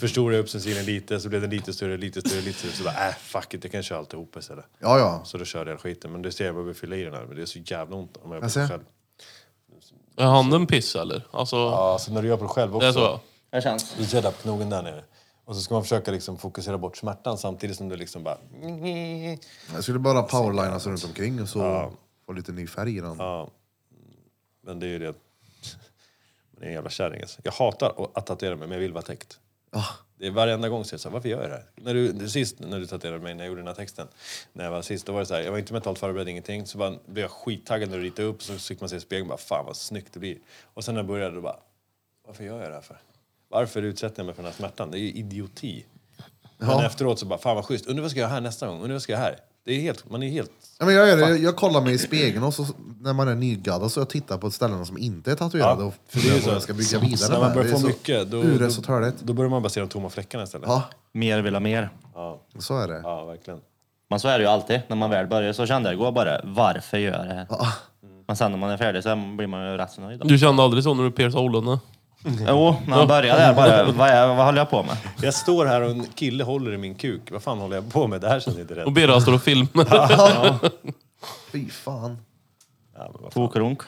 S2: förstod jag upp stencilen lite, så blev den lite större, lite större, lite större. Så bara äh, fuck it, jag kan köra alltihop istället.
S1: Ja, ja.
S2: Så Alltså, då körde jag skiten. Men du ser, jag behöver fylla i den här. Men det är så jävla ont om jag gör på
S1: Alltså?
S2: det själv.
S5: Är handen piss eller? Alltså,
S2: Ja, så när du gör på det själv
S5: det är
S2: också.
S5: så?
S3: Det känns.
S2: Du känner knogen där nere. Och så ska man försöka liksom fokusera bort smärtan samtidigt som du liksom bara...
S1: Jag skulle bara powerlinas runt omkring och så få lite ny färg i den.
S2: Ja. Men det är ju det. Men det är en jävla kärring alltså. Jag hatar att tatuera mig, men jag vill vara täckt.
S1: Ja.
S2: Det är varenda gång så är jag så här, varför gör jag det här? När du, sist när du tatuerade mig, när jag gjorde den här texten, när jag var sist, då var det så här, jag var inte mentalt förberedd, ingenting. Så bara, blev jag skittaggad när du ritade upp, så fick man se i spegeln, bara fan vad snyggt det blir. Och sen när jag började, då bara, varför gör jag det här för? Varför utsätter jag mig för den här smärtan? Det är ju idioti. Men efteråt så bara, fan vad schysst, undrar vad ska jag göra här nästa gång? Undrar vad ska jag göra här? Det är helt, man är helt...
S1: Ja, men jag, gör det. Jag, jag kollar mig i spegeln och så, när man är nygaddad så jag tittar på ställen som inte är tatuerade
S2: Ja,
S1: och
S2: för det är
S1: funderar
S2: ju
S1: på vad jag
S2: så.
S1: ska bygga vidare
S2: När man
S1: med.
S2: börjar
S1: Det är
S2: få
S1: så
S2: mycket, då,
S1: Urätt och
S2: då,
S1: törligt.
S2: då börjar man bara se de tomma fläckarna istället.
S1: Ja,
S3: Mer vill ha mer.
S2: Ja,
S1: så är det.
S2: ja verkligen.
S3: Men så är det ju alltid när man väl börjar. Så kände jag igår bara, varför gör jag det här?
S1: Ja.
S3: Men sen när man är färdig så blir man ju rätt så nöjd. då.
S5: Du kände aldrig så när du piercade ollorna?
S3: Jo, när man började där bara, vad, är, vad håller jag på med?
S2: Jag står här och en kille håller i min kuk. Vad fan håller jag på med? Det här känns inte rätt.
S5: Och Birra står och filmar.
S1: Fy fan.
S2: Ja, men vad fan.
S3: Tokrunk.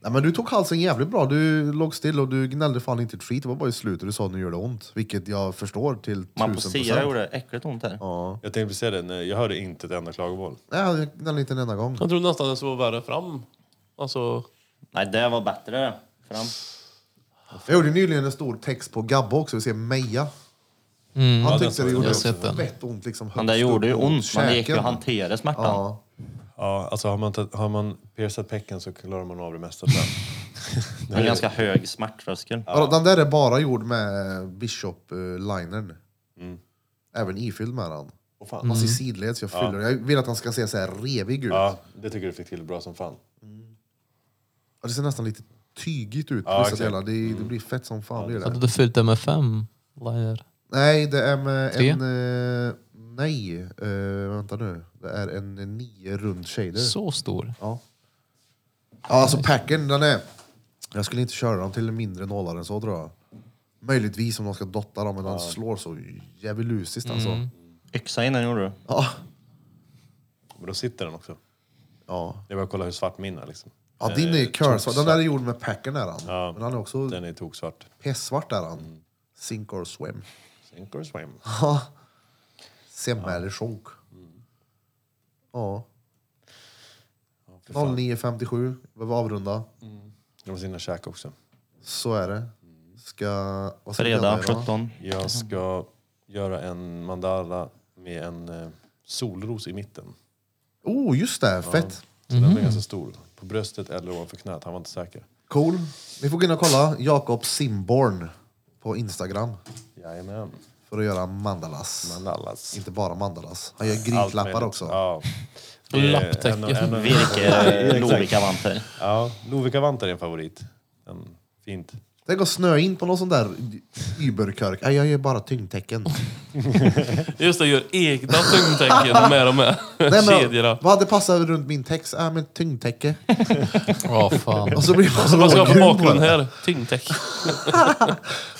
S1: Nej, men du tog halsen jävligt bra. Du låg still och du gnällde fan inte ett skit. Det var bara i slutet du sa att nu gör det ont. Vilket jag förstår till
S3: Man
S1: tusen
S3: poserar
S1: procent.
S3: gjorde äckligt ont här.
S1: Ja.
S2: Jag tänkte säga det, nej, jag hörde inte ett enda klagomål.
S1: Nej, jag gnällde inte en enda gång.
S5: Jag tror nästan det skulle vara värre fram. Alltså,
S3: Nej, det var bättre. Fram.
S1: Jag gjorde nyligen en stor text på Gabbo också. Vi ser Meja. Han
S2: Mm. Ja, den
S1: tyckte
S2: såg
S1: det
S2: jag.
S1: gjorde
S4: Jag har sett den.
S1: fett ont. Liksom,
S3: Men det
S1: högst
S3: gjorde ju
S1: upp mot
S3: ont, men det gick ju att
S1: käken.
S3: hantera smärtan.
S1: Ja.
S2: Ja, alltså har man, tagit- har man piercat pecken så klarar man av det mesta. tror jag.
S3: Det är en ganska hög smärttröskel.
S1: Ja. Den där är bara gjord med Bishop-linern.
S2: Mm.
S1: Även ifylld med den.
S2: Åh, fan.
S1: Alltså i sidled, så jag fyller. Jag vill att han ska se så här revig ut.
S2: Mm. Ja, det tycker du fick till bra som fan.
S1: Och Det ser nästan lite tygigt ut.
S2: Ja,
S1: Ja,
S2: exakt. Mm.
S1: delar. Det, det blir fett som fan. blir
S4: Hade
S1: det.
S4: du fyllt det med fem liner?
S1: Nej, det är med
S4: Tre?
S1: en... eh, nej, eh, vänta nu. Det är en nio rund shader.
S4: Så stor?
S1: Ja. ja, alltså packen, den är... Jag skulle inte köra dem till en mindre nålar än så tror jag. Möjligtvis om de ska dotta dem, men den slår så djävulusiskt
S4: Mm.
S1: alltså.
S3: Yxa innan gjorde du.
S1: Ja.
S2: Men då sitter den också.
S1: Ja.
S2: Jag bara kolla hur svart min är. Liksom.
S1: ja, din är ju curse. Den där är gjord med packen är han. Men han är också
S2: Den är toksvart.
S1: pesvart är han. Sink or swim.
S2: Sink or swim.
S1: Ja. Semma eller Schonk.
S2: Mm.
S1: Ja. 09.57, behöver avrunda.
S2: De har sina käk också.
S1: Så är det. Ska... Vad ska vi göra
S3: Fredag
S1: idag?
S3: 17.
S2: Jag ska göra en mandala med en eh, solros i mitten.
S1: Oh, just det. Fett.
S2: Så den är ganska stor. På bröstet eller ovanför knät. Han var inte säker.
S1: Cool. Ni får gå in och kolla Jakob Simborn på Instagram
S2: Jajamän.
S1: för att göra mandalas.
S2: Mandalas.
S1: Inte bara mandalas. Han gör
S2: Allt
S1: griklappar
S2: möjligt.
S1: också.
S2: Ja. En
S4: Lapptäcken.
S2: och- en och-
S3: Virke eh, Lovikkavanter.
S2: Ja, Lovikkavantar är en favorit. En, fint.
S1: Tänk att snöa in på någon sån där überkörk. Nej, jag gör bara tyngdtecken.
S5: Just det, gör egna tyngdtecken med de här
S1: Nej, men,
S5: kedjorna.
S1: vad hade passat runt min text? Äh, men tyngdtäcke.
S4: Ja, fan.
S1: Och så blir man
S5: Vad ska jag ha på
S1: rågrym på
S5: bakgrunden
S1: det.
S5: här? Tyngdtecken.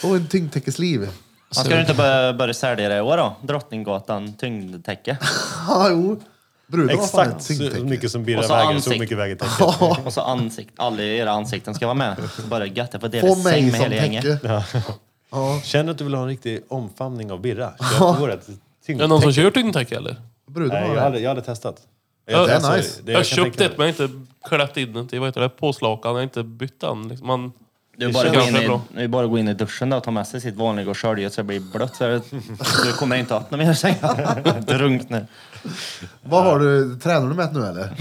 S1: Och en tyngdtäckesliv.
S3: Man ska du inte börja, börja sälja det i år då? Drottninggatan tyngdtäcke.
S1: Ja, jo. Bruden har fan
S2: Exakt
S1: ett
S2: så
S1: tyngdtäcke.
S2: mycket som Birra
S3: Och så
S2: väger, så
S3: ansikt.
S2: mycket väger täcket.
S3: Och så ansikt, alla era ansikten ska vara med. Så bara gött, jag får dela
S1: På
S3: säng
S1: mig
S3: med
S1: som
S3: hela gänget.
S1: täcke. Ja.
S2: Känner du att du vill ha en riktig omfamning av Birra? Köp vårat
S5: Är det någon som kör tyngdtäcke eller?
S1: Bruden
S2: Nej,
S1: har
S2: jag hade,
S1: det.
S2: jag hade testat.
S5: Ja, det är
S1: nice.
S2: det-
S5: Jag har
S2: kan
S5: köpt
S2: tänka
S5: ett
S2: mig.
S5: men jag har inte klätt in den till, vad heter det, påslakan. Jag har inte bytt den. liksom. Man,
S3: Du
S5: Det
S3: bara,
S5: känns
S3: gå in
S5: ganska
S3: i,
S5: bra.
S3: du bara gå in i duschen då och ta med sig sitt vanliga och skölja så det blir blött. Så det- du kommer inte att öppna mer säng. Drunk nu.
S1: Vad har du? Tränar du med det nu eller?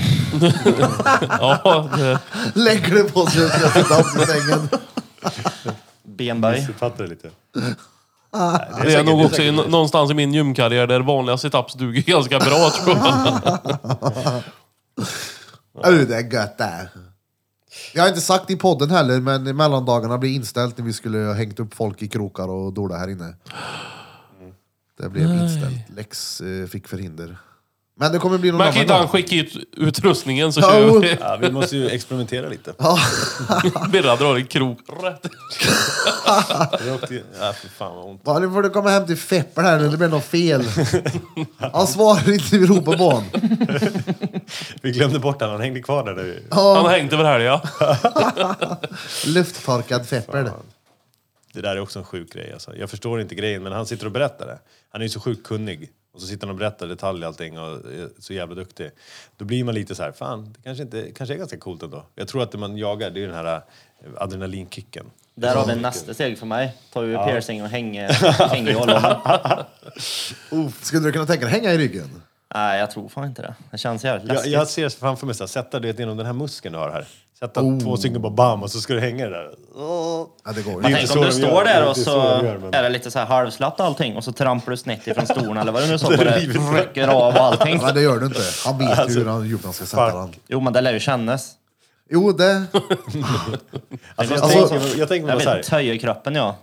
S5: ja, det,
S1: Lägger du på så jag ska sitta upp i sängen?
S3: Benböj.
S2: Missuppfattar det lite.
S1: Ah.
S5: det är nog också i, någonstans i min gymkarriär där vanliga situps duger ganska bra tror jag.
S1: Uh, det är gött det. här. Jag har inte sagt i podden heller, men mellandagarna blir inställt när vi skulle ha hängt upp folk i krokar och dola här inne. Det blev inställt. Lex eh, fick förhinder. Men det kommer bli någon
S5: Man kan
S1: annan
S5: inte han
S1: gång.
S5: skicka hit utrustningen så
S1: Ja,
S5: kör
S1: jo.
S5: vi.
S2: Ja, vi måste ju experimentera lite.
S5: Birra drar en krok rätt.
S2: Jag åkte ju- Ja, för fan vad ont.
S1: Ja, nu får du komma hem till Feppel här nu, det blir något fel. Han svarar inte när vi ropar på honom.
S2: Vi glömde bort den, han hängde kvar där. där vi-
S5: Han har hängt över helgen.
S1: Lufttorkad Feppel.
S2: Det där är också en sjuk grej alltså. Jag förstår inte grejen, men han sitter och berättar det. Han är ju så sjukt kunnig. Och så sitter han och berättar detaljer och allting och är så jävla duktig. Då blir man lite så här, fan, det kanske, inte, kanske är ganska coolt ändå. Jag tror att det man jagar, det är den här eh, adrenalinkicken.
S3: Där har vi nästa steg för mig. Ta ur piercing och hänga i ollon.
S1: Uff, Skulle du kunna tänka dig hänga i ryggen?
S3: Nej, jag tror fan inte det. Det känns jävligt
S2: Jag,
S3: läskigt.
S2: jag ser framför mig så här, sätta det genom den här muskeln du har här. Sätta två stycken på bam och så ska du hänga det där.
S1: Ja, det går
S2: Det
S1: ju.
S2: är
S3: Tänk
S2: inte
S3: om
S2: så de
S3: du
S2: gör.
S3: står
S2: Det är
S3: där och
S2: inte
S3: så
S2: så de gör, men-
S3: är det lite så här halvslappt allting och så trampar du snett ifrån stolen eller vad det nu står på det rycker av och allting.
S1: Nej, det gör du inte. Han vet ju hur han- djupt han ska sätta
S2: fuck.
S1: den.
S3: Jo, men det lär ju kännas.
S1: Jo, det...
S2: Alltså, jag,
S1: Alltså-
S2: tänker, jag tänker mig
S3: Jag
S2: bara så här.
S3: vet, töjer kroppen ja.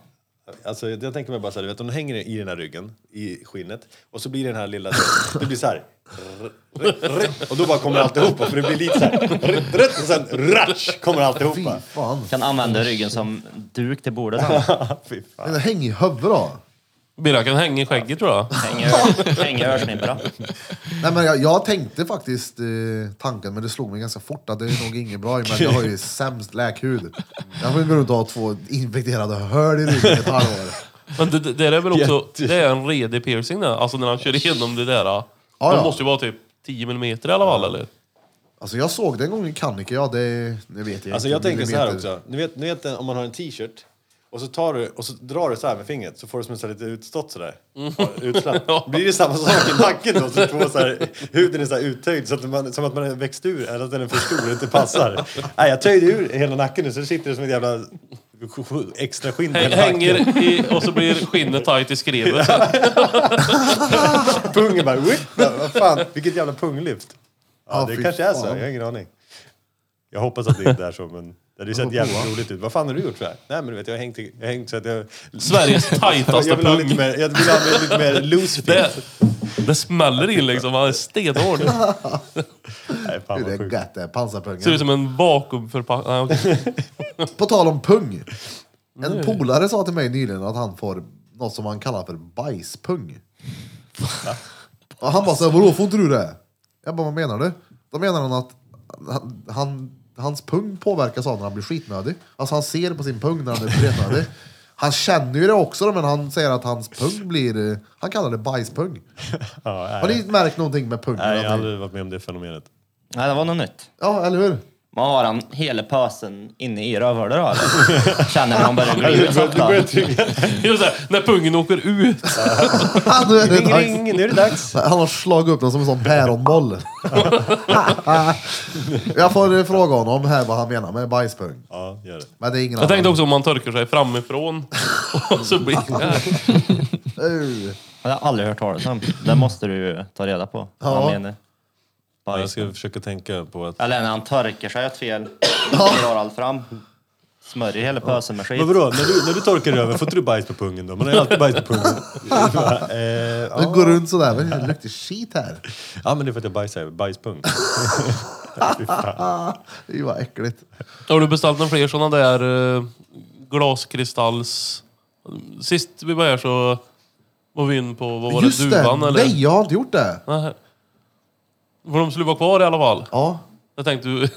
S2: Alltså, jag tänker mig bara så här, du vet, om du hänger i den här ryggen, i skinnet, och så blir den här lilla... Det blir så här... Och då bara kommer alltihopa, för det blir lite så här... Och sen ratsch kommer
S1: Fy
S2: alltihopa.
S1: fan.
S3: Kan använda ryggen som duk till bordet sen.
S2: Fy fan.
S1: Men Häng i huvudet då.
S5: Birra kan hänga i skägget tror jag.
S3: Hänga, hänga örsnibbarna.
S1: Nej, men jag, jag tänkte faktiskt eh, tanken, men det slog mig ganska fort att det är nog inget bra men jag har ju sämst läkhud. Jag får ju gå runt och ha två infekterade hål i ryggen i ett halvår.
S5: Men det, det där är väl också, det är en redig piercing där. Alltså när han kör igenom det där. ah.
S1: Ja, ja.
S5: De måste ju vara typ 10 millimeter i alla fall eller?
S1: Alltså jag såg det en gång i Kanike, ja det, det vet jag inte,
S2: Alltså jag tänker så här
S1: millimeter.
S2: också. Ni vet, ni vet eh, om man har en t-shirt och så, tar du, och så drar du så här med fingret så får du som en så här lite utstått sådär. Utslapp. Blir det samma sak i nacken då? Så två så här, huden är så här uttöjd så att man, som att man har växt ur eller att den är för stor och inte passar. Nej, jag töjde ur hela nacken nu så det sitter som ett jävla extra skinn på
S5: Häng-
S2: hela nacken.
S5: Hänger i, och så blir skinnet tajt i skrevet.
S2: Pungen bara... whip. Ja, Vad fan, vilket jävla punglyft. Ja,
S1: Ja,
S2: det
S1: fy
S2: kanske är så.
S1: fan.
S2: Jag har ingen aning. Jag hoppas att det inte är så, men det hade ju sett jävligt roligt ut. Vad fan har du gjort för här? Nej, men du vet, jag har hängt, i- jag har hängt så att jag...
S5: Sveriges tajtaste
S2: jag vill ha
S5: pung.
S2: lite mer, jag vill ha lite mer loose
S5: Det,
S2: fit.
S5: det smäller in liksom. Han är stenhård.
S2: Nej, fan
S1: Hur
S2: vad
S1: det är
S2: sjukt.
S1: gött det, är,
S5: Ser ut
S1: pansarpungen.
S5: som en vakuumförpackning. Nej, okej.
S1: På tal om pung. En polare sa till mig nyligen att han får något som han kallar för bajspung. och han bara såhär, vadå får inte du det? Jag bara, vad menar du? Då menar han att han, han, hans pung påverkas av när han blir skitnödig. Alltså han ser på sin pung när han är skitnödig. Han känner ju det också då, men han säger att hans pung blir... eh, Han kallar det bajspung.
S2: Ja, nej.
S1: Har ni märkt någonting med pungen?
S2: Nej,
S1: Att
S2: jag
S1: ni-
S2: har aldrig varit med om det fenomenet.
S3: Nej, det var något nytt.
S1: Ja, eller hur?
S3: Man har han hela pösen inne i rövhålet då eller? Känner när han börjar glida sakta.
S5: Just det, när pungen åker ut.
S1: Ah, nu är det dags.
S2: nu är det dags!
S1: Han har slagit upp den som en sån päronboll. jag får eh, fråga honom här vad han menar med bajspung.
S2: Ja, gör det.
S1: Men det är ingen
S5: Jag tänkte
S1: annan.
S5: också om man torkar sig framifrån. Och så blir det...
S1: Uh,
S3: Det har jag aldrig hört talas om. Det måste du ju ta reda på. Vad
S1: Ja.
S3: han menar.
S2: Ja, jag
S3: Bajs.
S2: ska försöka tänka på att...
S3: Eller när han torkar sig åt fel. Drar allt fram. Smörjer hela pösen med skit.
S2: Men vadå, när du, när du torkar röven, får inte du bajs på pungen då? Man har ju alltid bajs på pungen. Bara, eh,
S1: det
S2: ja.
S1: går runt sådär. men Det luktar skit här.
S2: ja, men det är för att jag bajsar. Bajspung.
S1: Det var äckligt.
S5: Har du beställt några fler sådana där eh, glaskristalls... Sist vi var här så var vi in på, vad var
S1: Just
S5: det, duvan
S1: det.
S5: eller?
S1: Nej, jag har inte gjort det.
S5: Nej. För de skulle vara kvar i alla fall.
S1: Ja.
S5: Jag tänkte du...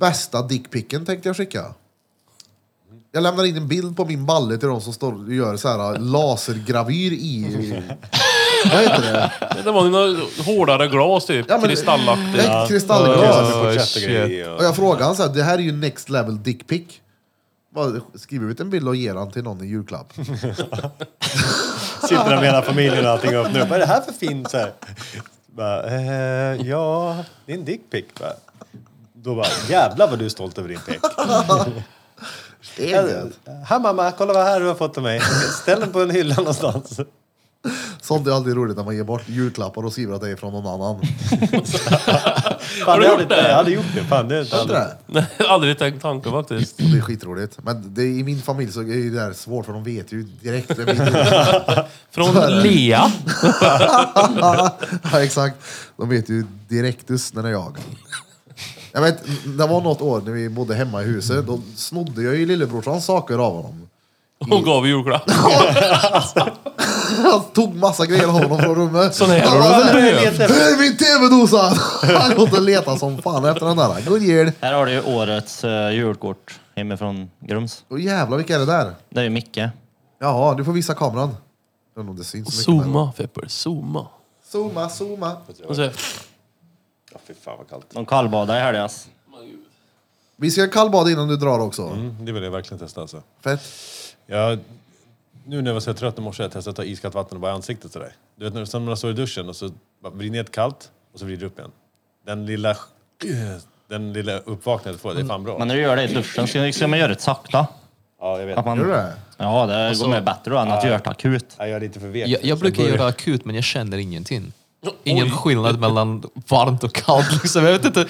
S1: Bästa dickpicken tänkte jag skicka. Jag lämnar in en bild på min balle till de som står och gör så här lasergravyr i... Vad heter det?
S5: Det var ju några hårdare glas typ.
S1: Ja, men-
S5: Kristallaktigt.
S1: Ett kristallglas.
S2: Ja, shit.
S1: Och jag frågade han så här, det här är ju next level dickpick. Bara Skriv ut en bild och ge den till någon i julklapp.
S2: Sitter där med hela familjen och allting och öppnar upp. Vad är det här för fint? Så här. Bara, eh, ja, det är en dickpic. Då bara, jävlar vad du är stolt över din pek.
S1: Det är gött.
S2: Här mamma, kolla vad här du har fått av mig. Ställ den på en hylla någonstans.
S1: Sånt är alltid roligt när man ger bort julklappar och skriver att det är från någon annan.
S2: Fan,
S5: du
S2: jag
S5: gjort
S2: hade-
S5: det?
S2: Jag hade gjort det. Fan, det är inte
S1: Fattar du
S2: aldrig.
S1: det?
S5: Nej, aldrig tänkt tanken faktiskt.
S1: Och det är skitroligt. Men det, är- i min familj så är ju det här svårt för de vet ju direkt. vem min-
S5: Från
S1: Så är det.
S5: Lea.
S1: ja, exakt. De vet ju direktus när det är jag. Jag vet, det var något år när vi bodde hemma i huset. Då snodde jag ju lillebrorsans saker av honom.
S5: Hon gav julklapp.
S1: Han tog massa grejer av honom från rummet.
S5: Sån här
S1: Han
S5: har
S1: bara,
S5: du
S1: "Där
S5: behövt."
S1: är- Där är min tv-dosa! Han gått och letat som fan efter den där. God jul!
S3: Här har du ju årets eh, julkort hemifrån Grums.
S1: Åh jävlar, vilka är det där?
S3: Det är ju Micke.
S1: Jaha, du får visa kameran. Jag undrar om det syns så mycket. men-
S5: Zooma Fepper, zooma.
S1: Zooma, zooma.
S5: Och så-
S2: Ja, fy fan vad kallt.
S3: De kallbadade i helgas.
S1: Vi ska kallbada innan du drar också.
S2: Mm, det vill jag verkligen testa alltså.
S1: Fett.
S2: Jag, nu när jag var så trött i morse jag testade att ta iskallt vatten och bara i ansiktet sådär. Du vet när som när man står i duschen och så bara vrider ner kallt och så vrider du upp igen. Den lilla, den lilla uppvaknandet du får, det är fan bra.
S3: Men när du gör det i duschen ska, ska man göra det sakta.
S2: Ja, jag vet.
S3: Att man,
S1: Gör du det?
S3: Ja, det går mer bättre då än att göra det akut.
S2: Nej, jag är lite för vek.
S4: Jag, jag brukar
S2: börjar-
S4: göra akut, men jag känner ingenting. Ingen skillnad mellan varmt och kallt. Liksom. Jag vet inte,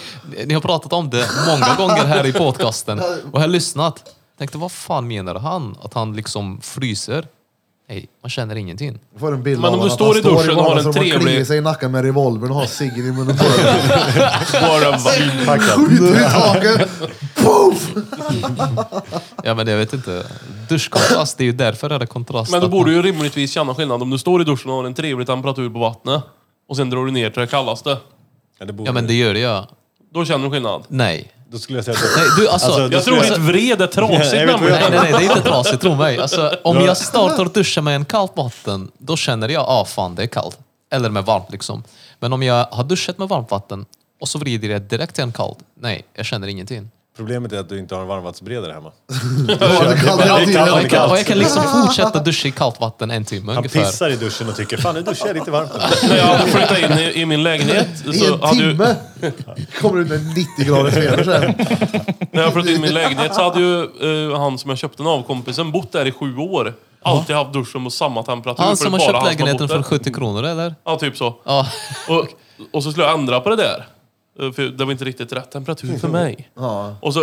S4: ni har pratat om det många gånger här i podcasten. Och jag har lyssnat. Tänkte, vad fan menar han? Att han liksom fryser? Nej, man känner ingenting.
S1: Jag får en bild
S5: Men
S1: av
S5: om du
S1: honom att
S5: står
S1: han
S5: i duschen och har en
S1: vardagsrummet och
S5: trevlig-
S1: kliar sig i nacken med revolvern och har ciggen i munnen på den.
S5: Bara va-
S1: Skjuter i taket. Poof!
S4: Ja, men jag vet inte. Duschkontrast, det är ju därför är det kontrast.
S5: Men då
S4: att
S5: borde
S4: man-
S5: du ju rimligtvis känna skillnad om du står i duschen och har en trevlig temperatur på vattnet och sen drar du ner till det kallaste.
S2: Ja, det borde...
S4: Ja, men det gör jag.
S5: Då känner du skillnad.
S4: Nej.
S2: Då skulle jag säga att...
S4: Nej, du, alltså,
S2: Alltså, då
S5: Jag tror
S2: skulle
S5: ditt vred är trasigt
S2: Jag vet vad jag-
S5: nämligen.
S4: Nej, nej, nej, det är inte trasigt, tro mig. Alltså, om jag startar och duschar med en kallt vatten, då känner jag, ah fan det är kallt. Eller med varmt liksom. Men om jag har duschat med varmt vatten och så vrider jag direkt till en kallt, nej, jag känner ingenting.
S2: Problemet är att du inte har en varmvattenberedare hemma.
S1: Det kan hela tiden.
S4: Och jag kan, och jag kan liksom fortsätta duscha i kallt vatten en timme
S2: Han
S4: ungefär.
S2: pissar i duschen och tycker fan nu duschar jag lite varmt. nu."
S5: När jag hade flyttat in i, i min lägenhet
S1: I
S5: så
S1: en
S5: hade ju,
S1: timme kommer ut med 90 grader feber sen.
S5: När jag flyttade in i min lägenhet så hade ju eh, han som jag köpte den av, kompisen, bott där i sju år. Alltid haft duschen på samma temperatur.
S4: Han
S5: för
S4: som
S5: det
S4: har
S5: är bara
S4: köpt
S5: han som
S4: lägenheten
S5: bott där.
S4: för 70 kronor eller?
S5: Ja, typ så.
S4: Ja.
S5: Och, och så skulle jag ändra på det där. Eh, För det var inte riktigt rätt temperatur för mig.
S1: Ja.
S5: Och så...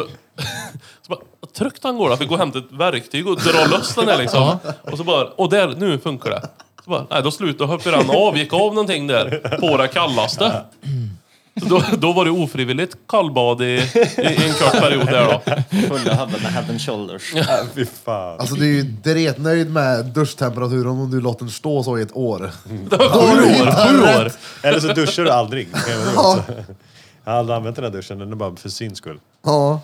S5: så bara, vad trögt han går. Jag fick gå och hämta ett verktyg och dra loss den där liksom. Och så bara, och där, nu funkar det. Så bara, nej, då slutade hoppade han av, gick av någonting där. På det kallaste. Så då, då var det ofrivilligt kallbad i, i en kort period där då.
S3: Fulla hubben med head and shoulders.
S2: Ja, Fy fan.
S1: Alltså du är ju dretnöjd med duschtemperaturen om du låter den stå så i ett år. Då har du hittat
S5: Sju
S1: rätt.
S5: år.
S2: Eller så duschar du aldrig. Det kan jag väl också. Jag har aldrig använt den här duschen, den är bara för syns skull.
S1: Ja.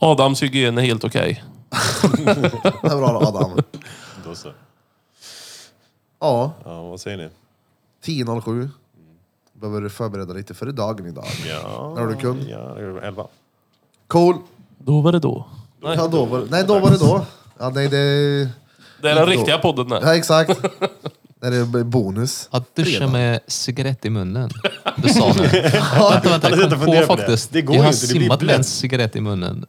S5: Adams hygien är helt okej.
S1: Det är bra då, Adam.
S2: Då så.
S1: Ja,
S2: Ja, vad säger ni?
S1: 10.07. Behöver du förbereda lite för dagen idag.
S2: Ja,
S1: När har du kund?
S2: ja, elva.
S1: Cool.
S5: Då var det då. Nej.
S1: Ja, då var, nej, då var det då. Ja, nej, det...
S5: Det är den riktiga podden där.
S1: Ja, exakt. Nej, det är bonus.
S4: Att duscha med cigarett i munnen. Det sa han. vänta, vänta,
S2: hade
S4: jag
S2: inte
S4: kom
S2: funderat på
S4: på
S2: det.
S4: faktiskt.
S2: Det går
S4: jag
S2: ju
S4: har
S2: inte, det blir
S4: simmat med en
S2: blätt.
S4: cigarett i munnen.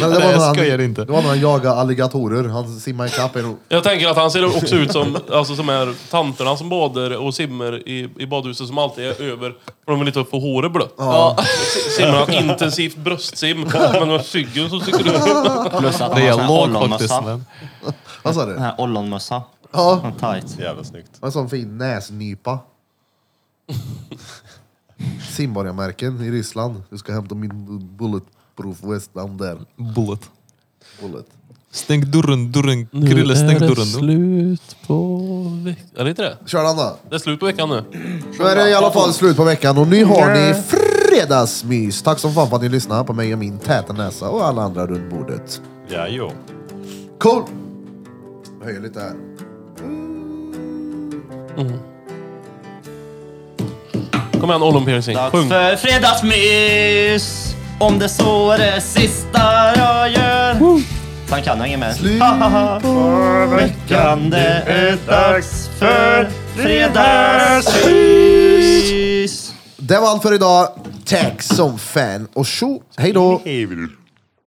S1: Men det,
S4: Nej,
S1: var
S4: jag
S1: när han,
S4: skojar inte.
S1: det var när han jagade alligatorer. Han simmade ikapp en...
S5: Jag tänker att han ser också ut som, alltså, som är tanterna som badar och simmar i, i badhuset som alltid är över. För de vill inte få håret blött.
S1: Ja.
S5: Si- Simmar han intensivt bröstsim, men har cyggen som sticker ut.
S3: Plus att han har sån
S4: Det är
S3: här
S4: låg faktiskt.
S3: ollonmössa.
S4: Men.
S1: Vad sa
S3: Den
S1: du?
S3: här ollonmössa.
S1: Ja,
S3: Tight.
S2: Jävla snyggt.
S1: en sån fin näsnypa. Simborgarmärken i Ryssland. Du ska hämta min bulletproof West down there.
S4: Bullet.
S1: Bullet.
S4: Stäng dörren, dörren. Krille, stäng dörren.
S5: slut på veckan. Är det inte det?
S1: Kör den då.
S5: Det är slut på veckan nu.
S1: Nu är det i alla fall slut på veckan och nu har ni fredagsmys. Tack som fan för att ni lyssnade på mig och min täta näsa och alla andra runt bordet.
S2: Ja, jo.
S1: Cool! Jag höjer lite här.
S5: Kom igen, ollonpiercing.
S3: Dags
S5: Sjung.
S3: för fredagsmys! Om det så är det sista jag gör. Sen kan jag inget mer.
S1: Slut
S3: Ha, ha, ha. För veckan det är dags för fredagsmys!
S1: Det var allt för idag. Tack som fan och tjo! Hej då!
S2: Evil.